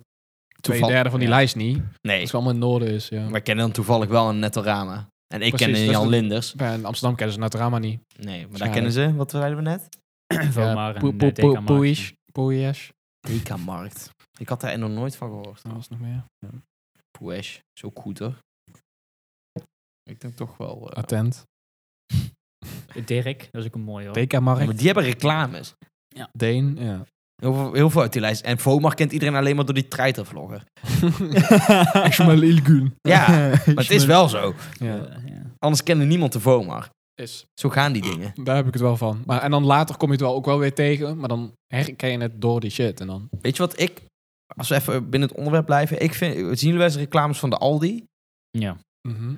[SPEAKER 1] twee
[SPEAKER 2] Toeval-
[SPEAKER 1] derde van die
[SPEAKER 2] ja.
[SPEAKER 1] lijst niet. Het
[SPEAKER 2] Nee.
[SPEAKER 1] is wel allemaal in het noorden is, ja.
[SPEAKER 2] Maar ik ken dan toevallig wel een Nettorama. En ik
[SPEAKER 1] Precies,
[SPEAKER 2] ken een
[SPEAKER 1] dat is
[SPEAKER 2] Jan
[SPEAKER 1] de-
[SPEAKER 2] Linders.
[SPEAKER 1] Bij in Amsterdam kennen ze Naturama niet.
[SPEAKER 2] Nee, maar daar
[SPEAKER 1] Waarschijnlijk.
[SPEAKER 2] kennen ze. Wat zeiden we net?
[SPEAKER 3] Vomar en,
[SPEAKER 1] Poe-
[SPEAKER 3] eh,
[SPEAKER 1] poe-
[SPEAKER 3] DK
[SPEAKER 1] poe-
[SPEAKER 3] Markt.
[SPEAKER 1] Poeish. Poeish.
[SPEAKER 2] DK-markt. Ik had daar nog nooit van gehoord.
[SPEAKER 1] Wat was er nog meer?
[SPEAKER 2] Poesh, zo goed hoor. Ik denk toch wel... eh,
[SPEAKER 1] Attent.
[SPEAKER 3] Dirk, dat is ook een mooie hoor.
[SPEAKER 1] DK
[SPEAKER 2] ja,
[SPEAKER 1] Markt.
[SPEAKER 2] maar die hebben reclames.
[SPEAKER 1] Deen. Ja.
[SPEAKER 2] Heel veel, heel veel uit die lijst. En Vomar kent iedereen alleen maar door die treitervlogger.
[SPEAKER 1] Ismail Ilgun.
[SPEAKER 2] Ja, Maar het is wel zo.
[SPEAKER 1] Ja.
[SPEAKER 3] Eh, ja.
[SPEAKER 2] Anders kende niemand de Vomar.
[SPEAKER 1] Is.
[SPEAKER 2] Zo gaan die dingen.
[SPEAKER 1] Daar heb ik het wel van. Maar, en dan later kom je het wel ook wel weer tegen. Maar dan herken je het door die shit. En dan...
[SPEAKER 2] Weet je wat ik... Als we even binnen het onderwerp blijven. Ik vind... Zien jullie wel eens reclames van de Aldi?
[SPEAKER 3] Ja.
[SPEAKER 1] Mhm.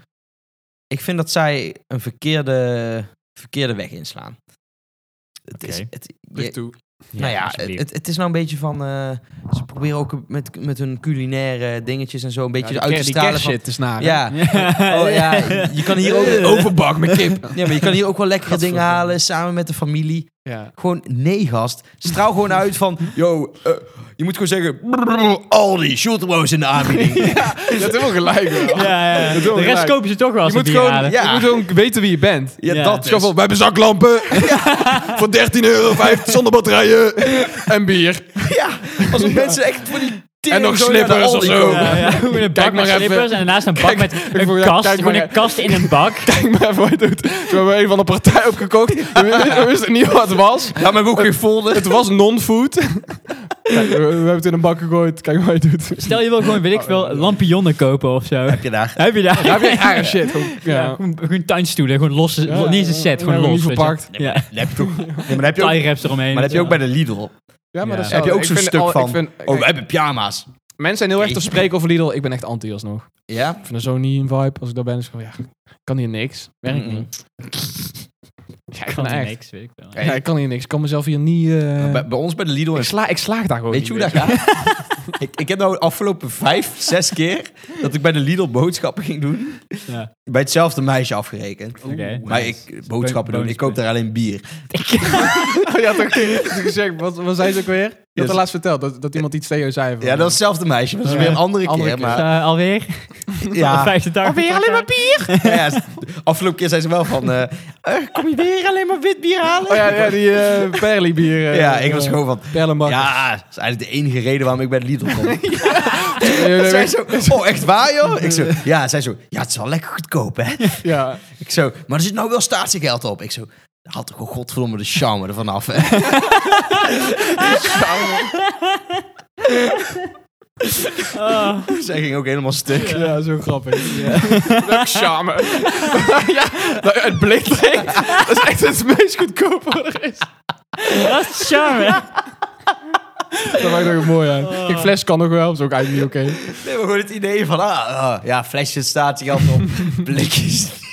[SPEAKER 2] Ik vind dat zij een verkeerde, verkeerde weg inslaan. Het is...
[SPEAKER 3] Oké.
[SPEAKER 2] Het, je-
[SPEAKER 1] Licht toe.
[SPEAKER 2] nou ja,
[SPEAKER 3] alsjeblieft.
[SPEAKER 2] het, het is nou een beetje van... eh, ze proberen ook met, met hun culinaire dingetjes en zo een beetje
[SPEAKER 1] Ja,
[SPEAKER 2] uit
[SPEAKER 1] die
[SPEAKER 2] te
[SPEAKER 1] ker- die
[SPEAKER 2] stralen van...
[SPEAKER 1] kerstshit is naar. hè?
[SPEAKER 2] Ja. Oh, ja, je kan hier ook...
[SPEAKER 1] Overbak met kip.
[SPEAKER 2] Ja, maar je kan hier ook wel lekkere dingen
[SPEAKER 1] Gadverdamme.
[SPEAKER 2] halen samen met de familie.
[SPEAKER 1] Ja.
[SPEAKER 2] Gewoon nee, gast. Straal gewoon uit van... Yo, eh, je moet gewoon zeggen... brrr, Aldi, Schulterbroos in de aanbieding.
[SPEAKER 1] Je hebt helemaal gelijk wel.
[SPEAKER 3] Ja, ja, ja.
[SPEAKER 1] is wel
[SPEAKER 3] De rest
[SPEAKER 1] gelijk.
[SPEAKER 3] kopen ze toch wel als
[SPEAKER 1] Je
[SPEAKER 3] ze
[SPEAKER 1] moet,
[SPEAKER 3] bier
[SPEAKER 1] gewoon,
[SPEAKER 3] halen.
[SPEAKER 1] je moet gewoon weten wie je bent.
[SPEAKER 2] Ja,
[SPEAKER 3] Ja.
[SPEAKER 2] dat
[SPEAKER 1] Het is
[SPEAKER 2] dus.
[SPEAKER 1] gewoon van, we hebben zaklampen voor 13,50 euro zonder batterijen en bier.
[SPEAKER 2] Ja, alsof mensen echt voor die
[SPEAKER 1] En
[SPEAKER 2] tering
[SPEAKER 1] nog
[SPEAKER 2] naar de
[SPEAKER 1] slippers of
[SPEAKER 2] Aldi
[SPEAKER 1] zo.
[SPEAKER 2] komen.
[SPEAKER 3] Ja, ja. Gewoon Een bak
[SPEAKER 1] Kijk maar
[SPEAKER 3] met
[SPEAKER 1] even.
[SPEAKER 3] slippers en daarnaast een bak met een
[SPEAKER 1] voel- ja,
[SPEAKER 3] kast.
[SPEAKER 1] kijk
[SPEAKER 3] gewoon
[SPEAKER 1] maar
[SPEAKER 3] een kast in een bak.
[SPEAKER 1] Kijk maar even wat je doet. Toen hebben we een van de partij opgekocht. We wisten niet wat het was.
[SPEAKER 2] Laat mijn boek weer folder.
[SPEAKER 1] Het was non-food. Kijk, we, we hebben het in een bak gegooid. Kijk maar wat je doet.
[SPEAKER 3] Stel je wil gewoon, weet ik veel, lampionnen kopen of zo.
[SPEAKER 2] Heb je daar.
[SPEAKER 3] Heb je daar?
[SPEAKER 1] Ja, Oh. heb je rare shit.
[SPEAKER 3] Ja,
[SPEAKER 1] Ja.
[SPEAKER 3] Gewoon, gewoon tuinstoelen, gewoon los,
[SPEAKER 1] Ja,
[SPEAKER 3] lo- niet eens een
[SPEAKER 1] ja,
[SPEAKER 3] set,
[SPEAKER 1] ja,
[SPEAKER 3] gewoon
[SPEAKER 1] ja,
[SPEAKER 3] los.
[SPEAKER 1] niet
[SPEAKER 3] weet je.
[SPEAKER 1] verpakt.
[SPEAKER 2] Nee, maar
[SPEAKER 3] Ja,
[SPEAKER 2] dan heb je toch... nee, maar dan heb je ook,
[SPEAKER 3] tie wraps eromheen.
[SPEAKER 2] maar dat heb je ook bij de Lidl.
[SPEAKER 1] Ja, maar
[SPEAKER 3] Ja.
[SPEAKER 1] dat is
[SPEAKER 2] Heb je
[SPEAKER 1] wel-
[SPEAKER 2] ook
[SPEAKER 1] ik
[SPEAKER 2] zo'n
[SPEAKER 1] vind
[SPEAKER 2] stuk
[SPEAKER 1] al- ik
[SPEAKER 2] van,
[SPEAKER 1] vind-
[SPEAKER 2] Oh, we
[SPEAKER 1] kijk,
[SPEAKER 2] hebben pyjama's.
[SPEAKER 1] mensen zijn heel erg te spreken over Lidl. Ik ben echt anti alsnog.
[SPEAKER 2] Ja?
[SPEAKER 1] Ik vind er zo niet een vibe. Als ik daar ben, is het gewoon, ja, kan hier niks. Werkt
[SPEAKER 2] Mm-mm.
[SPEAKER 1] niet. Ja, ik
[SPEAKER 3] Ik
[SPEAKER 1] vind
[SPEAKER 3] kan
[SPEAKER 1] echt...
[SPEAKER 3] niks, weet ik wel.
[SPEAKER 2] Ja,
[SPEAKER 1] Ja, ik kan hier niks. Ik kan mezelf hier niet... eh,
[SPEAKER 2] Bij, bij ons bij de Lidl
[SPEAKER 1] ik,
[SPEAKER 2] is
[SPEAKER 1] sla, ik slaag daar gewoon
[SPEAKER 2] Weet je hoe dat gaat? ik, ik heb nou de afgelopen vijf, zes keer dat ik bij de Lidl boodschappen ging doen.
[SPEAKER 3] Ja.
[SPEAKER 2] Bij hetzelfde meisje afgerekend.
[SPEAKER 3] Oké.
[SPEAKER 2] Maar ik boodschappen doen, ik koop daar alleen bier.
[SPEAKER 1] Oh, je had ook gezegd, wat, wat zei ze ook weer? Je had
[SPEAKER 2] Yes.
[SPEAKER 1] het laatst verteld dat, dat iemand iets tegen je zei. van-
[SPEAKER 2] Ja, dat is hetzelfde meisje, maar dat is
[SPEAKER 1] Ja.
[SPEAKER 2] weer een andere,
[SPEAKER 1] Andere
[SPEAKER 2] keer.
[SPEAKER 1] keer.
[SPEAKER 2] Maar,
[SPEAKER 3] Eh, alweer? Al
[SPEAKER 2] ja,
[SPEAKER 3] Vijfde dag.
[SPEAKER 1] Alweer alleen maar
[SPEAKER 3] bier?
[SPEAKER 2] ja, ja, s- afgelopen keer zei ze wel van, eh, eh, kom je weer alleen maar wit bier halen?
[SPEAKER 1] Oh ja, ja die eh perlibier. eh,
[SPEAKER 2] Ja, ik was
[SPEAKER 1] eh,
[SPEAKER 2] gewoon van,
[SPEAKER 1] Perlenbakker.
[SPEAKER 2] ja, dat is eigenlijk de enige reden waarom ik bij de Lidl kom.
[SPEAKER 1] Eh, eh,
[SPEAKER 2] Zij
[SPEAKER 1] eh,
[SPEAKER 2] zo, oh echt waar joh? Ik zo, ja, zij zo, ja het is wel lekker goedkoop hè?
[SPEAKER 1] ja.
[SPEAKER 2] Ik zo, maar er zit nou wel statiegeld op. Ik zo, had toch gewoon godverdomme de charme ervan af, hè?
[SPEAKER 1] Oh.
[SPEAKER 2] Zij ging ook helemaal stuk.
[SPEAKER 1] ja, zo grappig. Leuk charme. ja, dat het blik trekt. Dat is echt het meest goedkope wat er is.
[SPEAKER 3] Dat is charme. Oh.
[SPEAKER 1] Dat maakt ook mooi aan. Kijk, fles kan nog wel, is ook eigenlijk niet oké.
[SPEAKER 2] Nee, maar gewoon het idee van, ah, ah, ja, flesje statiegeld op, blikjes.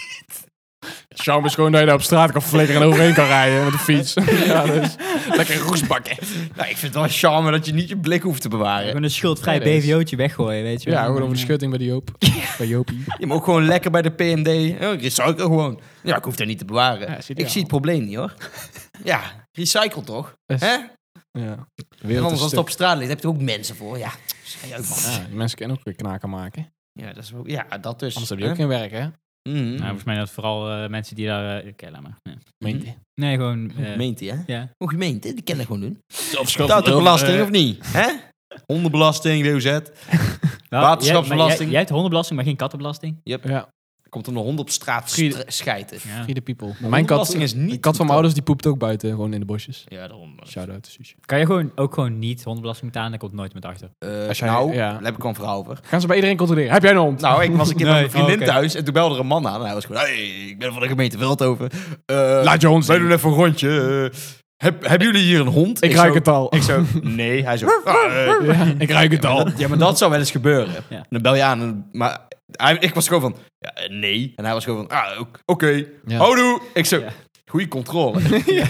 [SPEAKER 1] Charme is gewoon dat je daar op straat kan flikkeren en overheen kan rijden met de fiets. ja, dus.
[SPEAKER 2] Lekker roesbakken. nou, ik vind het wel charme dat je niet je blik hoeft te bewaren.
[SPEAKER 3] Gewoon een schuldvrij
[SPEAKER 1] Ja, dat is-
[SPEAKER 3] BVO'tje weggooien, weet je wel.
[SPEAKER 1] ja, gewoon over de schutting bij de Joop. bij Jopie.
[SPEAKER 2] Je mag ook gewoon lekker bij de PMD. Oh, ik recycle gewoon. Ja, ik hoef dat niet te bewaren.
[SPEAKER 1] Ja, is ideaal.
[SPEAKER 2] ik zie het probleem niet hoor. ja, recycle toch?
[SPEAKER 1] Is-
[SPEAKER 2] Hè?
[SPEAKER 1] Ja. De
[SPEAKER 2] En
[SPEAKER 1] wereld
[SPEAKER 2] anders
[SPEAKER 1] is
[SPEAKER 2] als het
[SPEAKER 1] stuk.
[SPEAKER 2] op straat ligt, heb je er ook mensen voor. Ja, schei uit, man.
[SPEAKER 1] Ja, die mensen kunnen ook weer knaken maken.
[SPEAKER 2] Ja, dat is ook, ja, dat dus.
[SPEAKER 1] Anders heb je ook geen werk, hè? Hm.
[SPEAKER 2] Hè? Mhm.
[SPEAKER 3] Nou, volgens mij dat vooral eh, mensen die daar... eh, Oké, laat maar. Nee,
[SPEAKER 1] Meent je?
[SPEAKER 3] Nee, gewoon... eh,
[SPEAKER 2] Gemeente, hè?
[SPEAKER 3] ja.
[SPEAKER 2] Hoe gemeente, die kennen gewoon doen.
[SPEAKER 1] Zelf
[SPEAKER 2] Dat de
[SPEAKER 1] eh,
[SPEAKER 2] belasting of niet? Hè? Hondenbelasting, WOZ.
[SPEAKER 3] Wel,
[SPEAKER 2] Waterschapsbelasting.
[SPEAKER 3] Jij, jij, jij hebt hondenbelasting, maar geen kattenbelasting.
[SPEAKER 1] Ja,
[SPEAKER 2] Komt er een hond op straat
[SPEAKER 1] Friede-
[SPEAKER 2] stra- schijten.
[SPEAKER 3] Ja.
[SPEAKER 1] free the people. Mijn kat,
[SPEAKER 2] Hondenbelasting is niet
[SPEAKER 1] de kat van
[SPEAKER 2] betaald.
[SPEAKER 1] mijn ouders die poept ook buiten, gewoon in de bosjes.
[SPEAKER 2] Ja, daarom. man.
[SPEAKER 1] Shout-out to Suusje.
[SPEAKER 3] Kan je gewoon, ook gewoon niet hondenbelasting betalen? Daar komt nooit met achter.
[SPEAKER 2] Eh,
[SPEAKER 1] Als jij-
[SPEAKER 2] nou,
[SPEAKER 1] ja.
[SPEAKER 2] daar heb ik wel een verhaal over.
[SPEAKER 1] Gaan ze bij iedereen controleren. Heb jij een hond?
[SPEAKER 2] Nou, ik was een keer bij
[SPEAKER 3] Nee,
[SPEAKER 2] mijn vriendin
[SPEAKER 1] oh,
[SPEAKER 3] oké.
[SPEAKER 2] thuis en toen belde er een man aan. En hij was gewoon, hey, ik ben van de gemeente Veldhoven. Eh,
[SPEAKER 1] Laat je hond
[SPEAKER 2] Wij
[SPEAKER 1] zien.
[SPEAKER 2] doen even een rondje. Eh, heb, hebben jullie hier een hond?
[SPEAKER 1] Ik ruik
[SPEAKER 2] zo-
[SPEAKER 1] het al.
[SPEAKER 2] Ik zo, nee. Hij zo, "Ah, eh."
[SPEAKER 1] Ja, ik ruik het al.
[SPEAKER 2] Ja, maar dat zou wel eens gebeuren.
[SPEAKER 3] Ja.
[SPEAKER 2] Dan bel je aan. En, maar hij, ik was gewoon van, ja, eh, nee. En hij was gewoon van, ah, ok- oké.
[SPEAKER 1] Ja.
[SPEAKER 2] Houdoe. Ik zo,
[SPEAKER 3] Ja.
[SPEAKER 2] goeie controle.
[SPEAKER 1] Is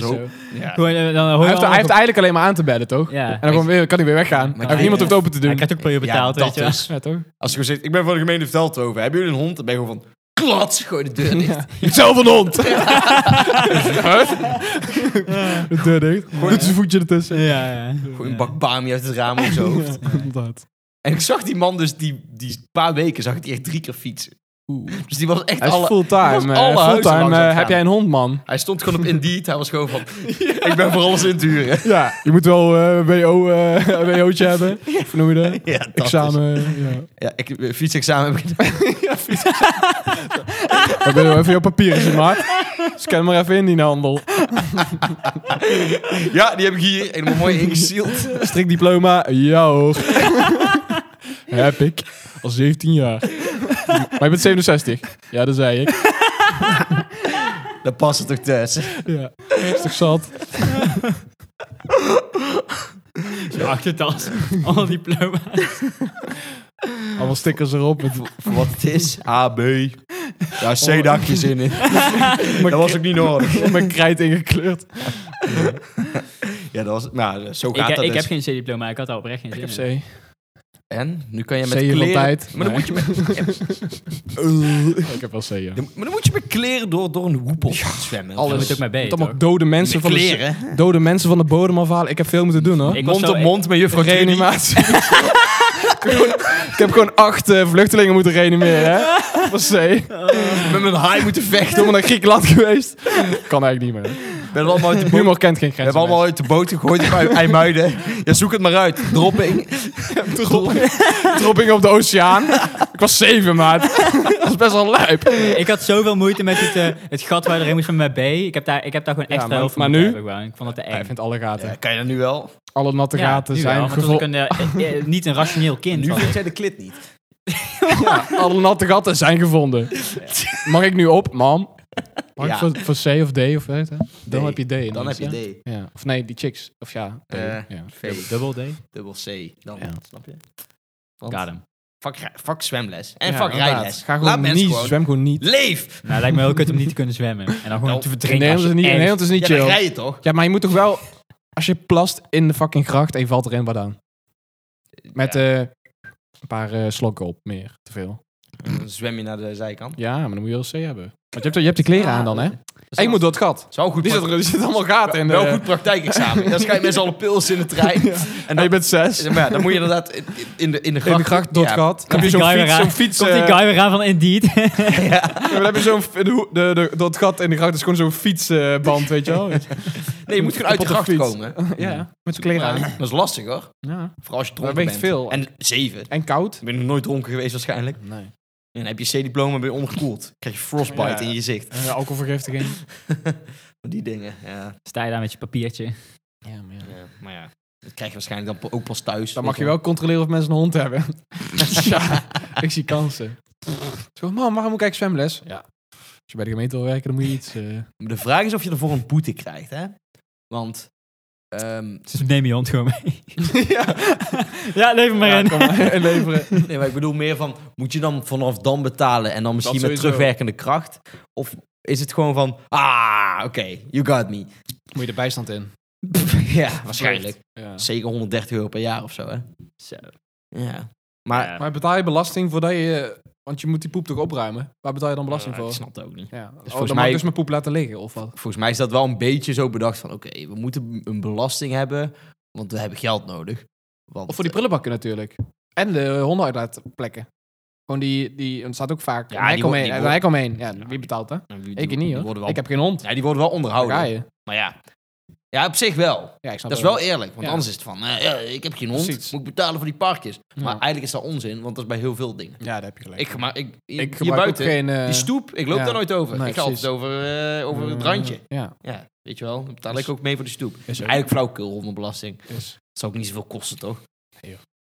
[SPEAKER 2] Zo.
[SPEAKER 1] zo.
[SPEAKER 2] Ja.
[SPEAKER 3] Gewoon,
[SPEAKER 1] Hij
[SPEAKER 3] eh, dan hoor je
[SPEAKER 1] heeft,
[SPEAKER 3] allemaal-
[SPEAKER 1] hij heeft eigenlijk alleen maar aan te bedden, toch?
[SPEAKER 3] Ja.
[SPEAKER 1] En dan gewoon weer, kan hij weer weggaan. Hij heeft
[SPEAKER 2] hij-
[SPEAKER 1] niemand hoeft open te
[SPEAKER 3] Hij
[SPEAKER 1] doen.
[SPEAKER 3] krijgt ook per uur betaald,
[SPEAKER 2] Ja,
[SPEAKER 3] weet
[SPEAKER 2] dat
[SPEAKER 3] je wel.
[SPEAKER 2] dus.
[SPEAKER 1] Ja, toch?
[SPEAKER 2] Als je gewoon zegt, ik ben van de gemeente Veldhoven. Hebben jullie een hond? Dan ben je gewoon van, klats. Gooi de deur dicht.
[SPEAKER 1] zelf een hond! De deur dicht. Doet zijn voetje ertussen.
[SPEAKER 3] Ja, ja.
[SPEAKER 2] Gooi een bak bami uit het raam op zijn hoofd.
[SPEAKER 1] Inderdaad.
[SPEAKER 2] En ik zag die man dus, die, die paar weken zag ik die echt drie keer fietsen.
[SPEAKER 1] Oeh.
[SPEAKER 2] Dus die was echt
[SPEAKER 1] Hij is
[SPEAKER 2] alle... Hij was
[SPEAKER 1] fulltime. eh,
[SPEAKER 2] alle huizen langs
[SPEAKER 1] fulltime.
[SPEAKER 2] aan het
[SPEAKER 1] eh, heb
[SPEAKER 2] gaan.
[SPEAKER 1] jij een hond, man?
[SPEAKER 2] Hij stond gewoon op Indeed. Hij was gewoon van, ik ben voor alles in het huren.
[SPEAKER 1] Ja, je moet wel eh, WO, eh, WO'tje hebben. Of noem je dat?
[SPEAKER 2] Ja, dat is-
[SPEAKER 1] Examen. Ja.
[SPEAKER 2] ja, ik eh, fietsexamen heb ik gedaan.
[SPEAKER 1] Maar ben je wel even jouw papieren zien, maat? Dus Scan maar even in die handel.
[SPEAKER 2] Ja, die heb ik hier helemaal mooi ingezield.
[SPEAKER 1] Strikdiploma, ja hoor. heb ik. Al 17 jaar. Maar je bent 67. Ja, dat zei ik.
[SPEAKER 2] Dat past het toch thuis.
[SPEAKER 1] Ja. Is toch zat?
[SPEAKER 3] Zo'n achtertas. Allemaal diploma's.
[SPEAKER 1] Allemaal stickers erop. Met...
[SPEAKER 2] Voor wat het is. A, B. Ja, C dakjes in. dat was ook niet nodig.
[SPEAKER 1] Mijn krijt ingekleurd.
[SPEAKER 2] Ja, dat was... Nou, zo
[SPEAKER 3] Ik,
[SPEAKER 2] gaat
[SPEAKER 3] ik
[SPEAKER 2] dat
[SPEAKER 3] heb
[SPEAKER 2] dus.
[SPEAKER 3] geen C-diploma, ik had daar oprecht geen zin in.
[SPEAKER 1] FC.
[SPEAKER 2] En? Nu kan je met
[SPEAKER 1] C je van
[SPEAKER 2] kleren...
[SPEAKER 1] tijd.
[SPEAKER 2] Maar dan
[SPEAKER 1] Nee.
[SPEAKER 2] moet je met... Ja,
[SPEAKER 1] Ik heb wel C, ja.
[SPEAKER 2] dan- maar dan moet je met kleren door, door een hoepel zwemmen.
[SPEAKER 3] Je
[SPEAKER 1] Alles.
[SPEAKER 3] moet ook maar
[SPEAKER 1] Met
[SPEAKER 3] beter.
[SPEAKER 1] allemaal dode mensen,
[SPEAKER 2] Met
[SPEAKER 1] van de,
[SPEAKER 2] kleren.
[SPEAKER 1] dode mensen van de bodem afhalen. Ik heb veel moeten doen, hoor.
[SPEAKER 3] Ik was
[SPEAKER 2] Mond
[SPEAKER 3] zo-
[SPEAKER 2] op mond met juffrouw Trini.
[SPEAKER 1] Reanimatie. ik, heb gewoon, ik heb gewoon acht eh, vluchtelingen moeten reanimeren, hè. Van C.
[SPEAKER 2] Met mijn haai moeten
[SPEAKER 1] Ik
[SPEAKER 2] vechten.
[SPEAKER 1] ben naar Griekenland geweest. Kan eigenlijk niet meer.
[SPEAKER 2] Ik ben allemaal uit de boot.
[SPEAKER 1] Humor kent geen
[SPEAKER 2] We
[SPEAKER 1] grenzen.
[SPEAKER 2] hebben allemaal uit de boot gegooid op IJ- IJmuiden. Ja, zoek het maar uit. Dropping. Dropping.
[SPEAKER 1] dropping op de oceaan. ik was zeven, maat. dat is best wel luip.
[SPEAKER 3] Ik had zoveel moeite met het, eh, het gat waar je erin moest van mijn B. Ik heb daar, ik heb daar gewoon
[SPEAKER 1] Ja,
[SPEAKER 3] extra
[SPEAKER 1] maar-
[SPEAKER 3] heel veel
[SPEAKER 1] maar
[SPEAKER 3] moeite
[SPEAKER 1] nu?
[SPEAKER 3] mee gedaan. Ik vond dat te
[SPEAKER 1] Hij
[SPEAKER 3] eng.
[SPEAKER 1] vindt alle gaten.
[SPEAKER 2] Ja, kan je dat nu wel?
[SPEAKER 1] Alle natte
[SPEAKER 3] Ja,
[SPEAKER 1] gaten
[SPEAKER 3] nu wel,
[SPEAKER 1] zijn
[SPEAKER 3] want toen was ik
[SPEAKER 1] gevonden.
[SPEAKER 3] een, eh, eh, niet een rationeel kind.
[SPEAKER 2] Nu
[SPEAKER 3] was ik.
[SPEAKER 2] vindt zij de klit niet.
[SPEAKER 1] Alle natte gaten zijn gevonden. Mag ik nu op, mam? Mag
[SPEAKER 2] Ja.
[SPEAKER 1] ik voor, voor C of D of weet je? Dan
[SPEAKER 2] D.
[SPEAKER 1] heb je D. in
[SPEAKER 2] Dan
[SPEAKER 1] iets,
[SPEAKER 2] heb je
[SPEAKER 1] hè?
[SPEAKER 2] D.
[SPEAKER 1] Ja. Of nee, die chicks. Of ja. D,
[SPEAKER 2] Eh.
[SPEAKER 1] ja.
[SPEAKER 3] Dubbel- Dubbel D.
[SPEAKER 2] dubbel C. Dan,
[SPEAKER 1] Ja.
[SPEAKER 2] snap je?
[SPEAKER 3] Got him.
[SPEAKER 2] Vak, ra- vak zwemles. En
[SPEAKER 1] Ja,
[SPEAKER 2] vak
[SPEAKER 1] inderdaad.
[SPEAKER 2] rijles.
[SPEAKER 1] Ga
[SPEAKER 2] Laat
[SPEAKER 1] gewoon
[SPEAKER 2] mensen
[SPEAKER 1] niet,
[SPEAKER 2] gewoon
[SPEAKER 1] zwem gewoon niet.
[SPEAKER 2] Leef!
[SPEAKER 3] Nou, lijkt me heel kut om niet te kunnen zwemmen. En dan gewoon
[SPEAKER 2] Nou,
[SPEAKER 3] te
[SPEAKER 1] In
[SPEAKER 3] verdrinken.
[SPEAKER 1] Nederland
[SPEAKER 3] als
[SPEAKER 1] is
[SPEAKER 3] je
[SPEAKER 1] niet, in Nederland
[SPEAKER 3] ergens-
[SPEAKER 1] is niet
[SPEAKER 2] Ja, dan
[SPEAKER 1] chill.
[SPEAKER 2] rij je toch?
[SPEAKER 1] Ja, maar je moet toch wel... Als je plast in de fucking gracht en je valt erin, wat dan? Met
[SPEAKER 2] Ja,
[SPEAKER 1] eh, een paar eh, slokken op, meer. Te veel.
[SPEAKER 2] dan zwem je naar de zijkant.
[SPEAKER 1] Ja, maar dan moet je wel C hebben. Want je hebt, je hebt de kleren aan dan, hè? ik moet door het gat.
[SPEAKER 2] Zo goed.
[SPEAKER 1] Die zit,
[SPEAKER 2] pra-
[SPEAKER 1] er, die zit allemaal gaten in. De,
[SPEAKER 2] wel goed praktijkexamen. dan schijnt mensen alle pils in de trein.
[SPEAKER 1] En je bent zes.
[SPEAKER 2] Maar ja, dan moet je inderdaad in, in- in de, in de gracht...
[SPEAKER 1] In de gracht door het
[SPEAKER 2] Ja.
[SPEAKER 1] gat. Dan heb
[SPEAKER 3] Komt
[SPEAKER 1] je
[SPEAKER 3] die
[SPEAKER 1] zo'n
[SPEAKER 3] guy weer
[SPEAKER 1] fiets,
[SPEAKER 3] aan-
[SPEAKER 1] zo'n fiets...
[SPEAKER 3] Komt die
[SPEAKER 1] eh,
[SPEAKER 3] guy weer aan van Indeed.
[SPEAKER 1] Dan heb je zo'n... f- de hoek- de- de- Door het gat in de gracht is gewoon zo'n fietsband, weet je wel.
[SPEAKER 2] Nee, je moet gewoon uit de
[SPEAKER 1] Kapotte
[SPEAKER 2] gracht
[SPEAKER 1] fiets.
[SPEAKER 2] komen.
[SPEAKER 1] Ja, met zijn
[SPEAKER 2] Maar
[SPEAKER 1] kleren aan.
[SPEAKER 2] Dat is lastig hoor.
[SPEAKER 1] Ja.
[SPEAKER 2] Vooral als je
[SPEAKER 1] Dat
[SPEAKER 2] dronken bent.
[SPEAKER 1] weegt veel.
[SPEAKER 2] En zeven.
[SPEAKER 1] En koud.
[SPEAKER 2] Ik ben nog nooit dronken geweest waarschijnlijk.
[SPEAKER 1] Nee.
[SPEAKER 2] En dan heb je C-diploma ben je onderkoeld. krijg je frostbite
[SPEAKER 1] Ja.
[SPEAKER 2] in je gezicht.
[SPEAKER 1] Eh, alcoholvergiftiging.
[SPEAKER 2] Die dingen. Ja.
[SPEAKER 3] Sta je daar met je papiertje.
[SPEAKER 1] Ja, maar ja.
[SPEAKER 2] Ja, maar ja. Dat krijg je waarschijnlijk dan ook pas thuis.
[SPEAKER 1] Dan mag je wel controleren of mensen een hond hebben. ja, ik zie kansen. Zo, man, waarom moet ik eigenlijk zwemles? Ja. Als je bij de gemeente wil werken, dan moet je iets... eh,
[SPEAKER 2] Maar De vraag is of je ervoor een boete krijgt, hè? Want Ehm,
[SPEAKER 3] Dus neem je hand gewoon mee.
[SPEAKER 1] ja,
[SPEAKER 3] ja, lever maar in.
[SPEAKER 1] kom maar, leveren.
[SPEAKER 2] nee, maar ik bedoel meer van, moet je dan vanaf dan betalen en dan misschien met
[SPEAKER 1] sowieso.
[SPEAKER 2] terugwerkende kracht? Of is het gewoon van, ah, oké, you got me.
[SPEAKER 1] Moet je de bijstand in.
[SPEAKER 2] ja, waarschijnlijk.
[SPEAKER 1] Ja.
[SPEAKER 2] Zeker 130 euro per jaar of zo, hè?
[SPEAKER 3] Zo.
[SPEAKER 2] Ja. Maar,
[SPEAKER 3] Ja.
[SPEAKER 1] Maar betaal je belasting voordat je... Want je moet die poep toch opruimen? Waar betaal je dan belasting
[SPEAKER 2] Ja,
[SPEAKER 1] voor?
[SPEAKER 2] Ik snap het ook niet.
[SPEAKER 1] Ja, dus
[SPEAKER 2] volgens
[SPEAKER 1] dan mag
[SPEAKER 2] mij-
[SPEAKER 1] ik dus mijn poep laten liggen, of wat?
[SPEAKER 2] Volgens mij is dat wel een beetje zo bedacht van, oké, we moeten een belasting hebben, want we hebben geld nodig. Want,
[SPEAKER 1] Of voor die prullenbakken natuurlijk. En de honden uitlaatplekken. Gewoon die, die, er staat ook vaak
[SPEAKER 2] Ja,
[SPEAKER 1] een hek
[SPEAKER 2] die wo-
[SPEAKER 1] omheen.
[SPEAKER 2] die
[SPEAKER 1] een
[SPEAKER 2] wo-
[SPEAKER 1] hek omheen. Ja,
[SPEAKER 2] Ja.
[SPEAKER 1] wie betaalt hè?
[SPEAKER 2] eh, die- die-
[SPEAKER 1] Ik
[SPEAKER 2] die
[SPEAKER 1] niet
[SPEAKER 2] worden
[SPEAKER 1] hoor.
[SPEAKER 2] wel-
[SPEAKER 1] Ik heb geen hond.
[SPEAKER 2] Ja, die worden wel
[SPEAKER 1] Daar ga
[SPEAKER 2] onderhouden.
[SPEAKER 1] je.
[SPEAKER 2] Maar ja. Ja, op zich wel.
[SPEAKER 1] Ja, ik snap
[SPEAKER 2] Dat is
[SPEAKER 1] het
[SPEAKER 2] wel eerlijk, want
[SPEAKER 1] Ja.
[SPEAKER 2] anders is het van, eh, eh, ik heb geen hond,
[SPEAKER 1] Precies.
[SPEAKER 2] moet ik betalen voor die parkjes.
[SPEAKER 1] Ja.
[SPEAKER 2] Maar eigenlijk is dat onzin, want dat is bij heel veel dingen.
[SPEAKER 1] Ja, daar heb je gelijk.
[SPEAKER 2] Ik, maar ik, hier,
[SPEAKER 1] ik
[SPEAKER 2] hier
[SPEAKER 1] gebruik ook
[SPEAKER 2] buiten,
[SPEAKER 1] geen... eh,
[SPEAKER 2] die stoep, ik loop
[SPEAKER 1] ja.
[SPEAKER 2] daar nooit over.
[SPEAKER 1] Nee,
[SPEAKER 2] ik ga altijd
[SPEAKER 1] precies.
[SPEAKER 2] over, eh, over het
[SPEAKER 1] eh,
[SPEAKER 2] randje.
[SPEAKER 1] Ja.
[SPEAKER 2] Ja, weet je wel, dan betaal
[SPEAKER 1] Dus-
[SPEAKER 2] ik ook mee voor de stoep.
[SPEAKER 1] Is ook.
[SPEAKER 2] Eigenlijk flauwkul onder belasting.
[SPEAKER 1] Is.
[SPEAKER 2] Dat zou ook niet zoveel kosten, toch?
[SPEAKER 1] Nee,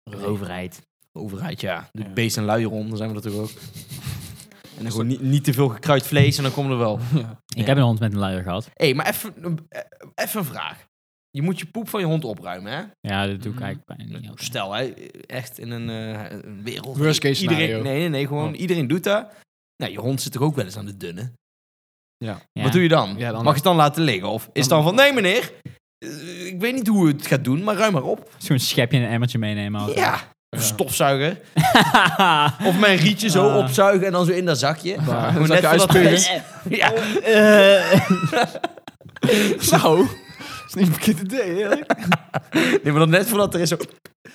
[SPEAKER 1] joh.
[SPEAKER 2] De overheid. De overheid, ja. Doet
[SPEAKER 1] Ja.
[SPEAKER 2] beest en luier om, dan zijn we dat toch ook. en dan gewoon niet, niet te veel gekruid vlees en dan komen we er wel.
[SPEAKER 1] Ja.
[SPEAKER 3] Ik heb een hond met een luier gehad.
[SPEAKER 2] Hé, maar even eh, even een vraag. Je moet je poep van je hond opruimen, hè?
[SPEAKER 3] Ja, dat doe ik
[SPEAKER 1] Mhm.
[SPEAKER 3] eigenlijk bijna niet. altijd.
[SPEAKER 2] Stel, hè, echt in een, eh, een wereld.
[SPEAKER 1] Worst case
[SPEAKER 2] iedereen,
[SPEAKER 1] scenario. Oh.
[SPEAKER 2] Nee, nee, nee, gewoon
[SPEAKER 1] Ja.
[SPEAKER 2] iedereen doet dat. Nou, je hond zit toch ook wel eens aan de dunne?
[SPEAKER 3] Ja.
[SPEAKER 2] Wat doe je dan?
[SPEAKER 1] Ja, dan-
[SPEAKER 2] Mag je het dan laten liggen? Of is het dan van, nee meneer, eh, ik weet niet hoe het gaat doen, maar ruim maar op.
[SPEAKER 3] Zo'n schepje en een emmertje meenemen. altijd.
[SPEAKER 2] Ja, Of een stofzuiger. Of mijn rietje zo
[SPEAKER 3] Ah.
[SPEAKER 2] opzuigen en dan zo in dat zakje.
[SPEAKER 1] Ja,
[SPEAKER 2] Gewoon
[SPEAKER 1] zakje
[SPEAKER 2] net voordat-
[SPEAKER 3] Dus
[SPEAKER 2] Ja.
[SPEAKER 1] Oh.
[SPEAKER 2] Eh.
[SPEAKER 1] Zo. Dat is niet een verkeerd idee, eerlijk.
[SPEAKER 2] Nee, maar dan net voordat er is zo...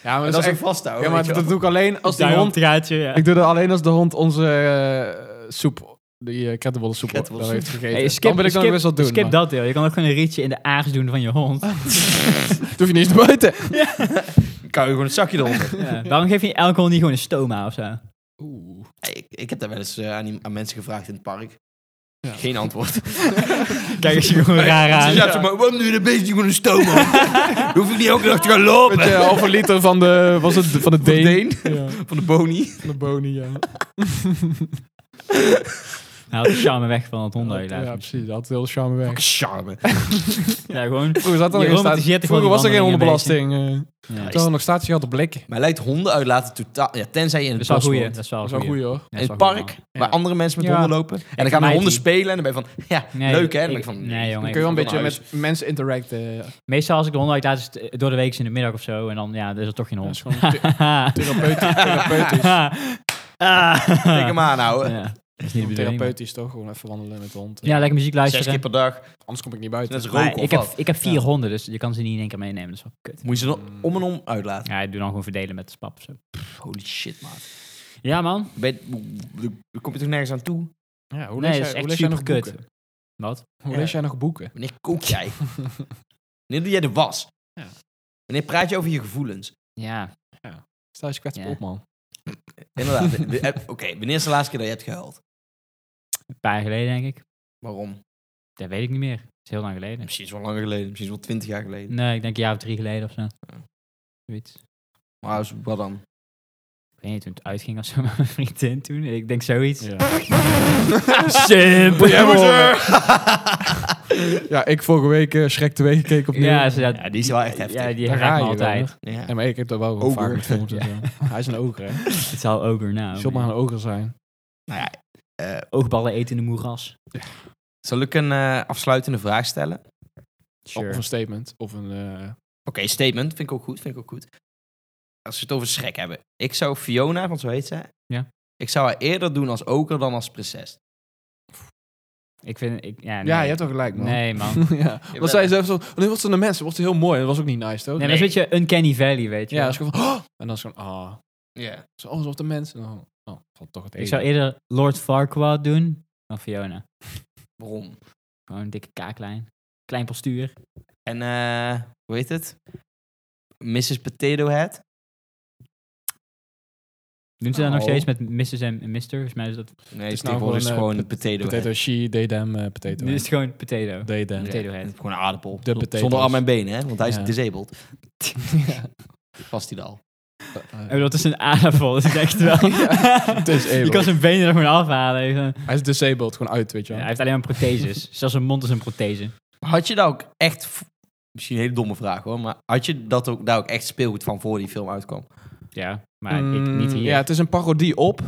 [SPEAKER 1] Ja, maar
[SPEAKER 2] En
[SPEAKER 1] dat
[SPEAKER 2] dan
[SPEAKER 1] is
[SPEAKER 2] zo
[SPEAKER 1] echt... Ja,
[SPEAKER 2] vasthouden.
[SPEAKER 1] maar
[SPEAKER 2] Oh, weet je
[SPEAKER 1] dat doe ik alleen als die
[SPEAKER 3] Daar
[SPEAKER 1] hond...
[SPEAKER 3] gaatje, ja.
[SPEAKER 1] eh, Ik doe dat alleen als de hond onze eh, soep... Die uh, krettenbollensoep
[SPEAKER 2] Krettenbollensoep.
[SPEAKER 1] heeft gegeten.
[SPEAKER 3] Hey,
[SPEAKER 1] dan wil ik dan
[SPEAKER 3] skip-
[SPEAKER 1] best wel doen.
[SPEAKER 3] skip
[SPEAKER 1] maar-
[SPEAKER 3] dat deel. Je kan ook gewoon een rietje in de aars doen van je hond.
[SPEAKER 1] Dat hoef je niet eens te buiten.
[SPEAKER 2] wel. Kan je gewoon het zakje eronder.
[SPEAKER 3] Ja. Waarom geef je elke hond niet gewoon een stoma of zo?
[SPEAKER 1] Oeh.
[SPEAKER 2] ik, ik heb daar wel eens eh, aan, die- aan mensen gevraagd in het park. Geen antwoord. Dus
[SPEAKER 3] Kijk eens je gewoon raar
[SPEAKER 2] Ze
[SPEAKER 3] aan.
[SPEAKER 2] zaten maar, waarom doe je dat beestje gewoon een stoom Dan hoef ik niet elke dag te gaan lopen.
[SPEAKER 1] Met eh, halve liter van de... Was het de- van de
[SPEAKER 2] Van de
[SPEAKER 1] Deen?
[SPEAKER 2] Deen,
[SPEAKER 1] Ja,
[SPEAKER 2] van de Boni.
[SPEAKER 1] van de Boni, ja.
[SPEAKER 3] Nou, de charme weg van het hondenhuilen.
[SPEAKER 1] Ja, precies. Dat had heel charme weg.
[SPEAKER 2] Charme.
[SPEAKER 3] Ja, gewoon.
[SPEAKER 1] Vroeger zat er nog
[SPEAKER 3] Jeroen
[SPEAKER 1] geen staat-
[SPEAKER 3] met de jet gewoon
[SPEAKER 1] Vroeger was er
[SPEAKER 3] die
[SPEAKER 1] geen
[SPEAKER 3] wandelingen
[SPEAKER 1] hondenbelasting. eh.
[SPEAKER 3] Ja. Oh,
[SPEAKER 1] Toen hadden we nog staatsie gehad op blikken.
[SPEAKER 2] Mij lijkt honden uitlaten totaal... Ja, tenzij je in
[SPEAKER 3] Dat
[SPEAKER 2] het
[SPEAKER 3] is wel
[SPEAKER 2] bos
[SPEAKER 3] goed.
[SPEAKER 2] woont.
[SPEAKER 3] Dat is wel
[SPEAKER 1] Dat is wel
[SPEAKER 3] goeie.
[SPEAKER 1] goed, hoor.
[SPEAKER 3] Ja,
[SPEAKER 2] in
[SPEAKER 3] dat
[SPEAKER 2] het
[SPEAKER 3] is wel
[SPEAKER 2] park,
[SPEAKER 3] goeie.
[SPEAKER 2] waar andere mensen met
[SPEAKER 1] Ja.
[SPEAKER 2] honden lopen. En dan
[SPEAKER 3] Ik
[SPEAKER 2] gaan de
[SPEAKER 3] mij
[SPEAKER 2] honden
[SPEAKER 3] die.
[SPEAKER 2] spelen en dan ben je van, ja,
[SPEAKER 3] Nee,
[SPEAKER 2] leuk hè? En
[SPEAKER 3] ik-
[SPEAKER 2] dan ben je van,
[SPEAKER 3] nee, jongen.
[SPEAKER 1] Dan kun je wel een
[SPEAKER 2] van
[SPEAKER 1] beetje met mensen interacten. eh.
[SPEAKER 3] Meestal als ik de hond uitlaat, is het eh, door de week is in de middag of zo. En dan, ja, er is er toch geen
[SPEAKER 1] Dat
[SPEAKER 3] hond.
[SPEAKER 1] is gewoon the- therapeutisch. therapeutisch.
[SPEAKER 2] Tik hem
[SPEAKER 3] Ah.
[SPEAKER 2] aan houden.
[SPEAKER 3] Ja, dat is niet de bedoeling. maar-
[SPEAKER 1] Therapeutisch toch? Gewoon even wandelen met de hond. Eh,
[SPEAKER 3] Ja, lekker muziek
[SPEAKER 2] Zes
[SPEAKER 3] luisteren.
[SPEAKER 2] keer per dag.
[SPEAKER 1] Anders kom ik
[SPEAKER 2] Dat
[SPEAKER 1] niet buiten.
[SPEAKER 2] is
[SPEAKER 3] Maar
[SPEAKER 2] roken of
[SPEAKER 3] ik, heb,
[SPEAKER 2] wat?
[SPEAKER 3] ik heb vier
[SPEAKER 1] Ja.
[SPEAKER 3] honden, dus je kan ze niet in één keer meenemen. Dat is wel kut.
[SPEAKER 2] Moet je ze dan om en om uitlaten?
[SPEAKER 3] Ja, ik doe dan gewoon verdelen met de spap. of Zo.
[SPEAKER 2] Holy shit, maat.
[SPEAKER 3] Ja, man.
[SPEAKER 2] Ben je- Daar kom je toch nergens aan toe?
[SPEAKER 1] Ja, hoe
[SPEAKER 3] nee,
[SPEAKER 1] lees
[SPEAKER 3] dat
[SPEAKER 1] jij-
[SPEAKER 3] is
[SPEAKER 1] hoe
[SPEAKER 3] echt
[SPEAKER 1] lees jij
[SPEAKER 3] super
[SPEAKER 1] nog
[SPEAKER 3] kut.
[SPEAKER 1] boeken?
[SPEAKER 3] Wat?
[SPEAKER 1] Hoe
[SPEAKER 2] Ja.
[SPEAKER 1] lees jij nog boeken?
[SPEAKER 2] Wanneer kook jij? Wanneer doe jij de was?
[SPEAKER 1] Ja.
[SPEAKER 2] Wanneer praat je over je gevoelens?
[SPEAKER 3] Ja.
[SPEAKER 1] Stel je kwetsbaar
[SPEAKER 3] Ja.
[SPEAKER 1] op, man.
[SPEAKER 2] Inderdaad. de- de- eh, Oké, wanneer is de laatste keer dat je hebt gehuild?
[SPEAKER 3] Een paar jaar geleden, denk ik.
[SPEAKER 2] Waarom?
[SPEAKER 3] Dat weet ik niet meer. Dat is heel lang geleden.
[SPEAKER 2] Misschien is het wel langer geleden. Misschien is het wel twintig jaar geleden.
[SPEAKER 3] Nee, ik denk een jaar of drie geleden of zo.
[SPEAKER 1] Oh.
[SPEAKER 3] Zoiets.
[SPEAKER 2] Maar als- wat dan?
[SPEAKER 3] Ik weet niet, toen het uitging of zo met mijn vriendin toen. Ik denk zoiets.
[SPEAKER 1] Ja.
[SPEAKER 3] Simpel.
[SPEAKER 1] Ja, maar
[SPEAKER 3] Ja,
[SPEAKER 1] ja, ik vorige week eh, Shrek 2 gekeken opnieuw.
[SPEAKER 3] ja, ze-
[SPEAKER 2] Ja, die is wel echt heftig.
[SPEAKER 3] Ja, die
[SPEAKER 1] Daar ga
[SPEAKER 3] raakt me
[SPEAKER 1] je wel,
[SPEAKER 3] altijd.
[SPEAKER 1] hoor.
[SPEAKER 2] Ja.
[SPEAKER 1] Nee, maar ik heb dat wel gewoon
[SPEAKER 2] Ogre.
[SPEAKER 1] vaak met films en zo. Hij is een ogre, hè?
[SPEAKER 3] Het zal oger
[SPEAKER 1] Je
[SPEAKER 3] nou.
[SPEAKER 1] zult maar een ogre zijn.
[SPEAKER 2] Nou ja, eh,
[SPEAKER 3] Oogballen eten in de moeras.
[SPEAKER 2] zal ik een eh, afsluitende vraag stellen? Oké,
[SPEAKER 1] Of
[SPEAKER 3] Sure.
[SPEAKER 1] een statement. Of een... eh,
[SPEAKER 2] statement. Vind ik ook goed. Vind ik ook goed. Als we het over schrek hebben. Ik zou Fiona, want zo heet ze.
[SPEAKER 3] Ja.
[SPEAKER 2] Ik zou haar eerder doen als oker dan als prinses.
[SPEAKER 3] Ik vind, ik, ja, nee.
[SPEAKER 1] Ja, je hebt wel gelijk, man.
[SPEAKER 3] Nee, man.
[SPEAKER 1] ja.
[SPEAKER 2] Jawel.
[SPEAKER 1] Want zij zelf zo... oh, Nu wordt ze een mens. Wordt ze heel mooi. Dat was ook niet nice, toch?
[SPEAKER 3] Nee, maar dat is een beetje Uncanny Valley, weet je.
[SPEAKER 1] Ja,
[SPEAKER 3] wel.
[SPEAKER 1] dat is gewoon van... "Oh!" En dan is gewoon... Ah.
[SPEAKER 2] Ja.
[SPEAKER 1] Zo, oh, zo op de mens. En dan... Oh, valt toch het
[SPEAKER 3] ik
[SPEAKER 1] eten.
[SPEAKER 3] zou eerder Lord Farquaad doen dan Fiona.
[SPEAKER 2] Waarom?
[SPEAKER 3] Gewoon een dikke kaaklijn. Klein postuur.
[SPEAKER 2] En eh, hoe heet het? Mrs. Potato Head.
[SPEAKER 3] Doen ze dan nog
[SPEAKER 2] Oh.
[SPEAKER 3] steeds met Mrs. en Mr.? Volgens mij is dat...
[SPEAKER 2] Nee,
[SPEAKER 1] is
[SPEAKER 2] is
[SPEAKER 1] nou
[SPEAKER 2] tegenwoordig is
[SPEAKER 1] gewoon,
[SPEAKER 2] gewoon
[SPEAKER 1] eh,
[SPEAKER 2] een potato,
[SPEAKER 1] Potato,
[SPEAKER 2] head.
[SPEAKER 1] she, they, them, eh, potato.
[SPEAKER 3] Dit is gewoon potato.
[SPEAKER 1] They, them.
[SPEAKER 2] Ja.
[SPEAKER 3] Potato head.
[SPEAKER 2] Gewoon een aardappel.
[SPEAKER 1] De potatoes.
[SPEAKER 2] Zonder arm en benen, hè? Want hij is
[SPEAKER 1] Ja.
[SPEAKER 2] disabled.
[SPEAKER 1] Ja.
[SPEAKER 2] Vast hij al.
[SPEAKER 1] Eh,
[SPEAKER 3] Oh, dat is een aardappel, dat is echt wel.
[SPEAKER 1] het is
[SPEAKER 3] je
[SPEAKER 1] able.
[SPEAKER 3] kan zijn benen er gewoon afhalen. even.
[SPEAKER 1] Hij is disabled, gewoon uit, weet je wel.
[SPEAKER 3] Ja, hij heeft alleen maar protheses. Zelfs zijn mond is een prothese.
[SPEAKER 2] Had je dat ook echt v- Misschien een hele domme vraag hoor, maar had je dat ook, daar ook echt speelgoed van voor die film uitkwam?
[SPEAKER 3] Ja, maar ik
[SPEAKER 1] Mm,
[SPEAKER 3] niet hier.
[SPEAKER 1] Ja, het is een parodie op.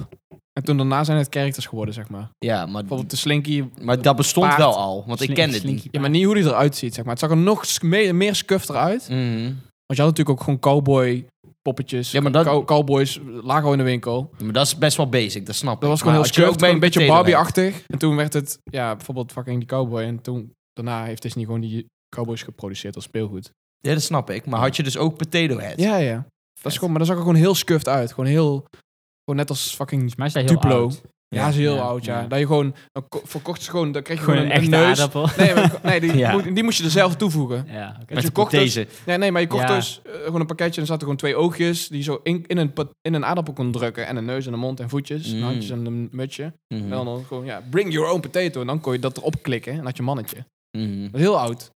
[SPEAKER 1] En toen daarna zijn het characters geworden, zeg maar.
[SPEAKER 2] Ja, maar,
[SPEAKER 1] Bijvoorbeeld de Slinky.
[SPEAKER 2] maar dat bestond
[SPEAKER 1] Paard.
[SPEAKER 2] wel al, want ik
[SPEAKER 3] Slink-
[SPEAKER 2] kende het
[SPEAKER 3] slinky
[SPEAKER 2] niet.
[SPEAKER 1] Ja, maar niet hoe die eruit ziet, zeg maar. Het zag er nog sk- me- meer scufter uit.
[SPEAKER 2] Mhm.
[SPEAKER 1] Want je had natuurlijk ook gewoon cowboy poppetjes.
[SPEAKER 2] Ja, maar dat-
[SPEAKER 1] cow- cowboys lagen in de winkel.
[SPEAKER 2] Maar dat is best wel basic, dat snap ik.
[SPEAKER 1] Dat was
[SPEAKER 2] Maar
[SPEAKER 1] gewoon heel
[SPEAKER 2] als je ook
[SPEAKER 1] scuffed,
[SPEAKER 2] bij
[SPEAKER 1] gewoon een beetje
[SPEAKER 2] potato werkt-
[SPEAKER 1] Barbie-achtig. En toen werd het, ja, bijvoorbeeld fucking die cowboy. En toen, daarna heeft Disney gewoon die cowboys geproduceerd als speelgoed.
[SPEAKER 2] Ja, dat snap ik. Maar had je dus ook Potato Head?
[SPEAKER 1] Ja, ja. Dat is gewoon, maar dat zag er gewoon heel scuffed uit. Gewoon heel, gewoon net als fucking...
[SPEAKER 3] Volgens mij is hij heel
[SPEAKER 1] Duplo.
[SPEAKER 3] oud.
[SPEAKER 1] Ja, ze is heel
[SPEAKER 3] ja,
[SPEAKER 1] oud, ja.
[SPEAKER 3] ja.
[SPEAKER 1] Dat je gewoon, dan ko- verkocht ze gewoon, dan kreeg je
[SPEAKER 3] Gewoon
[SPEAKER 1] gewoon,
[SPEAKER 3] een
[SPEAKER 1] een,
[SPEAKER 3] echte
[SPEAKER 1] neus.
[SPEAKER 3] aardappel.
[SPEAKER 1] Nee, maar- nee die,
[SPEAKER 2] Ja.
[SPEAKER 1] moet, die moest je er zelf toevoegen.
[SPEAKER 3] Ja, oké.
[SPEAKER 1] Met je
[SPEAKER 2] Met
[SPEAKER 1] kocht dus-
[SPEAKER 2] deze.
[SPEAKER 1] Nee, nee, maar je kocht
[SPEAKER 3] Ja.
[SPEAKER 1] dus eh, gewoon een pakketje en er zaten gewoon twee oogjes die je zo in, in, een, pat- in een aardappel kon drukken. En een neus en een mond en voetjes, en
[SPEAKER 2] Mm.
[SPEAKER 1] handjes en een mutsje.
[SPEAKER 2] Mhm.
[SPEAKER 1] En dan gewoon, ja, bring your own potato. En dan kon je dat erop klikken en dan had je een mannetje.
[SPEAKER 2] Mhm.
[SPEAKER 1] Dat is heel oud.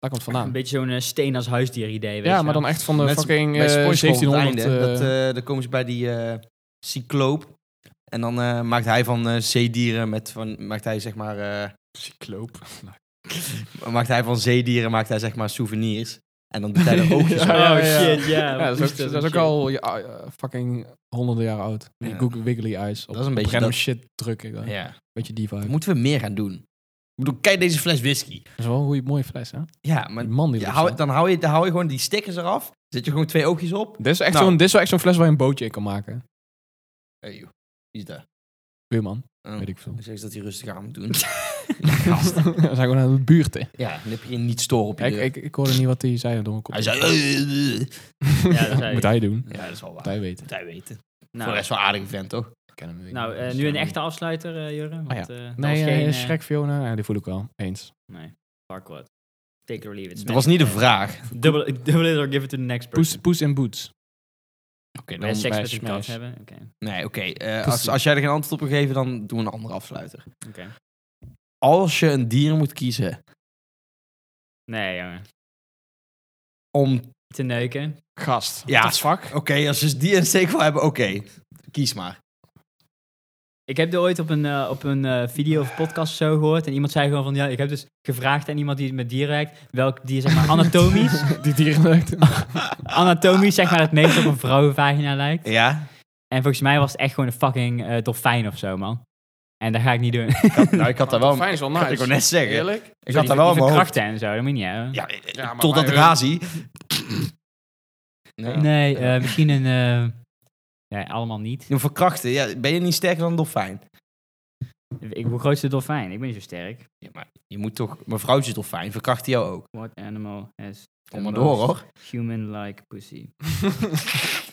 [SPEAKER 1] Daar komt het vandaan.
[SPEAKER 3] Een beetje zo'n eh, steen als huisdier idee, weet
[SPEAKER 1] Ja,
[SPEAKER 3] je
[SPEAKER 1] maar
[SPEAKER 3] wel.
[SPEAKER 1] dan echt van de
[SPEAKER 2] Net als
[SPEAKER 1] fucking eh
[SPEAKER 2] bij SpongeBob op het
[SPEAKER 1] 1700.
[SPEAKER 2] einde,
[SPEAKER 1] eh,
[SPEAKER 2] dat, eh, dan komen ze bij die eh, cycloop. En dan eh, maakt hij van eh, zeedieren met van maakt hij zeg maar eh,
[SPEAKER 1] cycloop.
[SPEAKER 2] maakt hij van zeedieren maakt hij zeg maar souvenirs. En dan doet hij de oogjes.
[SPEAKER 1] Ja,
[SPEAKER 2] op.
[SPEAKER 1] ja,
[SPEAKER 3] oh
[SPEAKER 1] ja.
[SPEAKER 3] shit, ja.
[SPEAKER 1] Ja, dat
[SPEAKER 3] wat
[SPEAKER 1] is ook, dat is ook
[SPEAKER 3] shit.
[SPEAKER 1] al ja, eh, fucking honderden jaren oud. Die
[SPEAKER 2] Ja.
[SPEAKER 1] Google Wiggly Eyes. Op
[SPEAKER 2] Dat is een beetje
[SPEAKER 1] random
[SPEAKER 2] dat-
[SPEAKER 1] shit drukken. dan.
[SPEAKER 2] Ja.
[SPEAKER 1] Beetje die vibe.
[SPEAKER 2] Moeten we meer gaan doen? Ik bedoel, kijk deze fles whisky.
[SPEAKER 1] Dat is wel een goeie, mooie fles, hè?
[SPEAKER 2] Ja, maar
[SPEAKER 1] Die man die
[SPEAKER 2] je
[SPEAKER 1] dat
[SPEAKER 2] hou-
[SPEAKER 1] zo-
[SPEAKER 2] dan, hou je, dan hou je gewoon die stickers eraf. Zet je gewoon twee oogjes op.
[SPEAKER 1] Dit is, echt
[SPEAKER 2] Nou.
[SPEAKER 1] zo'n, dit is wel echt zo'n fles waar je een bootje in kan maken.
[SPEAKER 2] Hey, joh. Wie is daar?
[SPEAKER 1] Weerman,
[SPEAKER 2] Oh.
[SPEAKER 1] weet ik veel.
[SPEAKER 2] Ik zeg eens dat hij rustig aan moet doen.
[SPEAKER 1] We zijn gewoon aan de buurt, hè.
[SPEAKER 2] ja, dan heb je niet storen op je
[SPEAKER 1] Ik,
[SPEAKER 2] deur.
[SPEAKER 1] ik, ik hoorde niet wat hij zei door mijn kop.
[SPEAKER 2] Hij zei... "Eh,
[SPEAKER 3] Ja, dat zei
[SPEAKER 1] Moet
[SPEAKER 3] hij.
[SPEAKER 1] hij doen.
[SPEAKER 2] Ja, dat is wel waar.
[SPEAKER 1] Moet hij weten.
[SPEAKER 2] Moet hij weten. Voor de
[SPEAKER 3] Nou,
[SPEAKER 2] rest wel een aardige vent, toch?
[SPEAKER 1] Ik ken hem niet.
[SPEAKER 3] nou eh,
[SPEAKER 1] Dus,
[SPEAKER 3] nu een
[SPEAKER 1] eh,
[SPEAKER 3] echte afsluiter, eh Jurre. Want, eh, dat was
[SPEAKER 1] Nee, eh,
[SPEAKER 3] geen, eh,
[SPEAKER 1] Shrek Fiona, ja, die voel ik wel. Eens.
[SPEAKER 3] Nee, fuck what. Take it or leave it.
[SPEAKER 2] Dat was niet de
[SPEAKER 3] Smash.
[SPEAKER 2] vraag.
[SPEAKER 3] Double, double it or give it to the next person.
[SPEAKER 1] Poes, poes in Boots.
[SPEAKER 2] Oké,
[SPEAKER 3] Wil je seks met
[SPEAKER 1] smash,
[SPEAKER 3] een kat
[SPEAKER 1] smash.
[SPEAKER 3] hebben? Oké.
[SPEAKER 2] Nee, oké. eh,
[SPEAKER 1] Pussy.
[SPEAKER 2] als, als jij er geen antwoord op wil geven, dan doen we een andere afsluiter.
[SPEAKER 3] Oké.
[SPEAKER 2] Als je een dier moet kiezen
[SPEAKER 3] Nee, jongen.
[SPEAKER 2] om...
[SPEAKER 3] Te neuken.
[SPEAKER 1] Gast.
[SPEAKER 2] Ja.
[SPEAKER 1] What the fuck?
[SPEAKER 2] Oké, als je die en steek wil hebben, oké. Kies maar.
[SPEAKER 3] Ik heb dit ooit op een, eh, op een eh, video of podcast zo gehoord. En iemand zei gewoon van, ja, ik heb dus gevraagd aan iemand die met dieren werkt. Welk dier, zeg maar, anatomisch.
[SPEAKER 1] Die dieren leukt.
[SPEAKER 3] anatomisch, zeg maar, het meest op een vrouwenvagina lijkt.
[SPEAKER 2] Ja?
[SPEAKER 3] En volgens mij was het echt gewoon een fucking eh, dolfijn of zo, man. En dat ga ik niet doen.
[SPEAKER 2] nou, ik had daar wel...
[SPEAKER 1] Fijn is wel
[SPEAKER 2] Ik
[SPEAKER 1] nice.
[SPEAKER 2] wou net zeggen.
[SPEAKER 1] Eerlijk?
[SPEAKER 2] Ik had daar wel
[SPEAKER 3] Die
[SPEAKER 2] mijn hoofd.
[SPEAKER 3] krachten en zo, dat moet je niet hebben.
[SPEAKER 2] Ja, eh,
[SPEAKER 1] Ja, maar
[SPEAKER 2] totdat
[SPEAKER 1] wij-
[SPEAKER 2] Razi... Nee.
[SPEAKER 3] Nee, eh, misschien een... eh, ja, allemaal niet.
[SPEAKER 2] Ja, Voor krachten, ja, ben je niet sterker dan een dolfijn?
[SPEAKER 3] Ik ben grootste dolfijn. Ik ben niet zo sterk.
[SPEAKER 2] Ja, maar je moet toch... Mevrouwtje dolfijn, verkracht die jou ook.
[SPEAKER 3] What animal has the
[SPEAKER 2] Kom maar door,
[SPEAKER 3] most
[SPEAKER 2] hoor.
[SPEAKER 3] human-like pussy?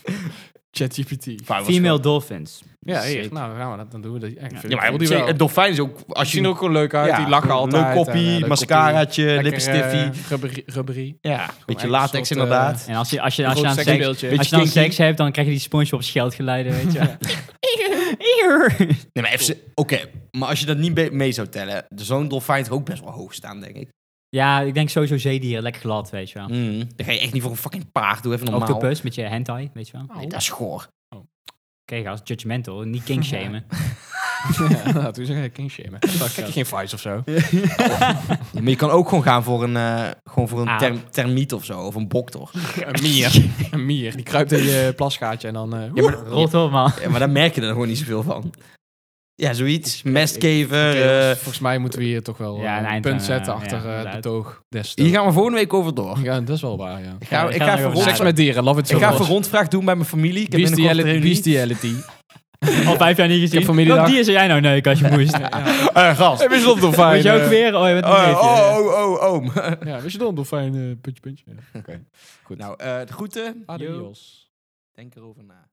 [SPEAKER 1] ChatGPT.
[SPEAKER 3] Female dolphins.
[SPEAKER 1] Ja, hier.
[SPEAKER 3] Sick.
[SPEAKER 1] Nou, dan gaan we dat. Dan doen we dat. Ja, ik vind-
[SPEAKER 2] Ja, maar
[SPEAKER 1] ik voel die wel.
[SPEAKER 2] een dolfijn is ook... Als
[SPEAKER 1] Die
[SPEAKER 2] je
[SPEAKER 1] zien er ook gewoon leuk uit. die lachen altijd.
[SPEAKER 2] Leuk
[SPEAKER 1] en, eh,
[SPEAKER 2] koppie,
[SPEAKER 1] leuk koppie.
[SPEAKER 2] mascaraatje,
[SPEAKER 1] Lekker,
[SPEAKER 2] lippenstiftje.
[SPEAKER 1] eh, rubberie- rubberie.
[SPEAKER 2] ja, beetje
[SPEAKER 1] echt
[SPEAKER 2] latex
[SPEAKER 1] een soort,
[SPEAKER 2] inderdaad.
[SPEAKER 3] En als je, als je, als je,
[SPEAKER 1] Groot
[SPEAKER 3] aan seks,
[SPEAKER 1] seksbeeldje.
[SPEAKER 3] als je dan
[SPEAKER 2] Beetje kinky.
[SPEAKER 3] seks hebt, dan krijg je die SpongeBob scheldgeluiden, weet je wel. Eer.
[SPEAKER 2] Nee, maar even... Oké, maar als je dat niet be- mee zou tellen... Zo'n dolfijn is ook best wel hoog staan, denk ik.
[SPEAKER 3] Ja, ik denk sowieso zeedieren. Lekker glad, weet je wel.
[SPEAKER 2] Mm. Dan ga je echt niet voor een fucking paard doen, even normaal. Ah.
[SPEAKER 3] Octopus met je hentai, weet je wel. Oké,
[SPEAKER 2] Nee, dat is goor.
[SPEAKER 3] gast, judgmental. Niet king shamen.
[SPEAKER 1] Ja, nou, toen zeg ik king shamen. Krijg je geen vibes of zo.
[SPEAKER 2] Ja, maar je kan ook gewoon gaan voor een, eh, gewoon voor een
[SPEAKER 3] Aap.
[SPEAKER 2] term- termiet of zo, of een bok toch?
[SPEAKER 1] Een mier. Een mier. Die kruipt in je plasgaatje en dan... eh,
[SPEAKER 2] Ja, maar,
[SPEAKER 3] Rot op, man.
[SPEAKER 2] ja, maar daar merk je er gewoon niet zoveel van. Ja, zoiets. Mestkever.
[SPEAKER 1] oké, jongens,
[SPEAKER 2] eh,
[SPEAKER 1] volgens mij moeten we hier toch wel
[SPEAKER 3] Ja,
[SPEAKER 1] eh,
[SPEAKER 3] een
[SPEAKER 1] een
[SPEAKER 3] eind
[SPEAKER 1] punt
[SPEAKER 3] aan,
[SPEAKER 1] zetten
[SPEAKER 3] eh, ja,
[SPEAKER 1] achter eh, de
[SPEAKER 3] inderdaad.
[SPEAKER 1] toog des
[SPEAKER 2] hier gaan we volgende week over door.
[SPEAKER 1] Ja, dat is wel waar, ja.
[SPEAKER 2] Ik ga,
[SPEAKER 3] we
[SPEAKER 2] ik
[SPEAKER 3] gaan
[SPEAKER 2] ga
[SPEAKER 3] er
[SPEAKER 2] even
[SPEAKER 3] over
[SPEAKER 2] rond-
[SPEAKER 1] Seks met dieren, love it so
[SPEAKER 2] ik ga
[SPEAKER 1] much.
[SPEAKER 2] even rondvraag doen bij mijn familie. Ik heb binnenkort
[SPEAKER 1] Bestiali-
[SPEAKER 2] een reunie.
[SPEAKER 1] Bestiality.
[SPEAKER 3] Al vijf jaar niet gezien.
[SPEAKER 1] heb familiedag.
[SPEAKER 3] Welk dier zou jij nou neuken als je moest?
[SPEAKER 2] Eh, gast.
[SPEAKER 1] Heb je zo'n dolfijn?
[SPEAKER 3] Weet je ook
[SPEAKER 1] eh,
[SPEAKER 3] weer? Oh, je bent een
[SPEAKER 2] Oh,
[SPEAKER 3] beetje-
[SPEAKER 2] oh, oh, oh, oom.
[SPEAKER 1] Ja, wist je dan, dolfijn, eh, puntje, puntje. Ja, Oké, goed.
[SPEAKER 2] nou, eh de groeten.
[SPEAKER 1] Adios.
[SPEAKER 2] Denk erover na.